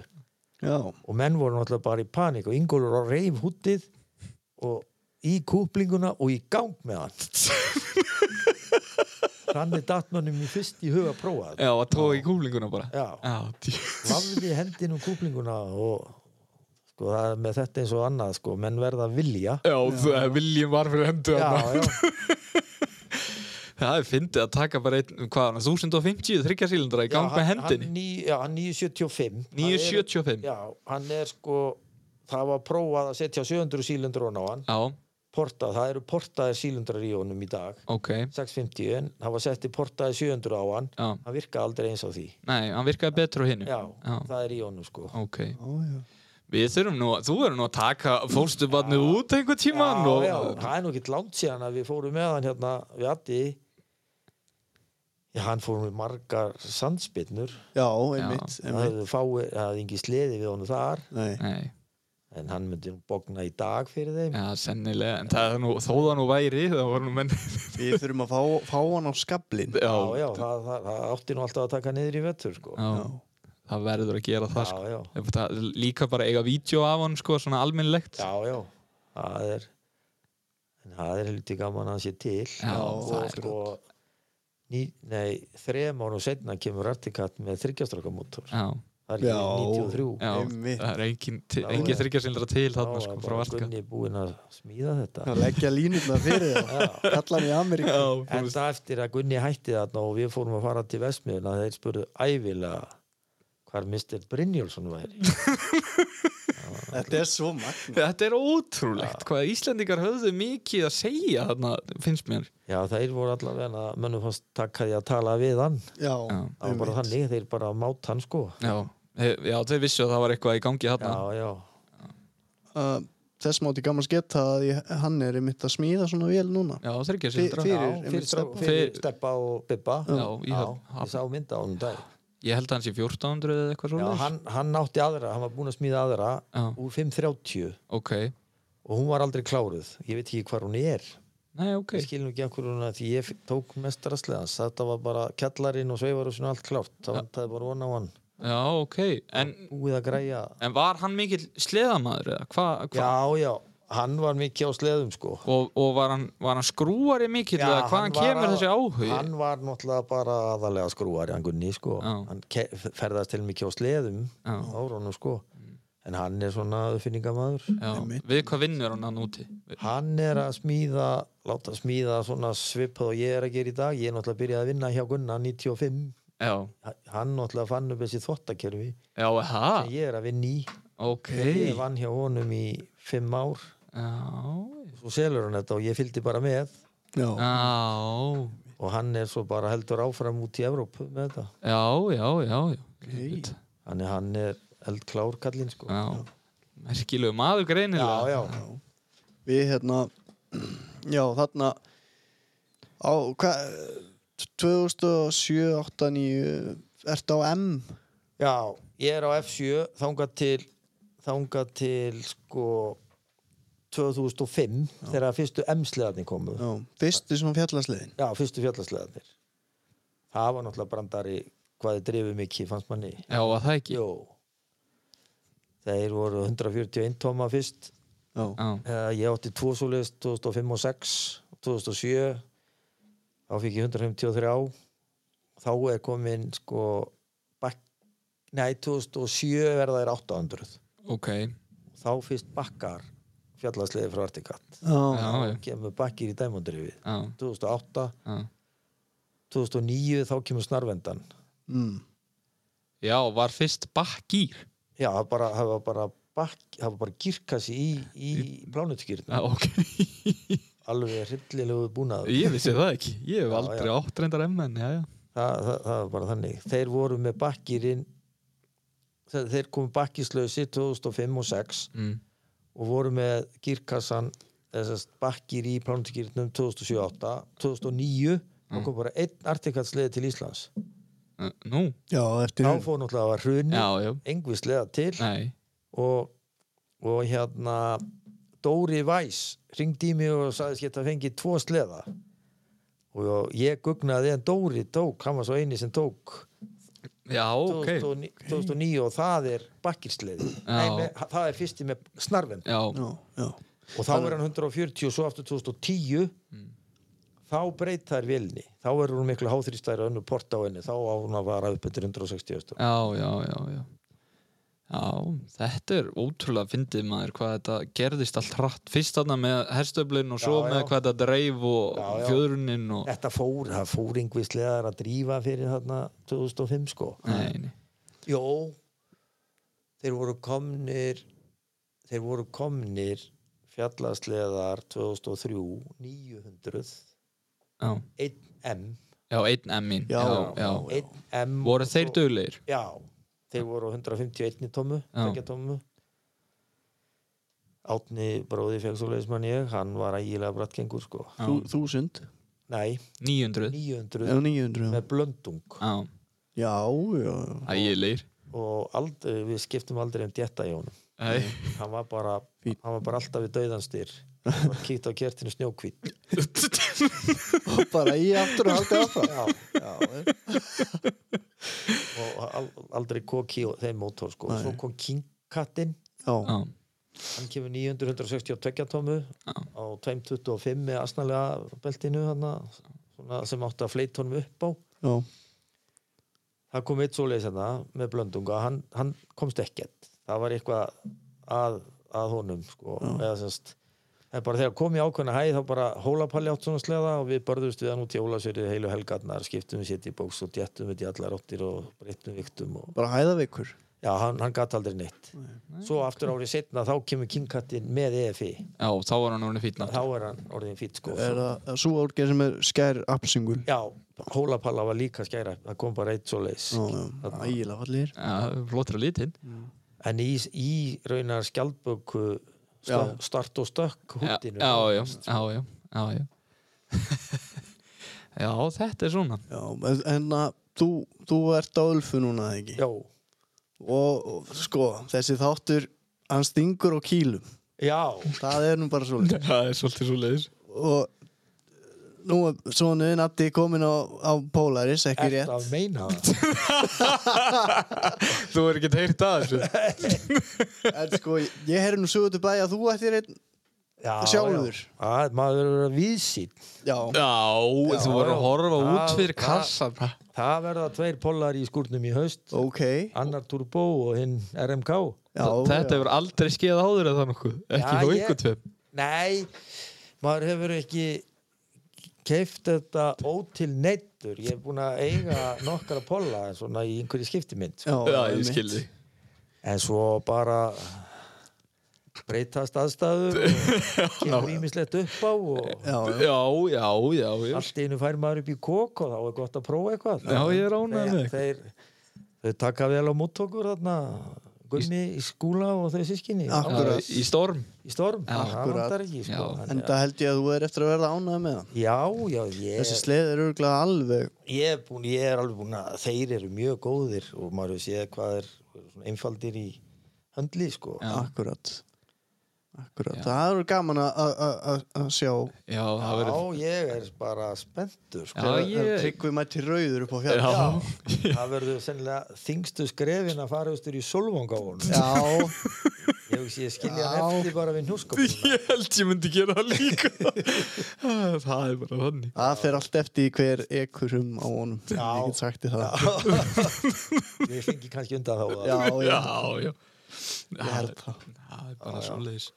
[SPEAKER 1] já,
[SPEAKER 3] og menn voru náttúrulega bara í panik og Ingólfur var að reif húttið og í kúplinguna og í gang með hann þannig datt mannum í fyrst í huga að prófa þetta
[SPEAKER 2] já, að tóa í kúlinguna bara
[SPEAKER 3] já,
[SPEAKER 2] Já, djú.
[SPEAKER 3] lafði hendin um kúplinguna og sko það er með þetta eins og annað sko, menn verða að vilja
[SPEAKER 2] já, já. viljum var fyrir hendu
[SPEAKER 3] já,
[SPEAKER 2] þarna.
[SPEAKER 3] já,
[SPEAKER 2] Það er fyndið að taka bara einn, hvað, hann, 1050 þryggjarsýlindra í
[SPEAKER 3] já,
[SPEAKER 2] gang með
[SPEAKER 3] hann-
[SPEAKER 2] hendinni
[SPEAKER 3] hann, ný, já, hann 975 hann
[SPEAKER 2] 975
[SPEAKER 3] er, já, hann er sko það var prófað að setja 700 sílundur á hann
[SPEAKER 2] Já,
[SPEAKER 3] portað, það eru portaðir sílundrar í honum í dag
[SPEAKER 2] ok
[SPEAKER 3] 650 en það var setti portaði 700 á hann
[SPEAKER 2] Já,
[SPEAKER 3] hann virkaði aldrei eins á því
[SPEAKER 2] nei, hann virkaði betur á hinnu
[SPEAKER 3] já,
[SPEAKER 2] Já.
[SPEAKER 3] það er í honum sko
[SPEAKER 2] Ok,
[SPEAKER 1] já, já.
[SPEAKER 2] við þurfum nú, þú verður nú að taka fólstubarnið út einhver tíman og
[SPEAKER 3] já, það er nú ekki langt síðan að við fórum með hann hérna við Addi já, hann fórum við margar sandspinnur
[SPEAKER 1] já einmitt,
[SPEAKER 3] það
[SPEAKER 1] einmitt.
[SPEAKER 3] hefði fáið, það hefði engi sleði við honum þar
[SPEAKER 1] Nei.
[SPEAKER 2] Nei,
[SPEAKER 3] en hann myndi nú bókna í dag fyrir þeim
[SPEAKER 2] já, sennilega, en það er nú, þó það nú væri, það voru nú menn
[SPEAKER 1] við þurfum að fá, fá hann á skablin
[SPEAKER 2] Já,
[SPEAKER 3] já, já, það, það, það átti nú alltaf að taka niður í vettur sko
[SPEAKER 2] já, það verður að gera það,
[SPEAKER 3] já,
[SPEAKER 2] sko.
[SPEAKER 3] já,
[SPEAKER 2] Ef það Líka bara eiga vídeo af hann, sko, svona almennilegt
[SPEAKER 3] já, já. það er en það er heldur gaman að hann sé til
[SPEAKER 2] Já, það
[SPEAKER 3] og
[SPEAKER 2] er
[SPEAKER 3] sko ný, nei, þrem árum setna kemur Articat með þryggjastrókamótor
[SPEAKER 2] já,
[SPEAKER 3] það er
[SPEAKER 1] Já.
[SPEAKER 3] ekki 93
[SPEAKER 2] já
[SPEAKER 1] Einmitt.
[SPEAKER 2] það er engin,
[SPEAKER 3] Já,
[SPEAKER 2] engin
[SPEAKER 3] já.
[SPEAKER 2] þryggjarsindra til þarna,
[SPEAKER 3] Já,
[SPEAKER 2] sko,
[SPEAKER 3] það
[SPEAKER 2] frá
[SPEAKER 3] bara
[SPEAKER 2] Valka
[SPEAKER 3] Gunni búinn að smíða þetta
[SPEAKER 1] að leggja línuna fyrir það kalla hann í Ameríku
[SPEAKER 2] Já,
[SPEAKER 3] en
[SPEAKER 2] búist,
[SPEAKER 3] það eftir að Gunni hætti þarna og við fórum að fara til Vestmiðuna þeir spurðu ævilega hvar Mr. Brynjálsson væri
[SPEAKER 1] þetta er svo magna
[SPEAKER 2] Þetta er ótrúlegt, hvað Íslendingar höfðu mikið að segja þarna, finnst mér
[SPEAKER 3] já þeir voru allavega að mönnum fannst takkaði að tala við hann
[SPEAKER 1] já,
[SPEAKER 3] það var bara þannig þeir bara mátt hann sko
[SPEAKER 2] Já, He- já þeir vissu að það var eitthvað í gangi þarna
[SPEAKER 3] já já
[SPEAKER 1] uh, þess mátti gaman sketta að ég, hann er einmitt að smíða svona vél núna
[SPEAKER 2] Já,
[SPEAKER 1] Fyr-
[SPEAKER 2] þryggjarsindra
[SPEAKER 1] fyrir,
[SPEAKER 3] Já,
[SPEAKER 1] einmitt
[SPEAKER 3] fyrir,
[SPEAKER 1] stefna.
[SPEAKER 3] steppa. fyrir
[SPEAKER 2] Fyrir-
[SPEAKER 3] steppa og bibba
[SPEAKER 2] Já, ég held-
[SPEAKER 3] ég sá mynda á hann dag
[SPEAKER 2] Ég held að hans í 1400 eða eitthvað
[SPEAKER 3] já,
[SPEAKER 2] svona
[SPEAKER 3] hann, hann nátti aðra, hann var búinn að smíða aðra
[SPEAKER 2] Já.
[SPEAKER 3] úr 5.30
[SPEAKER 2] Ok,
[SPEAKER 3] og hún var aldrei kláruð ég veit ekki hvar hún er
[SPEAKER 2] nei, ok
[SPEAKER 3] ég skil nú ekki okkur hún að því ég f- tók mestarasleðans þetta var bara kjallarinn og sveifarúsinu allt klárt það vantaði bara von á hann
[SPEAKER 2] Já, ok, en,
[SPEAKER 3] búið að græja
[SPEAKER 2] en var hann mikill sleðamaður eða? Hva, hva?
[SPEAKER 3] já já, hann var mikið á sleðum sko
[SPEAKER 2] Og, og var, hann, var hann skrúari mikill eða hvaðan
[SPEAKER 3] var
[SPEAKER 2] kemur
[SPEAKER 3] að-
[SPEAKER 2] þessi áhugi?
[SPEAKER 3] hann var náttúrulega bara aðalega skrúari hann Gunni sko
[SPEAKER 2] Já.
[SPEAKER 3] hann ke- ferðast til mikið á sleðum
[SPEAKER 2] Já. Mm.
[SPEAKER 3] á árunum sko en hann er svona uppfinningamaður
[SPEAKER 2] Já,
[SPEAKER 1] Einmitt.
[SPEAKER 2] við hvað vinnur hann hann úti?
[SPEAKER 3] hann er að smíða láta smíða svona svipað og ég er að gera í dag ég er náttúrulega að byrja að vinna hjá Gunna 95,
[SPEAKER 2] Já,
[SPEAKER 3] Ha- hann náttúrulega fann upp þessi þvottakerfi
[SPEAKER 2] já, ha,
[SPEAKER 3] sem ég er að vinna í
[SPEAKER 2] ok
[SPEAKER 3] ég vann hjá honum í fimm ár
[SPEAKER 2] Já,
[SPEAKER 3] svo selur hann þetta og ég fylgdi bara með
[SPEAKER 1] já,
[SPEAKER 2] já,
[SPEAKER 3] og hann er svo bara heldur áfram út í Evrópu með þetta
[SPEAKER 2] já, já, já, já.
[SPEAKER 1] Ok.
[SPEAKER 3] hann er, hann er eldklár kallinn sko
[SPEAKER 2] já. Merkilegu maður greinilega
[SPEAKER 3] já, já.
[SPEAKER 1] við hérna já, þarna á, hvað 2007, 8, 9 ertu á M
[SPEAKER 3] já, ég er á F7 þangað til þangað til sko 2005 þegar fyrstu M-sleðarnir komu
[SPEAKER 1] já, fyrstu svona fjallarsliðin
[SPEAKER 3] Já, fyrstu fjallasleðanir Það var náttúrulega brandari hvað þið drifið mikið, fannst manni
[SPEAKER 2] Já, var það ekki
[SPEAKER 3] Jó Þeir voru 141 tóma fyrst
[SPEAKER 1] já,
[SPEAKER 2] Já,
[SPEAKER 3] Eh, Ég átti tvo svoleiðis 2005 og 6 2007 Þá fikk ég 153 Þá er komin sko bak... Nei, 2007 verða þeir 800
[SPEAKER 2] ok Já,
[SPEAKER 3] Þá fyrst bakkar fjallasleði frá Artikatt
[SPEAKER 1] já,
[SPEAKER 2] já,
[SPEAKER 3] Kemur bakkir í dæmundrifið
[SPEAKER 2] já,
[SPEAKER 3] 2008,
[SPEAKER 2] já
[SPEAKER 3] 2009 þá kemur snarvendan
[SPEAKER 1] mm,
[SPEAKER 2] Já, var fyrst bakkýr
[SPEAKER 3] Já, það bara, það var bara bakk, það var bara girkassi í, í
[SPEAKER 2] Já,
[SPEAKER 3] plánutskýrna,
[SPEAKER 2] ok
[SPEAKER 3] alveg hryllilegu búnaður.
[SPEAKER 2] Ég vissi það ekki Ég hef
[SPEAKER 3] Já,
[SPEAKER 2] aldrei
[SPEAKER 3] já.
[SPEAKER 2] átt reyndar M-menn Já, já
[SPEAKER 3] Það, það, það var bara þannig. Þeir voru með bakkýrin, þeir, þeir komu bakkislausi 2005 og 6
[SPEAKER 2] mm.
[SPEAKER 3] og voru með girkassan, þessast bakkýr í plánutskýrnum 2007-2008, 2009 þá kom bara einn artikatsleði til Íslands.
[SPEAKER 2] Eh, Nú,
[SPEAKER 1] já, eftir
[SPEAKER 3] Þá
[SPEAKER 1] hrun.
[SPEAKER 3] fór náttúrulega að var hruni,
[SPEAKER 2] já, já
[SPEAKER 3] engvi sleða til
[SPEAKER 2] Nei,
[SPEAKER 3] og, og hérna Dóri Væs ringdi í mig og sagðist geta fengið tvo sleða og ég gugnaði en Dóri tók, hann var svo eini sem tók
[SPEAKER 2] já, ok
[SPEAKER 3] 2009, 2009 og það er bakkirsleði Nei, með, það er fyrsti með snarvend
[SPEAKER 2] Já,
[SPEAKER 1] já, já,
[SPEAKER 3] og þá er hann 140 og svo aftur 2010
[SPEAKER 2] Mm.
[SPEAKER 3] þá breyta þær vilni þá er hún miklu háþrýstæri önnur port á henni þá á hún að vara upp undir 160 veist þú.
[SPEAKER 2] já, já, já, já Já, þetta er ótrúlega fyndið maður hvað þetta gerðist allt hratt fyrst þarna með herstöflin og svo
[SPEAKER 3] Já, já.
[SPEAKER 2] með hvað þetta dreif og
[SPEAKER 3] Já, já.
[SPEAKER 2] fjöðrunin og
[SPEAKER 3] þetta fór, það fór yngvi sleðar að drífa fyrir þarna 2005 sko
[SPEAKER 2] Nei, nei,
[SPEAKER 3] Jó, þeir voru komnir þeir voru komnir fjallasleðar 2003 900
[SPEAKER 2] já
[SPEAKER 3] 1M
[SPEAKER 2] Já, einn M-in
[SPEAKER 1] Já,
[SPEAKER 2] já, já.
[SPEAKER 3] 1M
[SPEAKER 2] Voru þeir duglegir?
[SPEAKER 3] Já, þeir voru á 151 tómu,
[SPEAKER 2] Já.
[SPEAKER 3] tvekja tómu Átni bróði fekk svo leiðismann ég, hann var ægilega brattgengur sko.
[SPEAKER 2] Já.
[SPEAKER 1] Þú- þúsund
[SPEAKER 3] Nei,
[SPEAKER 2] 900
[SPEAKER 3] 900
[SPEAKER 1] eða 900 já,
[SPEAKER 3] með blöndung
[SPEAKER 2] Já,
[SPEAKER 1] já, já, já,
[SPEAKER 2] ægilegir
[SPEAKER 3] og aldrei, við skiptum aldrei um djetta í honum
[SPEAKER 2] Nei,
[SPEAKER 3] hann var bara,
[SPEAKER 1] Fínn.
[SPEAKER 3] hann var bara alltaf við döðanstyr hann var kýtt á kertinu snjókvít
[SPEAKER 1] Og bara í aftur og haldið áfram
[SPEAKER 3] já,
[SPEAKER 1] já, já,
[SPEAKER 3] og al, aldrei koki og þeim mótor sko.
[SPEAKER 1] Nei.
[SPEAKER 3] svo kom King Kattin
[SPEAKER 1] já,
[SPEAKER 2] já,
[SPEAKER 3] hann kemur 962 tómu
[SPEAKER 2] Já.
[SPEAKER 3] á 225 með asnalega beltinu hana, svona, sem átti að fleita honum upp á
[SPEAKER 1] já,
[SPEAKER 3] það kom eitt svoleiðis hérna með blöndunga hann, hann komst ekkert það var eitthvað að, að honum sko. eða semst En bara þegar kom í ákveðna hæð þá bara hólapalli átt svona sleða og við börðust við hann út í ólasverið heilu helgarnar, skiptum við sétt í bóks og djettum við í allar áttir og breyttum viktum og
[SPEAKER 1] bara hæðaveikur
[SPEAKER 3] já, hann, hann gat aldrei neitt. Svo aftur árið setna þá kemur kingkattinn með E EFI.
[SPEAKER 2] já, þá var hann orðin fítna
[SPEAKER 3] Þá er hann orðin fýtt sko.
[SPEAKER 1] er það er sú álgeð sem er skær appsingul
[SPEAKER 3] Já, hólapalla var líka skæra, það kom bara eitt svo leis.
[SPEAKER 1] ægilega fallir
[SPEAKER 2] Já, flottra lítinn
[SPEAKER 3] En í, í raunar skjaldböku
[SPEAKER 1] Já.
[SPEAKER 3] stö- start og stökk
[SPEAKER 2] Já,
[SPEAKER 3] húttinu.
[SPEAKER 2] já, já, já, já, já, já. já, þetta er svona
[SPEAKER 1] já, en- en að þú, þú ert á Ulfu núna eða ekki
[SPEAKER 3] Já,
[SPEAKER 1] og, og sko, þessi þáttur hann stingur á kýlum
[SPEAKER 3] já,
[SPEAKER 1] það er nú bara svo
[SPEAKER 2] Það er svolítið svo leiðis
[SPEAKER 1] og nú er sonuðin Addi komin á, á Polaris, ekki
[SPEAKER 3] ert
[SPEAKER 1] rétt
[SPEAKER 3] að meina það.
[SPEAKER 2] Þú er ekki teirt að þessu
[SPEAKER 1] en sko, ég heyrði nú sögur til bæja að þú ættir einn
[SPEAKER 3] Já,
[SPEAKER 1] Sjálfur.
[SPEAKER 3] já. Að, maður er að viðsýn.
[SPEAKER 1] já,
[SPEAKER 2] Já, þú voru að horfa
[SPEAKER 3] Já,
[SPEAKER 2] út fyrir
[SPEAKER 3] já.
[SPEAKER 2] kassan
[SPEAKER 3] Það verða tveir pollar í skúrnum í haust.
[SPEAKER 1] ok
[SPEAKER 3] Annar Turbo og hinn RMK.
[SPEAKER 1] já,
[SPEAKER 2] Þetta
[SPEAKER 1] já.
[SPEAKER 2] hefur aldrei skeið áður eða nokkuð Ekki
[SPEAKER 3] Já,
[SPEAKER 2] hjá
[SPEAKER 3] ég-
[SPEAKER 2] ykkur tveim
[SPEAKER 3] Nei, maður hefur ekki keift þetta ótil neittur. Ég er búin að eiga nokkara polla svona í einhverju skiptimynd.
[SPEAKER 1] Já,
[SPEAKER 2] Já, ég
[SPEAKER 1] einmitt.
[SPEAKER 2] skil þig
[SPEAKER 3] En svo bara breytast aðstæður og kemur ímislegt upp á og
[SPEAKER 1] Já, já.
[SPEAKER 2] Já, já, já, já
[SPEAKER 3] allt í einu fær maður upp í kók og þá er gott að prófa eitthvað.
[SPEAKER 2] Já, ég er ánægður með
[SPEAKER 3] þeir, þeir taka vel á móttokur þarna, gummi í skúla og þau sískinni
[SPEAKER 1] Akkurat.
[SPEAKER 2] Já, Í storm
[SPEAKER 3] í storm.
[SPEAKER 2] Já,
[SPEAKER 3] það
[SPEAKER 1] akkurat.
[SPEAKER 3] vantar ekki, sko.
[SPEAKER 2] Já.
[SPEAKER 1] En það held ég að þú er eftir að verða ánægð með það
[SPEAKER 3] Já, já, ég,
[SPEAKER 1] Þessi sleið er örgulega alveg
[SPEAKER 3] ég, er búin, ég er alveg búin að þeir eru mjög góðir og maður hefur séð hvað er svona einfaldir í höndli, sko.
[SPEAKER 2] Já.
[SPEAKER 1] akkurat Akkurat,
[SPEAKER 2] Já.
[SPEAKER 1] það eru gaman að- að að- að- að sjá
[SPEAKER 2] Já, það
[SPEAKER 3] Já,
[SPEAKER 2] verður
[SPEAKER 3] ég er bara spenntur, sko.
[SPEAKER 2] Já,
[SPEAKER 1] Þegar
[SPEAKER 2] ég-
[SPEAKER 1] Tryggvi mætti rauður upp á fjall
[SPEAKER 2] Já.
[SPEAKER 3] það verður sennilega þingstu skrefin að fara austur í Solvang á hún
[SPEAKER 1] Já,
[SPEAKER 3] ég hef ekki skilja
[SPEAKER 1] Já.
[SPEAKER 3] hann eftir bara við njúskapuna
[SPEAKER 2] Ég held ég myndi gera það líka Það er bara þannig
[SPEAKER 1] það fer allt eftir í hver ekurum á honum
[SPEAKER 3] Já.
[SPEAKER 1] Ég get sagt þér það
[SPEAKER 3] við fengi kannski undan þá
[SPEAKER 1] Já, já,
[SPEAKER 2] Já, já
[SPEAKER 1] ég held það
[SPEAKER 2] Það er bara svoleiðis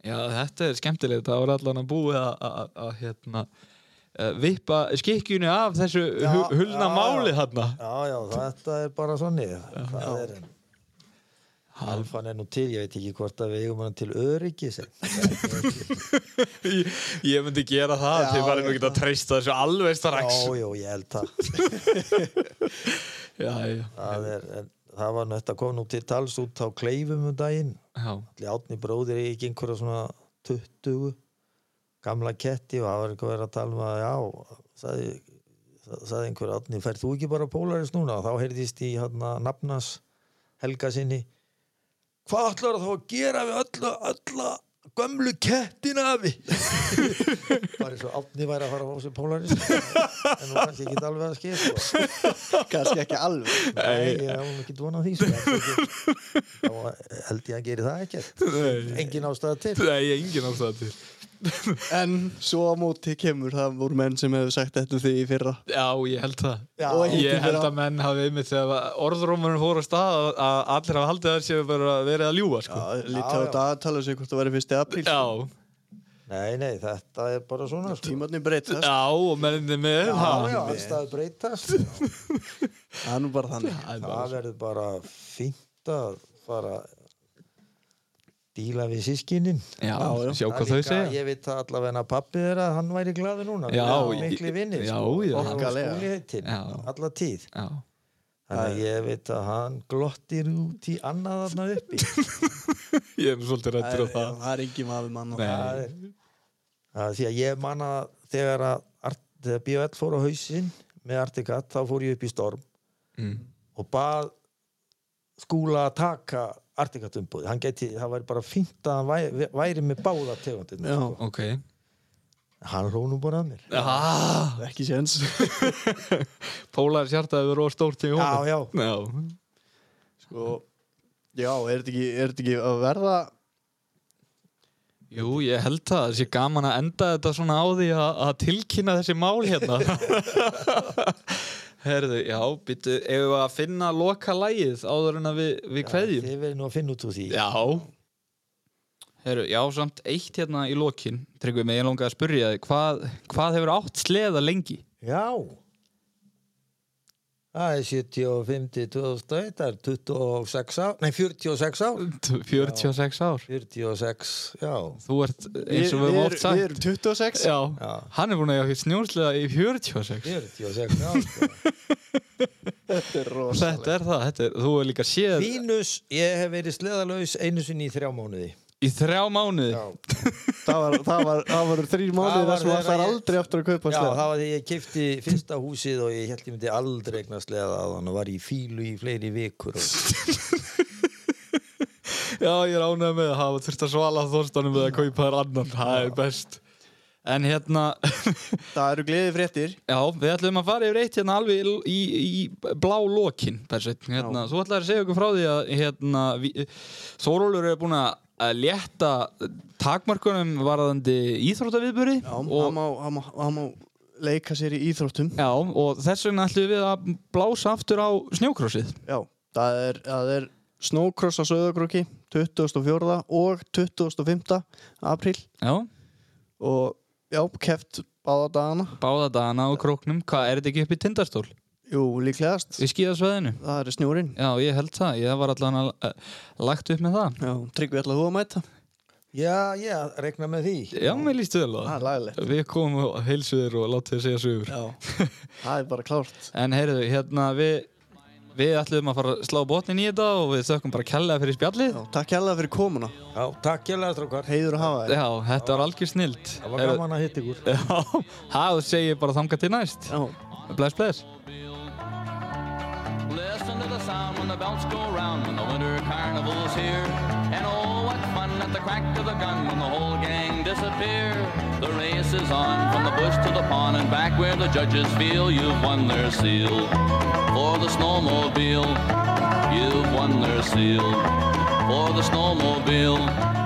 [SPEAKER 2] Já, þetta er skemmtilegt, það var allan að búið að- að að, hérna eh, vippa skikkjunni af þessu
[SPEAKER 3] Já,
[SPEAKER 2] hu- hulna
[SPEAKER 3] já,
[SPEAKER 2] máli þarna
[SPEAKER 3] já, já, þetta er bara svonni það er Alfan er nú til, ég veit ekki hvort að við eigum hann til öryggis en-
[SPEAKER 2] ég, ég myndi gera það,
[SPEAKER 1] Já,
[SPEAKER 2] þið varum
[SPEAKER 1] ég
[SPEAKER 2] ekki að treysta þessu alveg
[SPEAKER 3] Já,
[SPEAKER 2] strax
[SPEAKER 3] já, ég held það
[SPEAKER 2] Já, já,
[SPEAKER 3] Það, er, en, það var nú þetta kom nú til tals út á kleifum um daginn
[SPEAKER 2] já,
[SPEAKER 3] allir átni bróðir eigi ekki einhverja svona 20 gamla ketti og það var einhver að tala um að já, sagði, sagði einhver átni, færð þú ekki bara Polaris núna? Og þá heyrðist í hérna nafnas helga sinni hvað ætlar þá að gera við öllu, öllu gömlu kettina afi bara eins og átni væri að fara á sig Polaris en nú kannski ekki alveg að skil sko.
[SPEAKER 1] Kannski ekki alveg
[SPEAKER 3] nei, ég hef nú ekki vonað því sko. en ekki- þá held ég að geri það ekkert
[SPEAKER 2] nei,
[SPEAKER 3] engin ástæða til
[SPEAKER 2] nei, engin ástæða til
[SPEAKER 1] En svo á móti kemur það voru menn sem hefur sagt þetta við þig í fyrra
[SPEAKER 2] Já, ég held það
[SPEAKER 3] Já.
[SPEAKER 1] Og hitt í
[SPEAKER 2] Ég held
[SPEAKER 1] fyrra.
[SPEAKER 2] að menn hafi einmitt þegar orðrómurinn fór á stað að- að allir hafa haldið að þessi hefur bara verið að ljúga, sko
[SPEAKER 1] Já, lítið
[SPEAKER 3] Já,
[SPEAKER 1] á
[SPEAKER 3] já.
[SPEAKER 1] þetta aðtala sig hvort það væri fyrsti apríl
[SPEAKER 2] Já,
[SPEAKER 3] Nei, nei, þetta er bara svona sko.
[SPEAKER 1] Tímarnir breytast,
[SPEAKER 2] já, og menninni með
[SPEAKER 3] Já,
[SPEAKER 2] það.
[SPEAKER 3] já, allstað breytast
[SPEAKER 1] það er nú bara þannig
[SPEAKER 2] Það er bara
[SPEAKER 3] Það verður bara fínt að fara díla við sískinin
[SPEAKER 2] Já,
[SPEAKER 1] Já, já.
[SPEAKER 2] sjá
[SPEAKER 3] Það
[SPEAKER 2] hvað
[SPEAKER 3] er
[SPEAKER 2] þau
[SPEAKER 3] líka-
[SPEAKER 2] segja
[SPEAKER 3] Ég veit það allavega að pappi þeirra að hann væri glaði núna
[SPEAKER 2] Já,
[SPEAKER 3] Við erum
[SPEAKER 2] ég-
[SPEAKER 3] mikli vinnir
[SPEAKER 2] já,
[SPEAKER 3] sko.
[SPEAKER 2] já.
[SPEAKER 3] Og
[SPEAKER 1] Okkarlega.
[SPEAKER 3] skúli heitin,
[SPEAKER 2] Já.
[SPEAKER 3] alla tíð
[SPEAKER 2] Já,
[SPEAKER 3] Þannig að ég veit að hann glottir út í annað þarna uppi
[SPEAKER 2] ég er nú svolítið
[SPEAKER 1] Það er-
[SPEAKER 2] rættur á
[SPEAKER 1] já,
[SPEAKER 2] það
[SPEAKER 1] það er engin maður mann á
[SPEAKER 2] Nei.
[SPEAKER 1] það.
[SPEAKER 3] Það er- það er Því að ég manna þegar að Art- þegar BFL fór á hausinn með Artigat, þá fór ég upp í storm
[SPEAKER 2] Mm.
[SPEAKER 3] og bað skúla að taka artikatumbúði, hann geti, það væri bara fínt að hann væri, væri með báða tegundir
[SPEAKER 1] Já.
[SPEAKER 3] sko.
[SPEAKER 2] Ok
[SPEAKER 3] hann hló nú bara að mér
[SPEAKER 2] ah,
[SPEAKER 1] Ekki séns
[SPEAKER 2] Pólaris hjartaði verið of stórt í honum
[SPEAKER 3] já, já,
[SPEAKER 2] já
[SPEAKER 1] sko, Já, er þetta ekki, er þetta ekki að verða
[SPEAKER 2] Jú, ég held það, það sé gaman að enda þetta svona á því að að tilkynna þessi mál hérna Herðu, já, býttu, ef við að finna loka lægið áður en að við, við kveðjum
[SPEAKER 3] þið verið nú að finna út úr því
[SPEAKER 2] Já Heru, Já, samt eitt hérna í lokin Tryggvi mig, ég langaði að spyrja þig hvað, hvað hefur átt sleða lengi?
[SPEAKER 3] Já. það er 75 til 2001, það er 26 ár nei, 46 ár
[SPEAKER 2] 46 ár
[SPEAKER 3] 46, já,
[SPEAKER 2] Þú ert eins og við
[SPEAKER 1] Við-
[SPEAKER 2] höfum
[SPEAKER 1] við
[SPEAKER 2] oft
[SPEAKER 1] erum- Við
[SPEAKER 2] sagt
[SPEAKER 1] erum 26
[SPEAKER 2] Já,
[SPEAKER 3] Já.
[SPEAKER 2] hann er búin að eiga snjóslega í 46
[SPEAKER 3] 46 ár sko.
[SPEAKER 1] Þetta er rosalegt
[SPEAKER 2] Þetta er það, þetta er, þú er líka séð
[SPEAKER 3] mínus, ég hef verið sleðalaus einu sinni í þrjá mánuði
[SPEAKER 2] í þrjá mánuði Já,
[SPEAKER 1] Það var, það var, það var þrýr
[SPEAKER 3] Það
[SPEAKER 1] mánuðir
[SPEAKER 3] var
[SPEAKER 1] þar sem
[SPEAKER 3] þegar
[SPEAKER 1] það er
[SPEAKER 3] ég-
[SPEAKER 1] aldrei aftur að kaupa
[SPEAKER 3] Já,
[SPEAKER 1] sleða
[SPEAKER 3] það var því ég kefti fyrsta húsið og ég held ég myndi aldrei eignast sleða á hann og var í fílu í fleiri vikur og
[SPEAKER 2] ég er ánægð með að hafa þurft að svala þorstanum við að kaupa þér annan, það er best En hérna,
[SPEAKER 1] Það eru gleði fréttir
[SPEAKER 2] Já, við ætlum að fara yfir eitt hérna alveg í, í, í blá lokin Bersveit, hérna, þú ætlaðir að segja okkur frá því að hérna, vi- Þórólfur er búin að að létta takmarkunum varðandi íþróttaviðburi
[SPEAKER 1] Já, hann
[SPEAKER 2] og,
[SPEAKER 1] má, hann má, hann má leika sér í íþróttum
[SPEAKER 2] já, og þess vegna ætlum við að blása aftur á snjókrossið
[SPEAKER 1] Já, það er, það er Snowcross á Söðakrúki 24. og 25. apríl
[SPEAKER 2] Já,
[SPEAKER 1] og já, keft báða dagana
[SPEAKER 2] báða dana á króknum Hvað, er þetta ekki upp í tindarstól?
[SPEAKER 1] Jú, líklegast,
[SPEAKER 2] Í skíðasveðinu?
[SPEAKER 1] það er snjúrin
[SPEAKER 2] Já, ég held það, ég var allan að uh, lagt upp með það
[SPEAKER 1] Já, tryggvi ætla þú að mæta
[SPEAKER 3] Já, já, regna með því
[SPEAKER 2] Já, mér líst vel á
[SPEAKER 1] Það
[SPEAKER 2] það
[SPEAKER 1] er lagalegt
[SPEAKER 2] Við komum og heilsu þér og látið þér segja sögur
[SPEAKER 1] Já, það er bara klárt
[SPEAKER 2] En heyrðu, hérna við Við ætlum að fara að slá botnin í þetta og við þökkum bara kjallaði fyrir spjallið.
[SPEAKER 1] Já, takk hérlega fyrir komuna
[SPEAKER 3] Já, takk kjærlega strókar
[SPEAKER 1] Heiður að hafa þér
[SPEAKER 2] Já, þetta var algjör snild.
[SPEAKER 3] Það var gaman að hitta ykkur
[SPEAKER 2] Já, það segir bara þangað til næst.
[SPEAKER 1] Já
[SPEAKER 2] Bless, bless.
[SPEAKER 4] Listen to the sound when the belts go round when the winter carnival's here. And oh, what fun at the crack of the gun when the whole gang disappear. The race is on from the bush to the pond and back where the judges feel you've won their seal. For the snowmobile, you've won their seal. For the snowmobile.